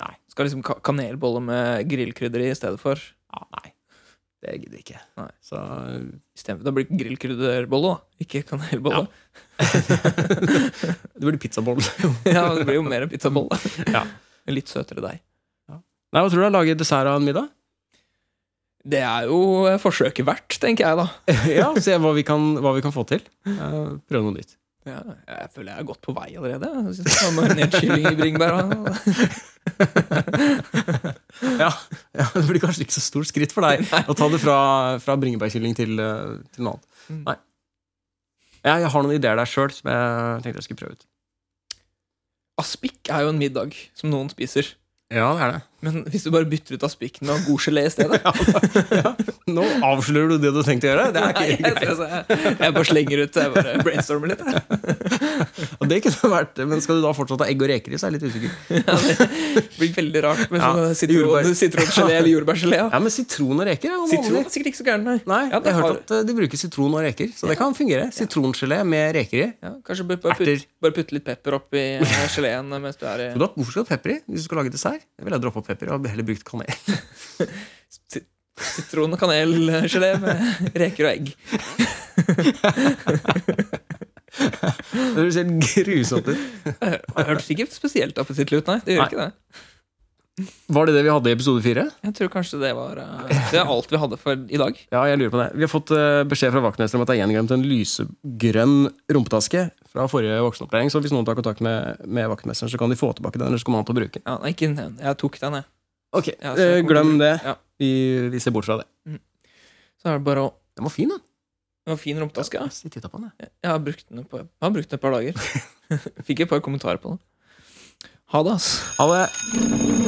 S1: Nei.
S2: Skal liksom ka kanelbolle med grillkrydder i i stedet for.
S1: Ja, nei. Det gidder jeg ikke.
S2: Nei.
S1: Så
S2: I stedet- Da blir det grillkrydderbolle, da. Ikke kanelbolle.
S1: det blir pizzaboll.
S2: Ja. Det blir jo mer en pizzabolle.
S1: Ja.
S2: En Litt søtere deig.
S1: Nei, Hva tror du? da? Lage dessert av en middag?
S2: Det er jo eh, forsøket verdt, tenker jeg, da.
S1: Ja, Se hva vi kan, hva vi kan få til. Eh, Prøve noe nytt.
S2: Ja, jeg føler jeg er godt på vei allerede. Jeg synes jeg har noe Nedkylling i sånn. bringebæra.
S1: Ja, ja, Det blir kanskje ikke så stort skritt for deg å ta det fra, fra bringebærkylling til, eh, til noe annet.
S2: Mm.
S1: Nei. Ja, jeg har noen ideer der sjøl som jeg tenkte jeg skulle prøve ut.
S2: Aspik er jo en middag som noen spiser.
S1: Ja, det er det.
S2: Men hvis du bare bytter ut aspikken med god gelé i stedet
S1: Nå avslører du det du tenkte å gjøre. Det er
S2: Nei,
S1: ikke
S2: jeg, jeg, jeg bare slenger ut. Jeg bare brainstormer litt.
S1: Og det kunne vært Men skal du da fortsatt ha egg og reker i, så er jeg litt usikker.
S2: Det blir veldig rart med
S1: Ja,
S2: sånn sitron,
S1: jordbær.
S2: sitrongelé eller jordbærgelé. ja.
S1: Ja, Men sitron og reker er jo
S2: Sitron
S1: vanlig.
S2: er sikkert ikke så gæren, nei.
S1: Nei,
S2: Ja, det
S1: jeg har
S2: har-
S1: hørt at eh, de bruker sitron og reker, så det kan fungere. Sitrongelé med reker i.
S2: Ja, kanskje bare bare putt-
S1: Erter.
S2: bare putte litt pepper oppi eh, geleen mens du er i
S1: Men da, Hvorfor skal du ha pepper i hvis du skal lage dessert? Jeg ville ha droppa pepper og heller brukt kanel.
S2: sitron- og kanelgelé med reker og egg.
S1: Det høres helt grusomt ut.
S2: Det hørtes ikke spesielt appetittlig ut, nei. Det gjør
S1: Nei.
S2: ikke det.
S1: Var det det vi hadde i episode fire?
S2: Jeg tror kanskje det var eh, Det er alt vi hadde for i dag.
S1: Ja, jeg lurer på det. Vi har fått eh, beskjed fra vaktmesteren om at det er gjenglemt en lysegrønn rumpetaske fra forrige voksenopplæring, så hvis noen tar kontakt med, med vaktmesteren, så kan de få tilbake den, eller så kommer han til å bruke den.
S2: Ja, nei, ikke den. Jeg tok den, jeg.
S1: Ok,
S2: Ja, så
S1: eh,
S2: kommer
S1: glem
S2: til-
S1: det.
S2: Ja.
S1: Vi, vi ser bort fra det.
S2: Så er det bare å
S1: Den var fin, da.
S2: Det var fin rumpetaske. Ja.
S1: Jeg tittet på den, jeg.
S2: Jeg har brukt den et par, jeg har brukt den et par dager. Fikk et par kommentarer på det. Ha det, ass.
S1: Ha det.